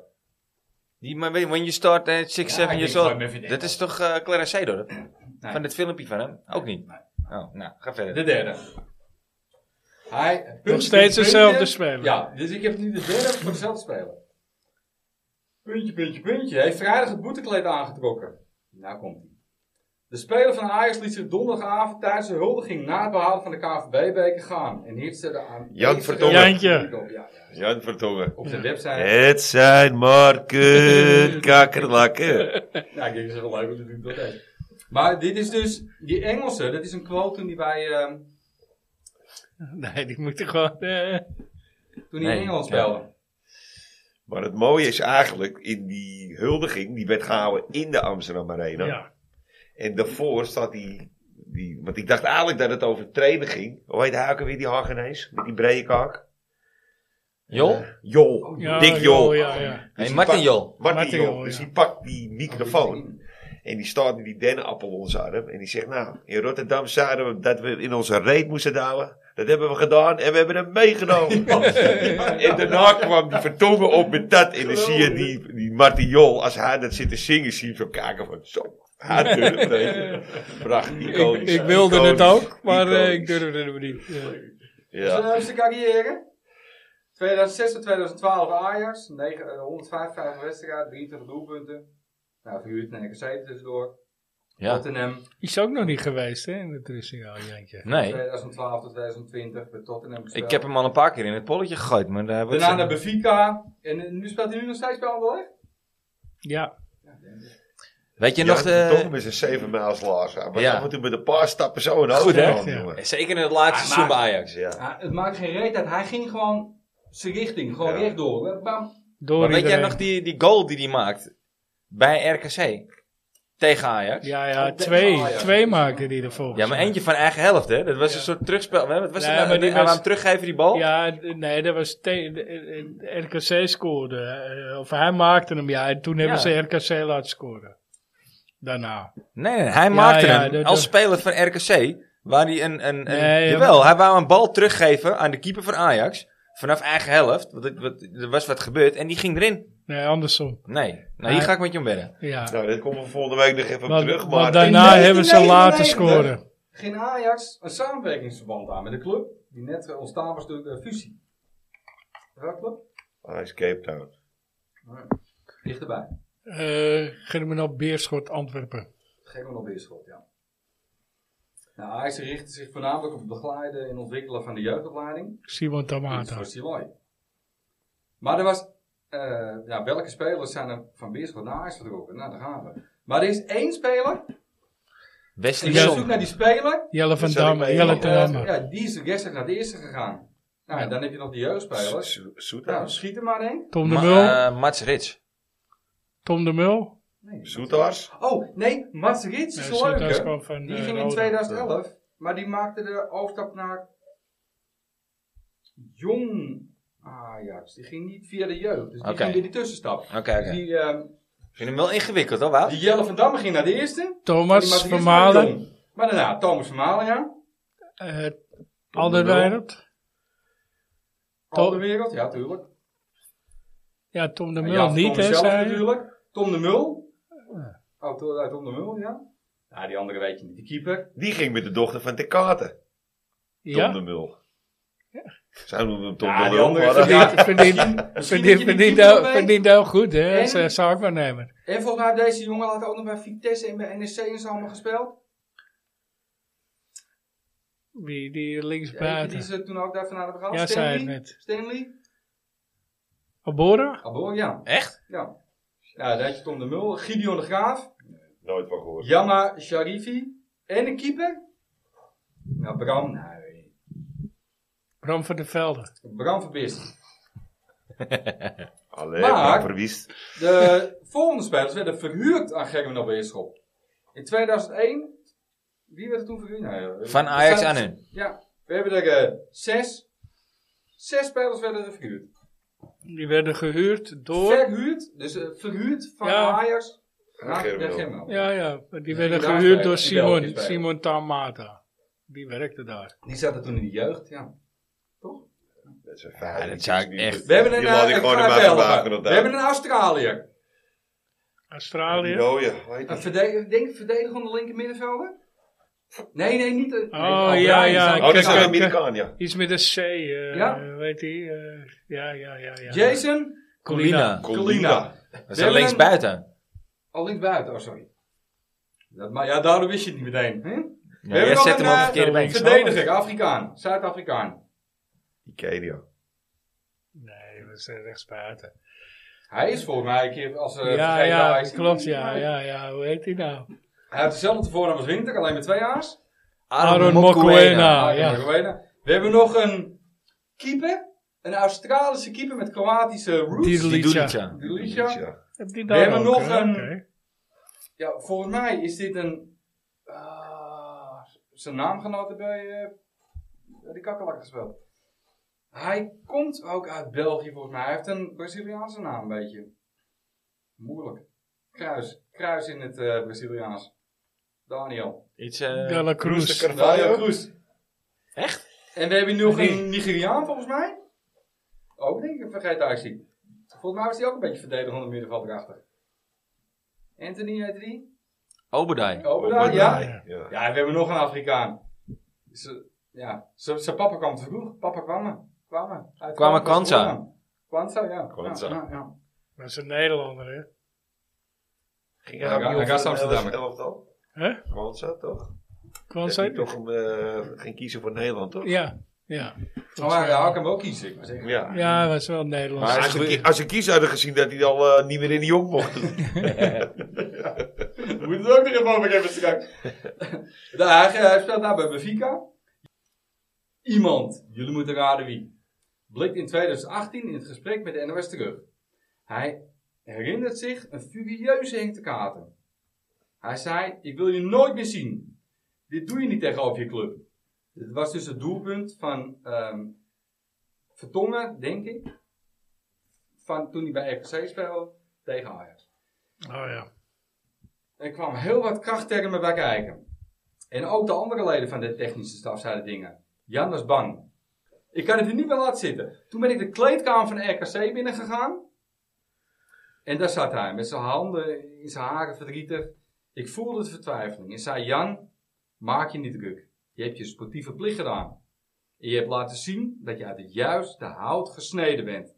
Die, maar weet je, when you start at 6, Ja, 7 ik years denk old. gewoon Murphy Dat Daniels. is toch eh Clara Seedorf? Nee. Van het filmpje van hem? Ook niet? Nee. Oh, nou, ga verder. De derde. Hij, Nog steeds dezelfde speler. Ja, dus ik heb nu de derde voor dezelfde speler. Puntje, puntje, puntje. Hij heeft vrijdag het boetekleed aangetrokken. Nou komt hij. De speler van Ajax liet zich donderdagavond tijdens de huldiging na het behalen van de KNVB-beker gaan. En hitste de aan. Jan Vertongen. Jantje. Ja, ja. Jan Vertongen. Op zijn website. Het zijn Marken kakkerlakken. Nou, ik denk dat is wel leuk om te doen tot deze. Maar dit is dus, die Engelse, dat is een quote toen die bij, ehm, Nee, die moet er gewoon... eh, toen die Nee, in Engeland ja. speelde. Maar het mooie is eigenlijk, in die huldiging, die werd gehouden in de Amsterdam Arena. ja. En daarvoor staat die, die... Want ik dacht eigenlijk dat het over trainen ging. Hoe heet hij ook alweer, die Hagenees? Met die brede kaak. Jol? Eh, Jol. Ja, Dik Jol. Ja, ja. Nee, Dus die Martin pak- Jol. Martin, Martin Jol. Jol, Dus ja. Oh, die pakt die microfoon. En die staat met die dennenappel onder zijn arm. En die zegt, nou, in Rotterdam zeiden we dat we in onze reet moesten douwen. Dat hebben we gedaan en we hebben hem meegenomen. En daarna kwam die vertongen op met dat. En dan zie je die, die Martin Jol, als hij dat zit te zingen, zie je hem zo kijken van zo. Hij durft het. Prachtig, Ik, iconisch. ik wilde het Iconisch, ook, maar eh, ik iconisch. durfde het niet. Ja. Ja. Dus, eh, zijn carrière. 2006 tot 2012 Ajax. 9, eh, 155 wedstrijden, 23 doelpunten. Nou, verhuurd naar RKC tussendoor. Ja. Tottenham. Is ook nog niet geweest, hè, in het Russingaal, Jantje. Nee. Eh, 2012 tot 2020 bij Tottenham gespeeld. Ik heb hem al een paar keer in het polletje gegooid. Maar daar wordt Daarna ze- naar Benfica. En eh, nu speelt hij nu nog steeds bij Anderlecht? Ja. Weet je Ja, nog de... Vertongen met zijn 7 miles laars aan. Maar Ja. af en toe met een paar stappen zo een Goed, auto hè? aan, Ja. jongen. Eh, Zeker in het laatste seizoen Ah, maar- bij Ajax. Ja. Ah, het maakt geen reet uit. Hij ging gewoon zijn richting. Gewoon Ja. rechtdoor. Eh, Bam. Door Maar weet jij iedereen. nog die, die goal die hij maakt? Bij RKC. Tegen Ajax. Ja, ja, Oh, twee. Ajax. Twee maken die ervoor. Ja, maar eentje van eigen helft, hè? Dat was een soort terugspel. Wat was Nee, het maar nou? die Hij wou was- hem teruggeven, die bal? Ja, d- nee, dat was te- eh, eh, RKC scoorde. eh, Of hij maakte hem, ja. En toen hebben Ja. ze RKC laten scoren. Daarna. Nee, nee, hij maakte ja, hem. dat- Als dat- speler van RKC, waar hij een... een, een Nee, ja, jawel, hij wou een bal teruggeven aan de keeper van Ajax. Vanaf eigen helft. Want het- wat- er was wat gebeurd. En die ging erin. Nee, andersom. Nee. Nou, hier Nee. ga ik met je om wedden. Ja. Nou, dat komen we volgende week nog even op Want- terug. Maar want daarna In hebben ze laten 1999. scoren. Ging Ajax een samenwerkingsverband aan met de club. Die net eh, ontstaan was door de fusie. Welke club? Ah, is Cape Town. Dichterbij. Eh Germinal Beerschot Antwerpen. Gek nog weer schot, ja. Nou, Ajax richtte zich voornamelijk op het begeleiden en ontwikkelen van de jeugdopleiding. Simon Ah, Iets Tamata. voor Siloy. Maar er was... eh, ja, welke spelers zijn er van Beerschot naar Ajax vertrokken? Nou, daar gaan we. Maar er is één speler. En Wesley je zoekt Zon. naar die speler. Jelle van Dat zal ik Damme. mee- Jelle Ja, ten eh, Damme. ja, die is gisteren naar de eerste gegaan. Nou, en dan heb je nog die jeugdspelers. Zo- Nou, Zoetars. schiet er maar één. Tom de Ma- Mul. eh, Mats Rits. Tom de Mul. Zoetars. Oh, nee, Mats Rits Nee, is leuk, Sinterklaas hè? kwam van, Die eh, ging in Roda. 2011, maar die maakte de overstap naar jong Ajax. Die ging niet via de jeugd, dus die Oké. ging weer die tussenstap. Oké, oké. Die, ehm, Ik vind hem wel ingewikkeld, hoor, Wout? die Jelle van Damme ging naar de eerste. en die Mats Thomas Rits van naar de Malen. jong. Maar daarna Thomas van Malen, ja. eh Alderweireld. Tom- Tom de wereld, ja, tuurlijk. Ja, Tom de En Mul Jan van niet, Tongeren hè, zelf zei je? Ah. natuurlijk. Tom de Mul. Oh, to- eh, Tom de Mul, ja. Ja, die andere weet je niet. Die keeper. Die ging met de dochter van Tecate. Tom Ja? de Mul. Zij noemen hem toch Ja, de die lul, andere maar, eh, Verdient, verdient, Misschien dat verdient, je die verdient, keeper ook, erbij- verdient ook nou- goed, hè, als En- eh, zaakwaarnemer. En volgens mij heeft deze jongen later ook nog bij Vitesse en bij NEC en zo allemaal gespeeld. Die, die Eentje Die linksbuiten. ze toen ook daarvan hadden gehad. Ja, zei Stanley. het net. Stanley. Abora? Abor, ja. Echt? Ja. Ja, daar had je Tom de Mul, Gideon de Graaf, Nooit van gehoord. Yama Sharifi en een keeper. Nou, Bram, nee. Bram van der Velde. Bram verpist. Alleen Maar- maar verwiest. De volgende spelers werden verhuurd aan Gerwin op Weerschop. In 2001, wie werd er toen verhuurd? Nou, ja, Van we- Ajax we- aan hun. Ja, we hebben er eh, zes. Zes spelers werden er verhuurd. Die werden gehuurd door... Verhuurd, dus eh, verhuurd van Ja. Ajax naar Germinal. de Germinal. Ja, ja. maar Die Ja, werden die gehuurd daar door spelen, die Simon, Belgisch spelen. Simon Tamata. Die werkte daar. Die zaten toen in de jeugd, ja. Dat zijn Ja, dat zou ik echt- We hebben een, Die laat eh, ik ik gewoon ga in mijn het helpen. verbaken op we daar. hebben een Australiër. Australië? Nou ja, hoe heet Een dat? verde denk ik verdedigende linker middenvelder? Nee, nee, niet. een- nee, Oh, Alvarez ja, ja, zou- ik Oh, dat Kijk, is een kijk, Amerikaan, ja. Iets met een C, eh, Ja? weet hij? eh, ja, ja, ja, ja. Jason Colina. Colina. Dat is dan linksbuiten. Al linksbuiten, oh sorry. Dat, maar ja, daardoor wist je het niet meteen. Hè? Ja, jij zet hem op eh, een verkeerde been. verdediger, Afrikaan, Zuid-Afrikaan. Die ken je, ja. Nee, we zijn rechtsbuiten. Hij is volgens mij een keer als eh ja, verdediger ja, Ajax. klopt, ja, ja, ja. Hoe heet hij nou? Hij heeft dezelfde voornaam als Winter, alleen met twee A's. Aaron Mokoena. Ah, ja. We hebben nog een keeper, een Australische keeper met Kroatische roots. Die- Die doet het, ja. Delicia. Ja. Heb die We hebben nog hè? een- Oké. Ja, volgens mij is dit een. ah, zijn naamgenoten bij eh, bij de kakkelak gespeeld. Hij komt ook uit België volgens mij. Hij heeft een Braziliaanse naam, een beetje. Moeilijk. Kruis. Kruis in het eh, Braziliaans. Daniel. Iets, eh, De La Cruz. Roeste Carvalho. Daniel Cruz. Echt? En we hebben nog een Nigeriaan volgens mij. Ook denk ik, vergeet actie. Volgens mij was hij ook een beetje verdedigende middenvelder achter. Anthony heet die? Obadai. Oh, Obadai, ja. ja. Ja, we hebben nog een Afrikaan. Ze, ja, ze- zijn papa kwam te vroeg. Papa kwam er. Kwam er. Hij Kwam er uit Kwanza? Suriname. Kwanza, ja. Kwanza. Ja, ja, ja. Dat is een Nederlander, hè? Ging Ja, hij gaat Amsterdammer. Elftal? Hè? Kwanza, toch? Kwam Dat zij? hij toch een, eh, ging kiezen voor Nederland, toch? Ja, ja. Maar waar, ja, ik kan hem ook kiezen. Ik maar zeggen. Ja. Ja, hij was wel een Maar- Nederlander. Als, ze, ki- als ze kiezen hadden gezien dat hij al eh, niet meer in de jong mocht. We moeten het ook nog even over hebben straks. Daar, eh, hij speelt daar bij Benfica. Iemand, jullie moeten raden wie, blikt in 2018 in het gesprek met de NOS terug. Hij herinnert zich een furieuze Henk de Kater. Hij zei, ik wil je nooit meer zien. Dit doe je niet tegenover je club. Dit was dus het doelpunt van ehm Vertongen, denk ik. Van toen hij bij RKC speelde tegen Ajax. Oh ja. Er kwam heel wat krachttermen bij kijken. En ook de andere leden van de technische staf zeiden dingen. Jan was bang. Ik kan het er niet meer laten zitten. Toen ben ik de kleedkamer van de RKC binnengegaan. En daar zat hij met zijn handen in zijn haren verdrietig. Ik voelde de vertwijfeling en zei: Jan, maak je niet druk. Je hebt je sportieve plicht gedaan. En je hebt laten zien dat je uit het juiste hout gesneden bent.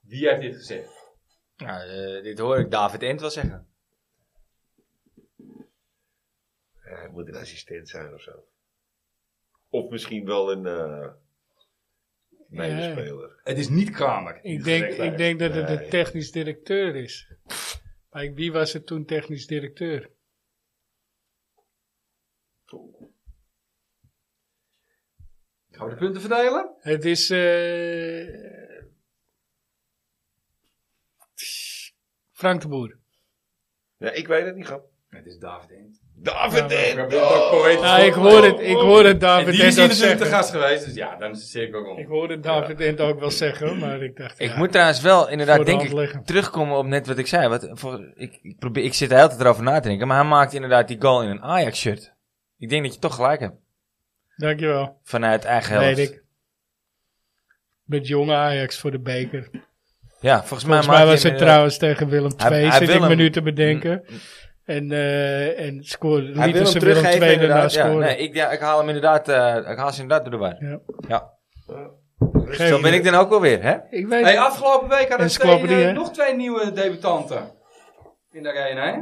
Wie heeft dit gezegd? Nou, eh, dit hoor ik David Ent wel zeggen. Ja, hij moet een assistent zijn of zo. Of misschien wel een eh medespeler. Het is niet Kramer. Ik denk, ik denk dat het de Nee. technisch directeur is. Maar wie was er toen technisch directeur? Gaan we de punten verdelen? Het is... eh, Frank de Boer. Ja, ik weet het niet, grap. Het is David Eend. David Ja, Dent! probeer het ook poëtisch Ja, ik hoor het, ik hoor het David en die is Dent ook hier natuurlijk te zeggen. gast geweest, dus ja, dan is het zeker ook om. Ik hoor het David Dent ook wel zeggen, maar ik dacht... Ik ja, moet trouwens wel voor inderdaad, de denk hand ik, liggen. terugkomen op net wat ik zei. Wat, voor, ik, ik, probeer, ik zit de hele tijd erover na te denken. Maar hij maakt inderdaad die goal in een Ajax-shirt. Ik denk dat je toch gelijk hebt. Dankjewel. Vanuit eigen helft. Weet ik. Met jonge Ajax voor de beker. Ja, volgens mij, Volgens mij maakt was hij het inderdaad- trouwens tegen Willem Hij- II, hij zit wil ik me hem- Mm. nu te bedenken. En, eh en scoorde, Hij lieten wil ze hem Willem teruggeven II daarna inderdaad. Ja, scoren. nee, ik, ja, ik haal hem inderdaad, eh, ik haal ze inderdaad door de war. Ja. Ja. Geen Zo ben ik dan ook alweer, hè? Ik weet Hey, oh, afgelopen week hadden En we ze twee, klappen die, eh, hè? nog twee nieuwe debutanten in de arena, hè?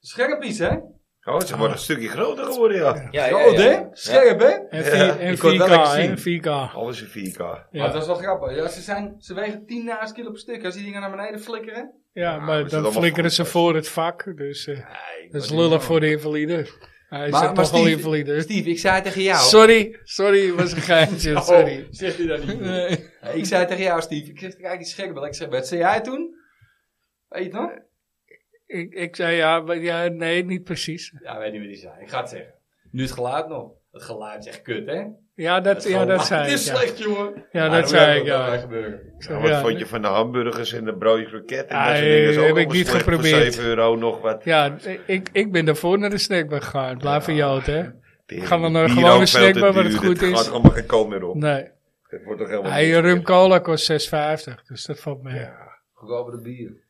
Scherpies, hè? Oh, ze Ah. worden een stukje groter geworden, ja. Ja, Ja, oh, hè? Scherp, hè? En, Ja, vier, en ik kon het wel 4K, lekker hè? zien. 4K. Alles in 4K. Ja. Maar dat is wel grappig. Ja, ze, zijn, ze wegen 10 naast kilo per stuk. Als die dingen naar beneden flikkeren. Ja, maar maar het is allemaal dan flikkeren goed, ze dus. voor het vak. Dus eh, Nee, dat is lullig voor de invalide. Hij is toch wel Steve, invalide. Steve, ik zei tegen jou. Sorry, sorry, was een geintje, sorry. Oh, zegt hij dat niet? Hey, ik zei tegen jou, Steve. Ik zeg, kijk, die scherp. Ik zeg, wat zei jij toen? Weet je het nog? Ik, ik zei ja, maar ja, nee, niet precies. Ja, weet niet wat die zei. Ik ga het zeggen. Nu het geluid nog. Het geluid is echt kut, hè? Ja, dat, ja, dat zei Het ik. is ja. slecht, jongen. Ja, Maar dat hoe zei gaat ik, dat ja. daarbij gebeuren? Ik Ja, zei, wat ja, vond je van de hamburgers en de broodjes kroket en dat Ah, soort dingen? Zo heb ook ik nog niet slecht voor geprobeerd. 7 euro nog wat. Ja, ik, ik ben daarvoor naar de snackbar gegaan. Blijf een jood, hè? Tering, Gaan we naar bier gewone ook veel te snackbar waar het duur. goed Het is? gaat allemaal geen kool meer op. Nee. Het wordt toch helemaal Hij eh, niks rum meer. cola kost 6,50, dus dat valt mee. Ja. Goedkoper de bier.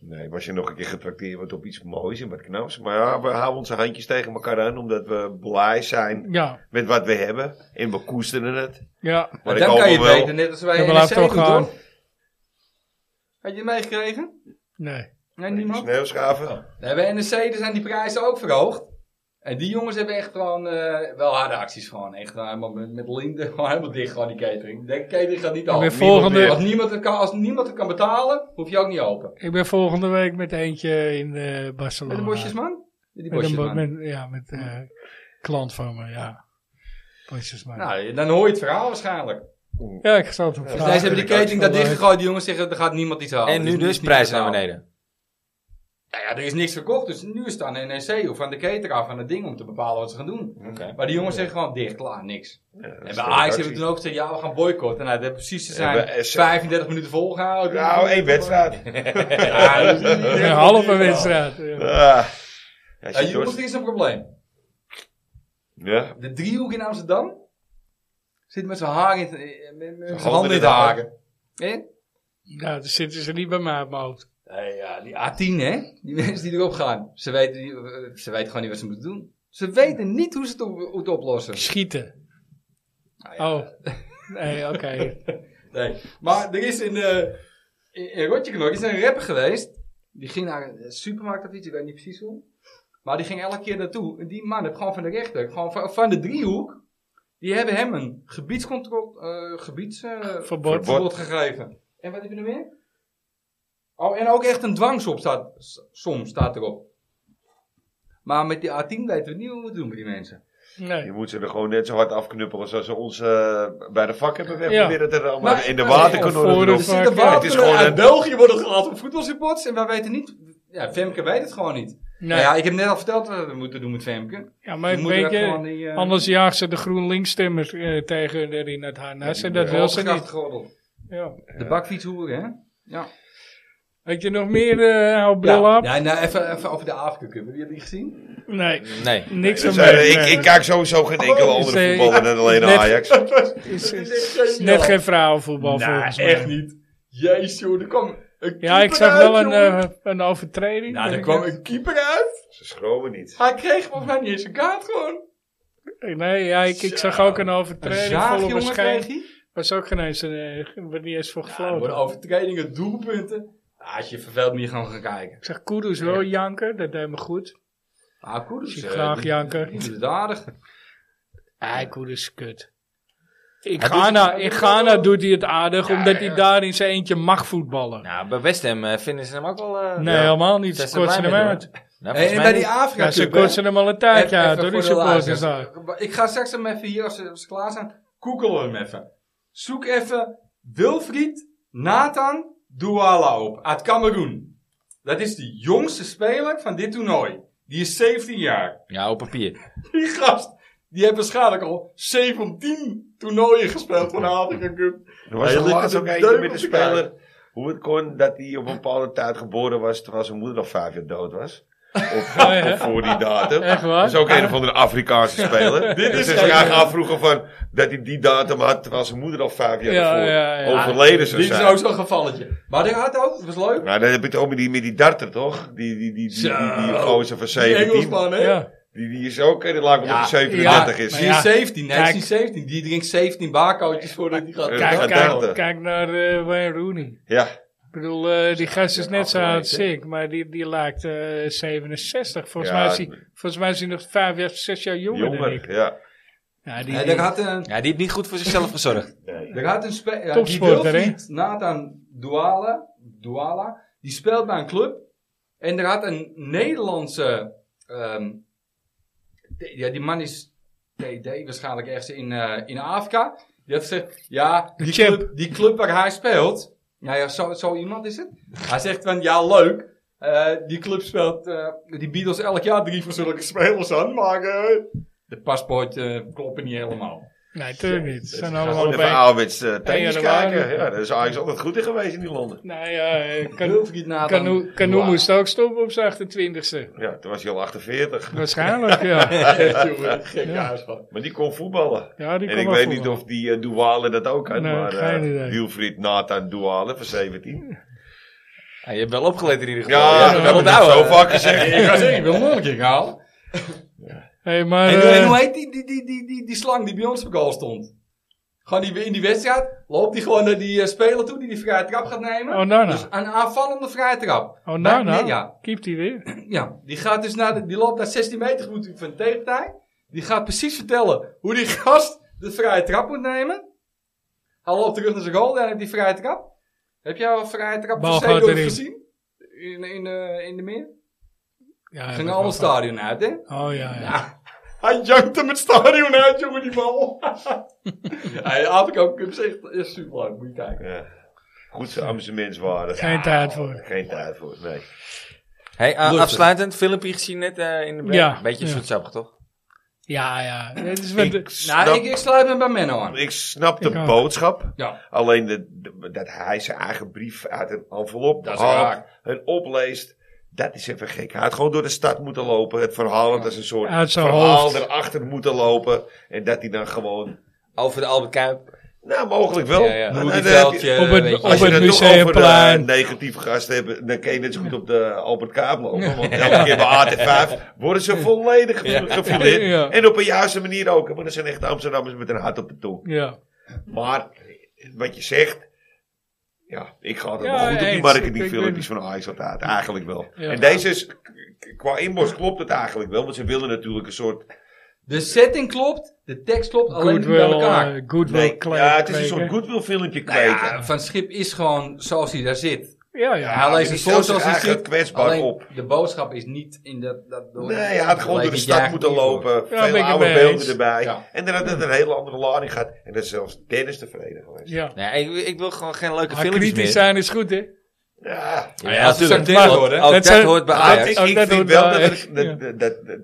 Nee, was je nog een keer getrakteerd wordt op iets moois en wat knaps. Maar ja, we houden onze handjes tegen elkaar aan omdat we blij zijn ja, met wat we hebben. En we koesteren het. ja. Maar Maar ik dan hoop kan je wel- het weten, net als wij Ja, in maar de laat NEC toch doen, gaan. toch? Had je het meegekregen? Nee. Nee, Die niemand? Sneeuwschaven. Nee, bij NEC dus zijn die prijzen ook verhoogd. En die jongens hebben echt gewoon eh, wel harde acties gewoon. Echt nou, helemaal met, met linten, gewoon helemaal dicht gewoon die catering. De catering gaat niet ben open. volgende- Als niemand, het kan, als niemand het kan betalen, hoef je ook niet open. Ik ben volgende week met eentje in eh, Barcelona. Met de bosjesman? Met die Met een bo- bosjesman. met- ja, met eh, klant van me, ja. Bosjesman. Nou, dan hoor je het verhaal waarschijnlijk. ja, ik zal het hem Dus vragen. deze hebben die catering daar wel dicht leuk. gegooid. Die jongens zeggen, er gaat niemand iets En halen. Dus nu het is dus niet prijzen naar betaald. beneden. Nou ja, er is niks verkocht. Dus nu staan de NEC of aan de cateraar van het ding om te bepalen wat ze gaan doen. Oké. Maar die jongens zeggen gewoon dicht, klaar, niks. Ja, En bij Ajax hebben we toen ook gezegd, ja, we gaan boycotten. Nou, dat hebben precies te zijn Hebben, eh, ze- 35 minuten volgehouden. Nou, één wedstrijd. Ja, dat is niet- Een halve wedstrijd. ja. Ah. Ja, Ja, zit jongens, er door- is een probleem. ja. De driehoek in Amsterdam zit met zijn haar in, eh, met, met zijn Handen handen in in de de haken. Hè? Nou, dan zitten ze niet bij mij op mijn hoofd. Nee, Eh, ja, die A10, hè? Die mensen die erop gaan. Ze weten, niet- eh, ze weten gewoon niet wat ze moeten doen. Ze weten niet hoe ze het, op, moeten oplossen. Schieten. Nou ja, Oh. Nee, oké. Nee. Maar er is in, eh in, in Rotjeknor is er een rapper geweest. Die ging naar een supermarkt of iets, ik weet niet precies hoe. Maar die ging elke keer naartoe. En die man heeft gewoon van de rechter, gewoon van, van de driehoek. Die hebben hem een gebiedscontrole, eh gebiedsverbod Verbod. gegeven. En wat heb je nog meer? Oh, en ook echt een dwangsom staat, som staat erop. Maar met die A10 weten we niet hoe we het doen met die mensen. Nee. Je moet ze er gewoon net zo hard afknuppelen zoals ze ons eh, bij de vak hebben weg Ja. proberen te rammen. Maar- in de maar- waterkanonnen voor de erop. Dus Er zitten Ja, het is wapenen gewoon uit een- België worden gehaald op voetbalsupports en wij weten niet. Ja, Femke weet het gewoon niet. nee. Nou ja, ik heb net al verteld wat we moeten doen met Femke. Ja, We maar een moeten beetje- daar gewoon die, eh, Anders jaagt ze de GroenLinks-stemmers eh, tegen hun erin het harnas. en dat wil ze niet. Hooggekrachtgordel. Ja. De bakfietshoeren, hè? Ja. Had je nog meer, eh hou bril ja. op? ja, nou even, even over de Afrika Cup. Heb je die gezien? Nee, Nee. niks Dus, aan mij. eh, Nee. ik, ik kijk sowieso geen enkele Oh, andere nee. voetballer dan alleen Net- Ajax. Is, is- is net geen vrouwenvoetbal volgens mij. Nou, echt niet. Jezus, joh, er kwam een keeper Ja, ik zag uit, wel een, jongen. eh, een overtreding. nou, er kwam een keeper uit. Ze schromen niet. Hij kreeg volgens mij niet eens een kaart gewoon. Nee, ja, ik, ik zag ook een Een overtreding. zaag, Volle jongen, kreeg waarschijn. hij. Was ook geen eens, eh, er werd niet eens voor Ja, er gefloten. worden overtredingen, doelpunten. Ja, als je verveelt, moet je gewoon gaan kijken. ik zag Kudus wel janken, dat deed me goed. Ah, Koeders. Zie graag janken. Inderdaad. Nee, Kudus is kut. In Ghana, in Ghana doet hij het aardig, omdat hij daar in zijn eentje mag voetballen. Nou, bij West Ham eh, vinden ze hem ook wel... eh, Nee, ja. helemaal niet. Zijn Ze er kortsen blij hem mee, uit. Nou, En, volgens en mij bij niet. die Afrika Ja, ze Cup, hè. kortsen hem al een Even- tijdje uit, even hoor, die voor de supporters daar. luisteraars. Ik ga straks hem even hier, als ze, als ze klaar zijn, koekelen we hem even. Zoek even Wilfried Nathan Douala op, uit Cameroen. Dat is de jongste speler van dit toernooi. Die is 17 jaar. Ja, op papier. Die gast, die heeft waarschijnlijk al 17 toernooien gespeeld van de Afrika Cup. Er was Ja, je toch liet laatst het ook een eentje deuk met een op elkaar. speler. Hoe het kon dat hij op een bepaalde tijd geboren was terwijl zijn moeder al vijf jaar dood was. Of, Oh, ja. of voor die datum. Echt waar? Dat is ook een of andere Afrikaanse speler. Dit is dus graag afvroegen van dat hij die datum had terwijl zijn moeder al vijf jaar Ja, daarvoor ja, ja. overleden zou Dit zijn. is ook zo'n gevalletje. Maar die had ook, dat was leuk. Nou, dan heb je het ook met die, met die darter, toch? Die, die, die, die, die, die Zo. gozer van Die 17. Engelsman, hè? Ja. Die, die is ook, eh, die laat wel op de 37 ja, is. Die ja, is 17, nee, kijk. die is 17. Die drinkt 17 barcootjes voordat hij gaat. Ja, Kijk, dat- kijk, kijk naar eh, Wayne Rooney. Ja, Ik bedoel, eh, die gast is Ja, net zo afgeleid, oud als hè? ik, maar die, die lijkt eh, 67. Volgens, Ja, mij is hij, volgens mij is hij nog vijf of zes jaar jonger, dan ik. jonger. Ja. Ja, die, Ja, daar had een, Ja, die heeft niet goed voor zichzelf gezorgd. daar had een spe- ja, die Topsporter, hè? Wilfried Nathan Douala, Douala, die speelt bij een club. En daar had een Nederlandse, ehm, de- ja, die man is TD waarschijnlijk ergens in, eh, in Afrika. Die had gezegd, ja, die champ. club, die club waar hij speelt, nou ja, zo, zo iemand is het. Hij zegt van, ja, leuk. eh, die club speelt, eh, die bieden ons elk jaar drie van zulke spelers aan, maar eh, de paspoort eh, kloppen niet helemaal. nee, natuurlijk niet. Ze zijn allemaal Gewoon op even één. ouderwets eh, tennis januari. kijken. Ja, daar is Ajax altijd goed in geweest in die landen. Nou ja, eh, Kanu- Wilfried Nathan Kanu- Kanu Douala. moest ook stoppen op zijn 28e. Ja, toen was hij al 48. Waarschijnlijk, ja. Echt, jongen, gek Ja. huis van. Maar die kon voetballen. ja die En kon ik wel weet voetballen. niet of die eh, Douale dat ook had, Nee, maar geen eh idee. Wilfried Nathan Douale van 17. Ja, je hebt wel opgelet in ieder Ja, geval. Ja, dat wel hebben we onthouden. zo vaak gezegd. Ik ga zeggen, ik wil nog een keer halen. Hey, maar, En, eh, en hoe heet die, die, die, die, die, die slang die bij ons op goal stond? Gewoon die, in die wedstrijd loopt hij gewoon naar die eh, speler toe die die vrije trap gaat nemen. Oh, nou, nou. Dus een aanvallende vrije trap. oh, Maar- nou, nee, nou. ja, Keept hij weer. ja, die gaat dus naar de, die loopt naar 16 meter moet hij van de tegenpartij. Die gaat precies vertellen hoe die gast de vrije trap moet nemen. Hij loopt terug naar zijn goal en heeft die vrije trap. Heb jij al een vrije trap Bal van gaat Zeedorf erin. gezien? In, in, eh, in de meer? Ja, Ging al het stadion uit, hè? Oh, ja, ja. Ja. Hij jankt hem het stadion uit, jongen, die bal. Hij had ik ook gezegd. Dat is super leuk, moet je kijken. Ja. Goed zijn amusements waren. Geen tijd voor. Geen tijd voor, nee. Hey, a- Lustig. afsluitend, filmpje gezien net eh, in de break. Ja, Beetje ja. zoetsappig, toch? Ja, ja. Dit is wat, Ik snap, Nou, ik, ik sluit me bij Menno aan. ik snap de Ik ook. boodschap. Ja, Alleen de, de- dat hij zijn eigen brief uit een envelop Dat is haalt raar. en opleest. Dat is even gek. Hij had gewoon door de stad moeten lopen. Het verhaal dat is een soort Uit zijn verhaal hoofd. erachter moeten lopen. En dat hij dan gewoon... Over de Albert Kuip. Nou, mogelijk wel. Ja, ja. Maar dan Rudy heb je- Veldje, Op het- weet je. op Als eh, je het het toch over de museumplein. negatieve gasten hebt, dan kun je net zo goed op de Albert Kaap lopen. Want elke keer bij AT5 worden ze volledig ge- gefileerd. Ja. En op een juiste manier ook. Want dat zijn echt Amsterdammers met een hart op de tong. ja. Maar wat je zegt, ja, ik ga altijd Ja, wel goed op die eens. marketing Ik- ik filmpjes van Ajax altijd. Eigenlijk wel. Ja. En deze is, k- qua inborst klopt het eigenlijk wel. Want ze willen natuurlijk een soort... De setting klopt, de tekst klopt, alleen niet bij Goodwill, elkaar. eh, goodwill Nee, kle- ja, het is een kweken. soort goodwill filmpje kweken. Nou ja, van Schip is gewoon zoals hij daar zit. Ja, ja. hij leest maar die het voor stelt zoals zich hij eigenlijk zit. kwetsbaar alleen op. de boodschap is niet in dat... dat door Nee, hij had gewoon door de stad moeten lopen. Ja, ben veel ik het oude mee beelden eens. erbij. Ja. En dan had het een hele andere lading gehad. En dat is zelfs Dennis tevreden geweest. ja. Nee, ik, ik wil gewoon geen leuke Maar filmpjes Ah, kritisch meer. zijn is goed, hè? Ja. Ja, Ja, als het natuurlijk. zo'n ding Maar wordt, hè. Ook dat, Dat zijn- hoort bij dat Dat Ajax. is, ook ik Oh, dat vind doet wel dat, wel er- echt, dat, ja. dat, dat, dat,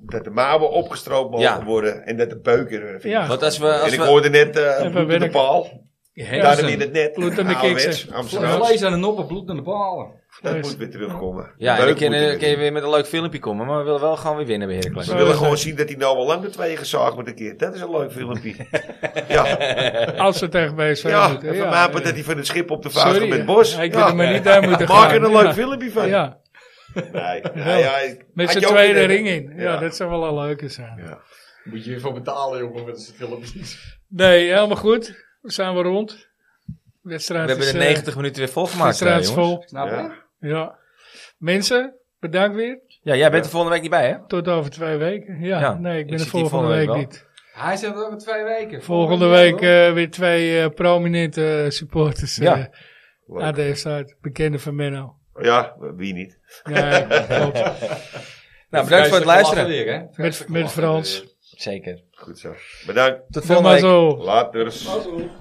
dat de mouwen opgestroopt mogen Ja. worden. En dat de beuken... Ja. Want als we... En Als ik we hoorde net eh bloed in de werken. paal. Daarom in het net. Bloed aan de Ouderwets, kiksen. Amsterdam. Vlees aan de noppen, bloed aan de palen. Dat moet weer terugkomen. ja, en Beuk dan kun moet je, weer kun je weer met een leuk filmpje komen. Maar we willen wel gewoon weer winnen bij Heracles. We willen gewoon zien dat hij nou al lang de tweeën gezaagd wordt een keer. Dat is een leuk filmpje. ja, Als we tegen BSV ja. En moeten. van ja. mij moet dat hij van het schip op de vuist Sorry, komt met hè. Bos. Ja, ik Ja. wil er maar niet aan moeten gaan. Maak er een leuk Ja. filmpje van. Ja, Nee. Nou ja, ik- met had z'n je ook tweede weer- ring in. Ja, Ja. dat zou wel een leuke zijn. Moet je hiervoor betalen, jongen, met een filmpjes. Nee, helemaal goed. We zijn weer rond. We Wedstrijd hebben is, de eh, 90 minuten weer volgemaakt, eh, wedstrijd is jongens. vol. Snap je? Ja. Ja. Mensen, bedankt weer. Ja, jij bent er volgende week niet bij, hè? Tot over twee weken. Ja, Ja, nee, ik ik ben er zit hier volgende, volgende week week niet. Hij zegt over twee weken. Volgende week eh, weer twee eh, prominente eh, supporters eh, Ja. Leuk. aan de site. Bekende van Menno. Ja, wie niet. Ja, klopt. eh, Nou, bedankt voor het luisteren. Weer, hè? Met, met Frans. Zeker. Goed zo. Bedankt. Tot volgende Volgende week. zo. Laters.